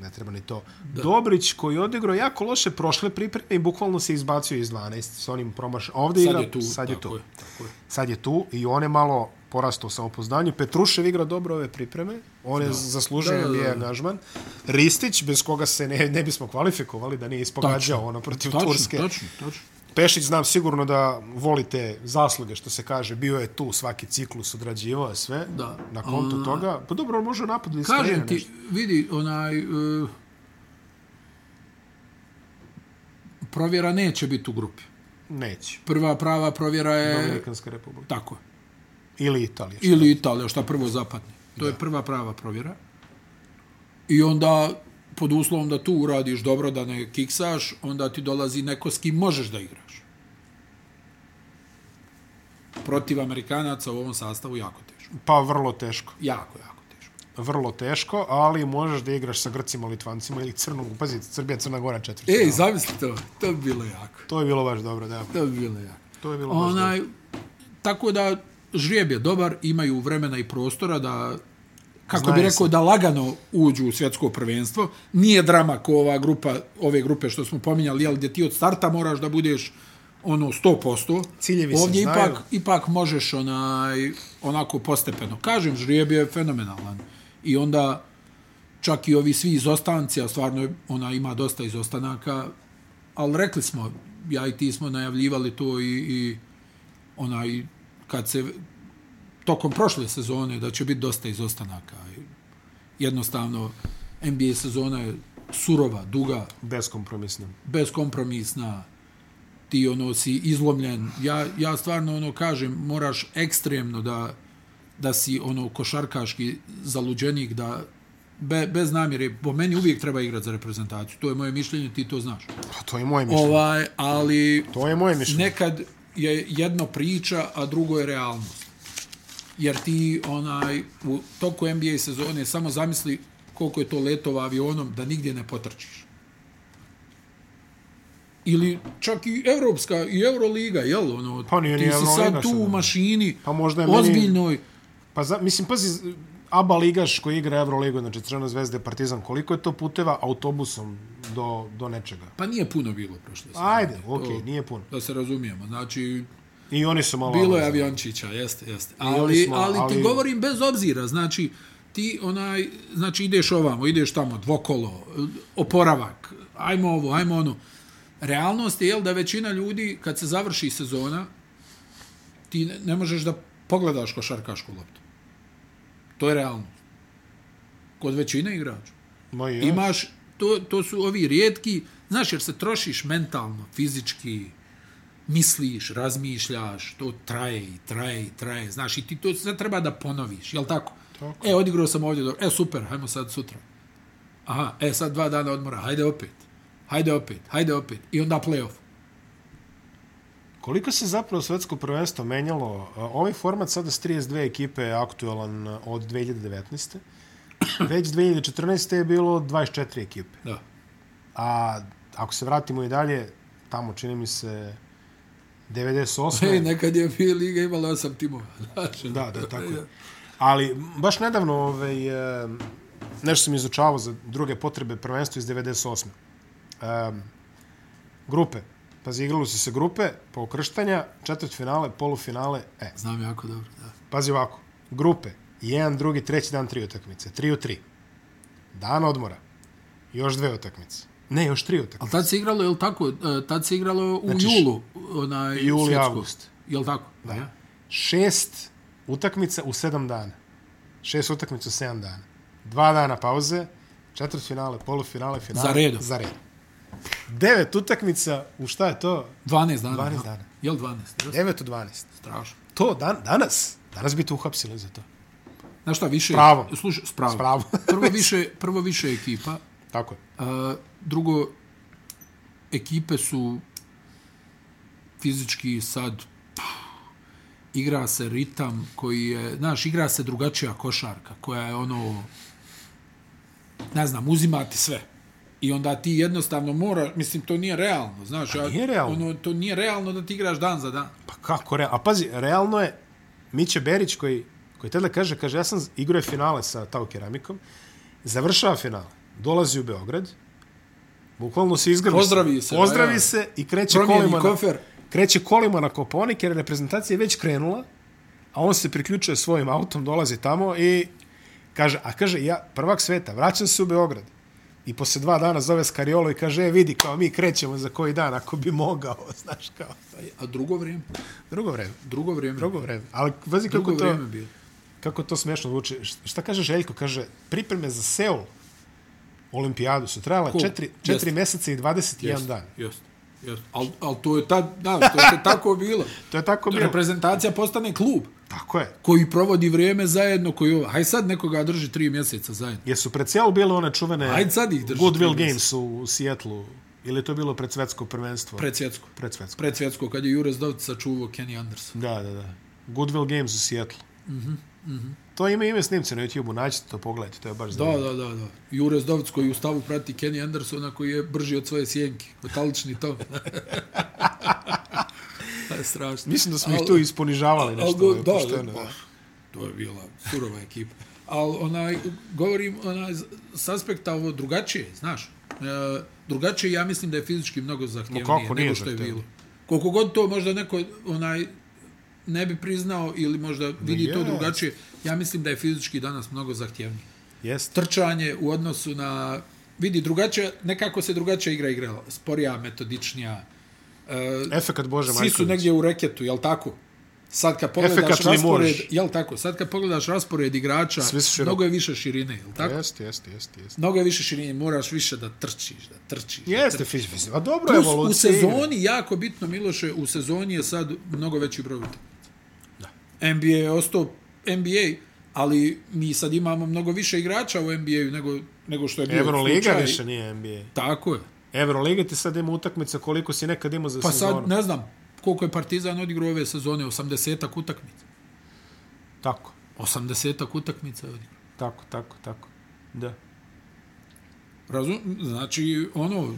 [SPEAKER 1] ne treba ni to. Da. Dobrić koji je odigrao jako loše prošle pripreme i bukvalno se izbacio iz 12 s onim promaš. Ovde
[SPEAKER 2] Sad
[SPEAKER 1] igra,
[SPEAKER 2] je tu,
[SPEAKER 1] sad je
[SPEAKER 2] tako
[SPEAKER 1] tu.
[SPEAKER 2] je, tako je.
[SPEAKER 1] Sad je tu i on je malo porastao u samopouzdanju. Petrušev igra dobro ove pripreme. On je zaslužio
[SPEAKER 2] Da, da,
[SPEAKER 1] mi je
[SPEAKER 2] da.
[SPEAKER 1] angažman. Ristić, bez koga se ne, ne bismo kvalifikovali da nije ispogađao ono protiv
[SPEAKER 2] Tačno,
[SPEAKER 1] Turske.
[SPEAKER 2] tačno, tačno.
[SPEAKER 1] Pešić znam sigurno da volite zasluge, što se kaže. Bio je tu svaki ciklus, odrađivao je sve.
[SPEAKER 2] Da.
[SPEAKER 1] Na kontu
[SPEAKER 2] A-
[SPEAKER 1] toga. Pa dobro, on može napad da iskrenira
[SPEAKER 2] Kažem ti,
[SPEAKER 1] nešto.
[SPEAKER 2] vidi, onaj... Uh, provjera neće biti u grupi.
[SPEAKER 1] Neće.
[SPEAKER 2] Prva prava provjera je...
[SPEAKER 1] Dominikanska republika.
[SPEAKER 2] Tako je.
[SPEAKER 1] Ili Italija. Ili...
[SPEAKER 2] Ili Italija, šta prvo zapadne. To je prva prava provjera. I onda, pod uslovom da tu uradiš dobro, da ne kiksaš, onda ti dolazi neko s kim možeš da igraš. Protiv Amerikanaca u ovom sastavu jako teško.
[SPEAKER 1] Pa vrlo teško.
[SPEAKER 2] Jako, jako teško.
[SPEAKER 1] Vrlo teško, ali možeš da igraš sa Grcima, Litvancima ili Crnog. Pazite, Srbija, Crna Gora, četvrta.
[SPEAKER 2] Ej, E, zamisli to. To bi bilo jako.
[SPEAKER 1] To je bilo baš dobro, da.
[SPEAKER 2] To bi bilo jako.
[SPEAKER 1] To je bilo baš dobro.
[SPEAKER 2] Onaj, tako da žrijeb je dobar, imaju vremena i prostora da kako
[SPEAKER 1] Znaje
[SPEAKER 2] bi
[SPEAKER 1] se.
[SPEAKER 2] rekao da lagano uđu u svjetsko prvenstvo. Nije drama ko ova grupa, ove grupe što smo pominjali, jel, gdje ti od starta moraš da budeš ono 100%.
[SPEAKER 1] Ciljevi se
[SPEAKER 2] Ovdje
[SPEAKER 1] znaju.
[SPEAKER 2] ipak, ipak možeš onaj, onako postepeno. Kažem, žrijeb je fenomenalan. I onda čak i ovi svi izostanci, a stvarno je- ona ima dosta izostanaka, ali rekli smo, ja i ti smo najavljivali to i, i onaj, kad se tokom prošle sezone da će biti dosta izostanaka. Jednostavno, NBA sezona je surova, duga,
[SPEAKER 1] Beskompromisno.
[SPEAKER 2] beskompromisna, ti ono si izlomljen. Ja, ja stvarno ono kažem, moraš ekstremno da, da si ono košarkaški zaluđenik, da be, bez namjere, po meni uvijek treba igrati za reprezentaciju. To je moje mišljenje, ti to znaš.
[SPEAKER 1] Pa to je moje mišljenje.
[SPEAKER 2] Ovaj, ali
[SPEAKER 1] To je moje mišljenje.
[SPEAKER 2] nekad je jedno priča, a drugo je realnost. Jer ti onaj, u toku NBA sezone samo zamisli koliko je to letova avionom da nigdje ne potrčiš. Ili čak i Evropska i Euroliga, jel? Ono,
[SPEAKER 1] Pa nije
[SPEAKER 2] ti
[SPEAKER 1] ni
[SPEAKER 2] si
[SPEAKER 1] Euroliga
[SPEAKER 2] sad tu
[SPEAKER 1] sad,
[SPEAKER 2] u
[SPEAKER 1] ono.
[SPEAKER 2] mašini,
[SPEAKER 1] Pa možda je meni-
[SPEAKER 2] ozbiljnoj,
[SPEAKER 1] Pa za, mislim, pazi, ABA ligaš koji igra Euroligu, znači Crvena zvezda i Partizan, koliko je to puteva autobusom do, do nečega?
[SPEAKER 2] pa nije puno bilo prošle sezone.
[SPEAKER 1] Ajde, okej, okay, nije puno.
[SPEAKER 2] Da se razumijemo, znači
[SPEAKER 1] I oni su malo...
[SPEAKER 2] Bilo je
[SPEAKER 1] avanzani.
[SPEAKER 2] aviončića, jeste, jeste.
[SPEAKER 1] oni
[SPEAKER 2] Ali,
[SPEAKER 1] smo,
[SPEAKER 2] ali,
[SPEAKER 1] ali-
[SPEAKER 2] ti govorim bez obzira, znači, ti onaj, znači ideš ovamo, ideš tamo, dvokolo, oporavak, ajmo ovo, ajmo ono. Realnost je jel, da većina ljudi, kad se završi sezona, ti ne, ne možeš da pogledaš košarkašku loptu. To je realno. Kod većine igrača.
[SPEAKER 1] Ma je.
[SPEAKER 2] Imaš, to, to su ovi rijetki, znaš, jer se trošiš mentalno, fizički, misliš, razmišljaš, to traje i traje i traje, znaš, i ti to sve treba da ponoviš, jel tako?
[SPEAKER 1] Tako.
[SPEAKER 2] E, odigrao sam ovdje, dobro. e, super, hajmo sad sutra. Aha, e, sad dva dana odmora, hajde opet, hajde opet, hajde opet, i onda playoff.
[SPEAKER 1] Koliko se zapravo svetsko prvenstvo menjalo? A, Ovaj format sada s 32 ekipe je aktualan od 2019. Već 2014. je bilo 24 ekipe.
[SPEAKER 2] Da.
[SPEAKER 1] A ako se vratimo i dalje, tamo čini mi se 98.
[SPEAKER 2] E, nekad je bio liga imala osam timova. Znaš,
[SPEAKER 1] Da, da, tako je. Ali baš nedavno ovaj, e, nešto sam izučavao za druge potrebe prvenstvo iz 98. Um, grupe. Pazi, igralo su se grupe, pa ukrštanja, četvrt finale, polufinale, e.
[SPEAKER 2] Znam jako dobro, da.
[SPEAKER 1] Pazi ovako, grupe, jedan, drugi, treći dan tri utakmice, tri u tri. Dan odmora, još dve utakmice. Ne, još tri utakmice.
[SPEAKER 2] Ali tad se igralo, jel tako, E, tad se igralo u
[SPEAKER 1] Znači,
[SPEAKER 2] znači, julu, onaj
[SPEAKER 1] juli,
[SPEAKER 2] svjetsko.
[SPEAKER 1] avgust.
[SPEAKER 2] Jel tako?
[SPEAKER 1] Da. Šest utakmica u sedam dana. Šest utakmica u sedam dana. Dva dana pauze, četvrt finale, polufinale, finale.
[SPEAKER 2] Za redom.
[SPEAKER 1] Za redom. Devet utakmica u šta je to?
[SPEAKER 2] 12 dana.
[SPEAKER 1] 12
[SPEAKER 2] da.
[SPEAKER 1] dana.
[SPEAKER 2] Jel 12? Jel?
[SPEAKER 1] Devet u dvanest.
[SPEAKER 2] Strašno.
[SPEAKER 1] To dan, danas? Danas bi te uhapsili za to.
[SPEAKER 2] Znaš šta, više...
[SPEAKER 1] pravom.
[SPEAKER 2] Slušaj, s pravom.
[SPEAKER 1] S pravom.
[SPEAKER 2] prvo, više, prvo više ekipa,
[SPEAKER 1] Tako je.
[SPEAKER 2] a, drugo, ekipe su fizički sad pff, igra se ritam koji je, znaš, igra se drugačija košarka koja je ono, ne znam, uzimati sve. I onda ti jednostavno mora, mislim, to nije realno, znaš.
[SPEAKER 1] Pa
[SPEAKER 2] ja-
[SPEAKER 1] nije realno.
[SPEAKER 2] Ono, to nije realno da ti igraš dan za dan.
[SPEAKER 1] Pa kako, re, a pazi, realno je Miće Berić koji, koji tada kaže, kaže, ja sam igrao je finale sa Tau Keramikom, završava finale, dolazi u Beograd, bukvalno se izgrbi.
[SPEAKER 2] Pozdravi se,
[SPEAKER 1] Pozdravi
[SPEAKER 2] da, ja.
[SPEAKER 1] se i kreće
[SPEAKER 2] Promijeni
[SPEAKER 1] kolima,
[SPEAKER 2] kofer.
[SPEAKER 1] Na, kreće kolima na Koponik jer reprezentacija je već krenula, a on se priključuje svojim autom, dolazi tamo i kaže, a kaže, ja prvak sveta, vraćam se u Beograd. I posle dva dana zove Skariolo i kaže, e, vidi, kao mi krećemo za koji dan, ako bi mogao, znaš, kao.
[SPEAKER 2] E, A drugo vrijeme?
[SPEAKER 1] Drugo vreme.
[SPEAKER 2] Drugo vrijeme.
[SPEAKER 1] Drugo vreme. Ali vazi kako
[SPEAKER 2] drugo
[SPEAKER 1] to,
[SPEAKER 2] vrijeme bilo.
[SPEAKER 1] kako to smešno zvuči. Š- Šta kaže Željko? Kaže, pripreme za Seul olimpijadu su trajale
[SPEAKER 2] Cool.
[SPEAKER 1] 4, 4
[SPEAKER 2] Jeste.
[SPEAKER 1] meseca i 21
[SPEAKER 2] Jest,
[SPEAKER 1] dan.
[SPEAKER 2] Jest. Jest. Al, al to je tad, da, to je tako bilo.
[SPEAKER 1] To je tako bilo.
[SPEAKER 2] Reprezentacija postane klub
[SPEAKER 1] Tako je.
[SPEAKER 2] koji provodi vrijeme zajedno, koji ovo. Haj sad nekoga drži tri mjeseca zajedno.
[SPEAKER 1] Jesu pred Seul bile one čuvene
[SPEAKER 2] Ajde sad ih drži
[SPEAKER 1] Goodwill
[SPEAKER 2] tri
[SPEAKER 1] Games u, u Sijetlu? Ili je to bilo pred svetsko prvenstvo?
[SPEAKER 2] Pred svjetsko.
[SPEAKER 1] pred svetsko.
[SPEAKER 2] Pred svjetsko, kad je Jure Zdovca sačuvao Kenny Anderson.
[SPEAKER 1] Da, da, da. Goodwill Games u Sijetlu. Mm -hmm,
[SPEAKER 2] Mhm,
[SPEAKER 1] To ima ime snimce na YouTube-u, naćete to, pogledajte, to je baš
[SPEAKER 2] Da,
[SPEAKER 1] zanimljivo.
[SPEAKER 2] da, da, da. Jure Zdovac koji u stavu prati Kenny Andersona koji je brži od svoje sjenke. Metalični tom. to je strašno.
[SPEAKER 1] Mislim da smo ih
[SPEAKER 2] Al-
[SPEAKER 1] tu isponižavali
[SPEAKER 2] Al,
[SPEAKER 1] nešto.
[SPEAKER 2] go,
[SPEAKER 1] ovaj,
[SPEAKER 2] da,
[SPEAKER 1] pošteno,
[SPEAKER 2] da. To je bila surova ekipa. Ali onaj, govorim onaj, s aspekta ovo drugačije, znaš. E, drugačije ja mislim da je fizički mnogo
[SPEAKER 1] Ma
[SPEAKER 2] zahtjevnije
[SPEAKER 1] kako nije
[SPEAKER 2] nego što je
[SPEAKER 1] zahtjevnije?
[SPEAKER 2] bilo. Koliko god to možda neko onaj ne bi priznao ili možda vidi to
[SPEAKER 1] jest.
[SPEAKER 2] drugačije, ja mislim da je fizički danas mnogo zahtjevnije.
[SPEAKER 1] Jeste.
[SPEAKER 2] Trčanje u odnosu na vidi drugačije, nekako se drugačija igra igrala, sporija, metodičnija. E,
[SPEAKER 1] Efekat Bože
[SPEAKER 2] Svi su negdje u reketu, jel tako? Sad kad pogledaš
[SPEAKER 1] Efekat li
[SPEAKER 2] raspored,
[SPEAKER 1] možeš?
[SPEAKER 2] jel tako? Sad kad pogledaš raspored igrača,
[SPEAKER 1] Svi su široko.
[SPEAKER 2] mnogo je više širine, jel tako?
[SPEAKER 1] Jeste, jeste, jeste, jeste.
[SPEAKER 2] Mnogo je više širine, moraš više da trčiš, da trčiš. da
[SPEAKER 1] Jeste fiš fiš. A dobro je
[SPEAKER 2] Plus, u
[SPEAKER 1] evolucija. igre.
[SPEAKER 2] sezoni, jako bitno, Miloše, u sezoni je sad mnogo veći broj utakmica. NBA je ostao NBA, ali mi sad imamo mnogo više igrača u NBA-u nego, nego što je bio
[SPEAKER 1] Evroliga
[SPEAKER 2] slučaj.
[SPEAKER 1] više nije NBA.
[SPEAKER 2] Tako je.
[SPEAKER 1] Evroliga ti sad ima utakmica koliko si nekad imao za
[SPEAKER 2] Pa
[SPEAKER 1] sezonu.
[SPEAKER 2] sad, ne znam, koliko je Partizan odigrao ove sezone, 80-ak utakmica.
[SPEAKER 1] Tako,
[SPEAKER 2] 80-ak utakmica je odigrao.
[SPEAKER 1] tako, tako, tako. Da.
[SPEAKER 2] Razum, znači, ono,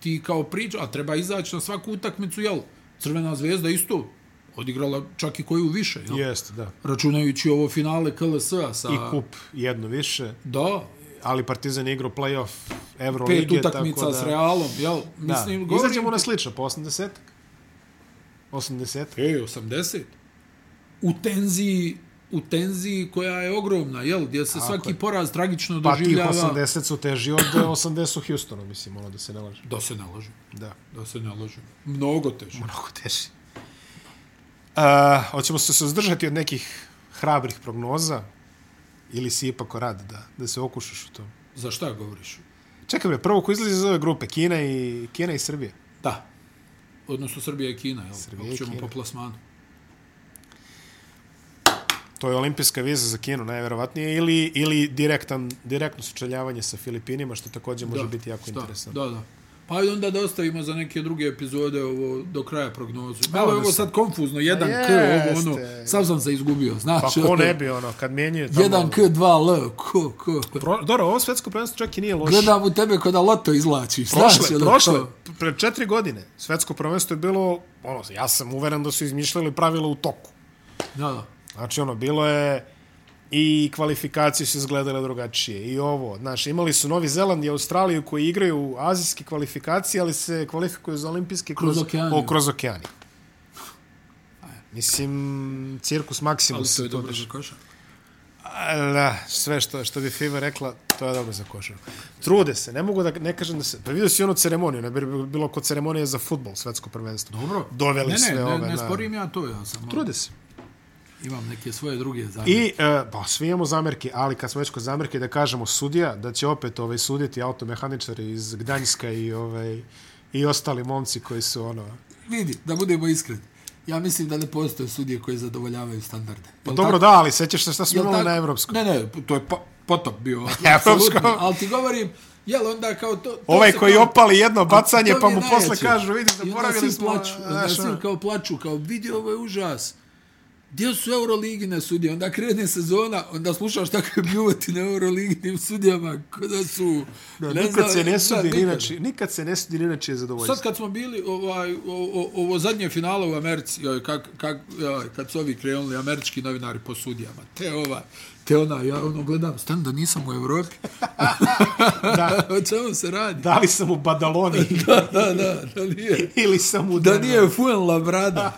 [SPEAKER 2] ti kao priča, a treba izaći na svaku utakmicu, jel? Crvena zvezda isto odigrala čak i koju više, jel?
[SPEAKER 1] Jeste, da.
[SPEAKER 2] Računajući ovo finale KLS-a sa...
[SPEAKER 1] I kup jedno više,
[SPEAKER 2] Da,
[SPEAKER 1] ali Partizan je igrao play-off Evrolige.
[SPEAKER 2] pet utakmica
[SPEAKER 1] tako da,
[SPEAKER 2] s Realom, jel?
[SPEAKER 1] Da.
[SPEAKER 2] Mislim,
[SPEAKER 1] Govorim... Izađemo
[SPEAKER 2] ti-
[SPEAKER 1] na slično, po 80 80
[SPEAKER 2] Ej, 80. U tenziji, u tenziji koja je ogromna, jel? Gdje se svaki
[SPEAKER 1] je.
[SPEAKER 2] poraz tragično
[SPEAKER 1] Pa tih
[SPEAKER 2] doživljava...
[SPEAKER 1] 80 su teži od 80 u Houstonu, mislim, ono da se ne laže.
[SPEAKER 2] Da se ne lažem,
[SPEAKER 1] Da.
[SPEAKER 2] da se ne lažem. Mnogo teže.
[SPEAKER 1] mnogo teži. Uh, hoćemo se suzdržati od nekih hrabrih prognoza ili si ipak rad da, da se okušaš u tom?
[SPEAKER 2] Za šta govoriš?
[SPEAKER 1] Čekaj bre, prvo ko izlazi iz ove grupe, Kina i, Kina i Srbija.
[SPEAKER 2] Da. Odnosno Srbija i Kina, jel?
[SPEAKER 1] Srbija
[SPEAKER 2] Srbija
[SPEAKER 1] i
[SPEAKER 2] Ako ćemo
[SPEAKER 1] Kina.
[SPEAKER 2] po plasmanu.
[SPEAKER 1] To je olimpijska viza za Kinu, najverovatnije, ili, ili direktan, direktno sučeljavanje sa Filipinima, što također može
[SPEAKER 2] Da,
[SPEAKER 1] biti jako
[SPEAKER 2] šta?
[SPEAKER 1] interesantno.
[SPEAKER 2] Da, da. Pa i onda da ostavimo za neke druge epizode ovo do kraja prognozu.
[SPEAKER 1] Malo
[SPEAKER 2] Malo je
[SPEAKER 1] da
[SPEAKER 2] ovo
[SPEAKER 1] Pa se- Pa
[SPEAKER 2] sad konfuzno, 1K, ovo ono,
[SPEAKER 1] jeste.
[SPEAKER 2] sam sam se izgubio,
[SPEAKER 1] Pa
[SPEAKER 2] znači.
[SPEAKER 1] ko ne bi, ono, kad menjaju tamo...
[SPEAKER 2] 1K, 2L, ko, ko.
[SPEAKER 1] Pro, dobro, ovo svetsko prvenstvo čak i nije loše.
[SPEAKER 2] Gledam u tebe kod da loto izlačiš. znaš,
[SPEAKER 1] Prošle,
[SPEAKER 2] ono,
[SPEAKER 1] prošle,
[SPEAKER 2] to.
[SPEAKER 1] pred četiri godine, svetsko prvenstvo je bilo, ono, ja sam uveren da su izmišljali pravila u toku.
[SPEAKER 2] Da, da.
[SPEAKER 1] Znači, ono, bilo je i kvalifikacije su izgledale drugačije i ovo. Znaš, imali su Novi Zeland i Australiju koji igraju azijske kvalifikacije, ali se kvalifikuju za olimpijske
[SPEAKER 2] Kroz
[SPEAKER 1] kroz,
[SPEAKER 2] okeaniju.
[SPEAKER 1] O, kroz okeaniju. Mislim, cirkus
[SPEAKER 2] Ali
[SPEAKER 1] Maximus.
[SPEAKER 2] to je
[SPEAKER 1] to
[SPEAKER 2] dobro
[SPEAKER 1] deš-
[SPEAKER 2] za košar.
[SPEAKER 1] A, Da, sve što, što bi FIBA rekla, to je dobro za košarku. Trude se, ne mogu da ne kažem da se... Pa vidio si onu ceremoniju, ne bi bilo kod ceremonije za futbol, svetsko prvenstvo.
[SPEAKER 2] Dobro.
[SPEAKER 1] Doveli
[SPEAKER 2] ne, ne,
[SPEAKER 1] sve
[SPEAKER 2] ne,
[SPEAKER 1] ove
[SPEAKER 2] Ne,
[SPEAKER 1] na-
[SPEAKER 2] sporim ja to, ja samo
[SPEAKER 1] Trude se.
[SPEAKER 2] imam neke svoje druge zamjerke.
[SPEAKER 1] I, e, pa, svi imamo zamerke, ali kad smo već kod zamerke, da kažemo sudija, da će opet ovaj, suditi automehaničari iz Gdanjska i, ovaj, i ostali momci koji su, ono...
[SPEAKER 2] Vidi, da budemo iskreni. Ja mislim da ne postoje sudije koje zadovoljavaju standarde.
[SPEAKER 1] Pa
[SPEAKER 2] Jel
[SPEAKER 1] dobro,
[SPEAKER 2] tako?
[SPEAKER 1] da, ali sećaš se šta smo
[SPEAKER 2] Jel
[SPEAKER 1] imali
[SPEAKER 2] tako?
[SPEAKER 1] ono na evropskom?
[SPEAKER 2] Ne, ne, to je po- potop bio.
[SPEAKER 1] Evropsko.
[SPEAKER 2] apsolutno, Ali ti govorim, jel onda kao to... to
[SPEAKER 1] Ovaj
[SPEAKER 2] se
[SPEAKER 1] koji
[SPEAKER 2] kao-
[SPEAKER 1] opali jedno
[SPEAKER 2] to
[SPEAKER 1] bacanje,
[SPEAKER 2] mi
[SPEAKER 1] pa
[SPEAKER 2] je
[SPEAKER 1] mu posle
[SPEAKER 2] najjače.
[SPEAKER 1] kažu, vidi,
[SPEAKER 2] I onda
[SPEAKER 1] zaboravili ono,
[SPEAKER 2] svi
[SPEAKER 1] smo...
[SPEAKER 2] Plaću, onda
[SPEAKER 1] znaš,
[SPEAKER 2] svi
[SPEAKER 1] ono.
[SPEAKER 2] kao plaću, kao vidi ovo je užas. gdje su Euroligine sudije? Onda krene sezona, onda slušaš takve bljuvati na Euroliginim sudijama, kada su...
[SPEAKER 1] Da,
[SPEAKER 2] ono, ne
[SPEAKER 1] nikad
[SPEAKER 2] znam,
[SPEAKER 1] se ne
[SPEAKER 2] da,
[SPEAKER 1] sudi ni
[SPEAKER 2] nikad.
[SPEAKER 1] na čije- nikad se ne sudi ni na čije zadovoljstvo.
[SPEAKER 2] Sad kad smo bili ovaj, o, o, ovo zadnje finale u Americi, joj, kak, kak, joj, kad su ovi krenuli američki novinari po sudijama, te ovaj, te ona, ja ono gledam, stan da nisam u Evropi. da. o čemu se radi?
[SPEAKER 1] Da li sam u Badaloni
[SPEAKER 2] Da, da, da, da nije.
[SPEAKER 1] ili sam u...
[SPEAKER 2] Da nije Fuenlabrada.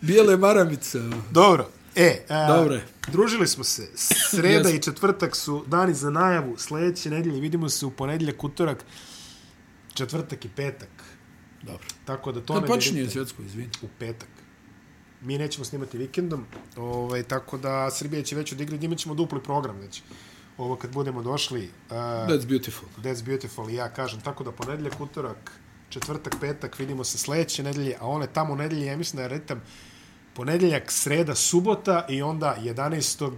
[SPEAKER 2] Bijele maramice. ono.
[SPEAKER 1] Dobro. E, a,
[SPEAKER 2] Dobro je.
[SPEAKER 1] družili smo se. Sreda
[SPEAKER 2] Jesmo.
[SPEAKER 1] i četvrtak su dani za najavu. Sljedeće nedelje vidimo se u ponedjeljak, utorak, četvrtak i petak.
[SPEAKER 2] Dobro.
[SPEAKER 1] Tako da to
[SPEAKER 2] Kad
[SPEAKER 1] ne
[SPEAKER 2] počinje
[SPEAKER 1] dirite.
[SPEAKER 2] svjetsko, izvini.
[SPEAKER 1] u petak. Mi nećemo snimati vikendom, ovaj, tako da Srbija će već odigrati, njima ćemo dupli program već. Ovo kad budemo došli, uh,
[SPEAKER 2] That's beautiful.
[SPEAKER 1] That's Beautiful i ja kažem, tako da ponedeljak, utorak, četvrtak, petak, vidimo se sledeće nedelje, a one tamo nedelje, ja mislim da je retam ponedeljak, sreda, subota i onda 11.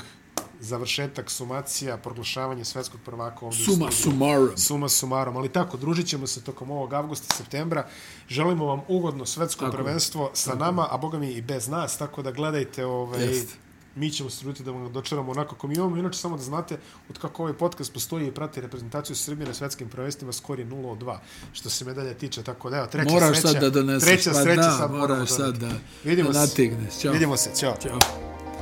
[SPEAKER 1] završetak, sumacija, proglašavanje svetskog prvaka ovdje u
[SPEAKER 2] Suma
[SPEAKER 1] studiju.
[SPEAKER 2] sumarum.
[SPEAKER 1] Suma sumarom, ali tako, družit ćemo se tokom ovog avgusta, septembra. Želimo vam ugodno svetsko
[SPEAKER 2] Tako je.
[SPEAKER 1] prvenstvo sa nama, a boga mi i bez nas, tako da gledajte ovaj,
[SPEAKER 2] Jeste.
[SPEAKER 1] mi ćemo se truditi da vam ga dočeramo onako kako mi imamo. Inače, samo da znate, od kako ovaj podcast postoji i prati reprezentaciju Srbije na svetskim prvenstvima, skor je 0 od 2, što se medalja tiče, tako da, evo, treća
[SPEAKER 2] Moraš
[SPEAKER 1] sreća.
[SPEAKER 2] sad da doneseš.
[SPEAKER 1] Treća
[SPEAKER 2] pa
[SPEAKER 1] sreća
[SPEAKER 2] da,
[SPEAKER 1] sad moramo
[SPEAKER 2] moraš sad
[SPEAKER 1] doneti.
[SPEAKER 2] da,
[SPEAKER 1] Vidimo
[SPEAKER 2] da
[SPEAKER 1] se.
[SPEAKER 2] nategneš. Ćao.
[SPEAKER 1] Vidimo se, ćao.
[SPEAKER 2] Ćao.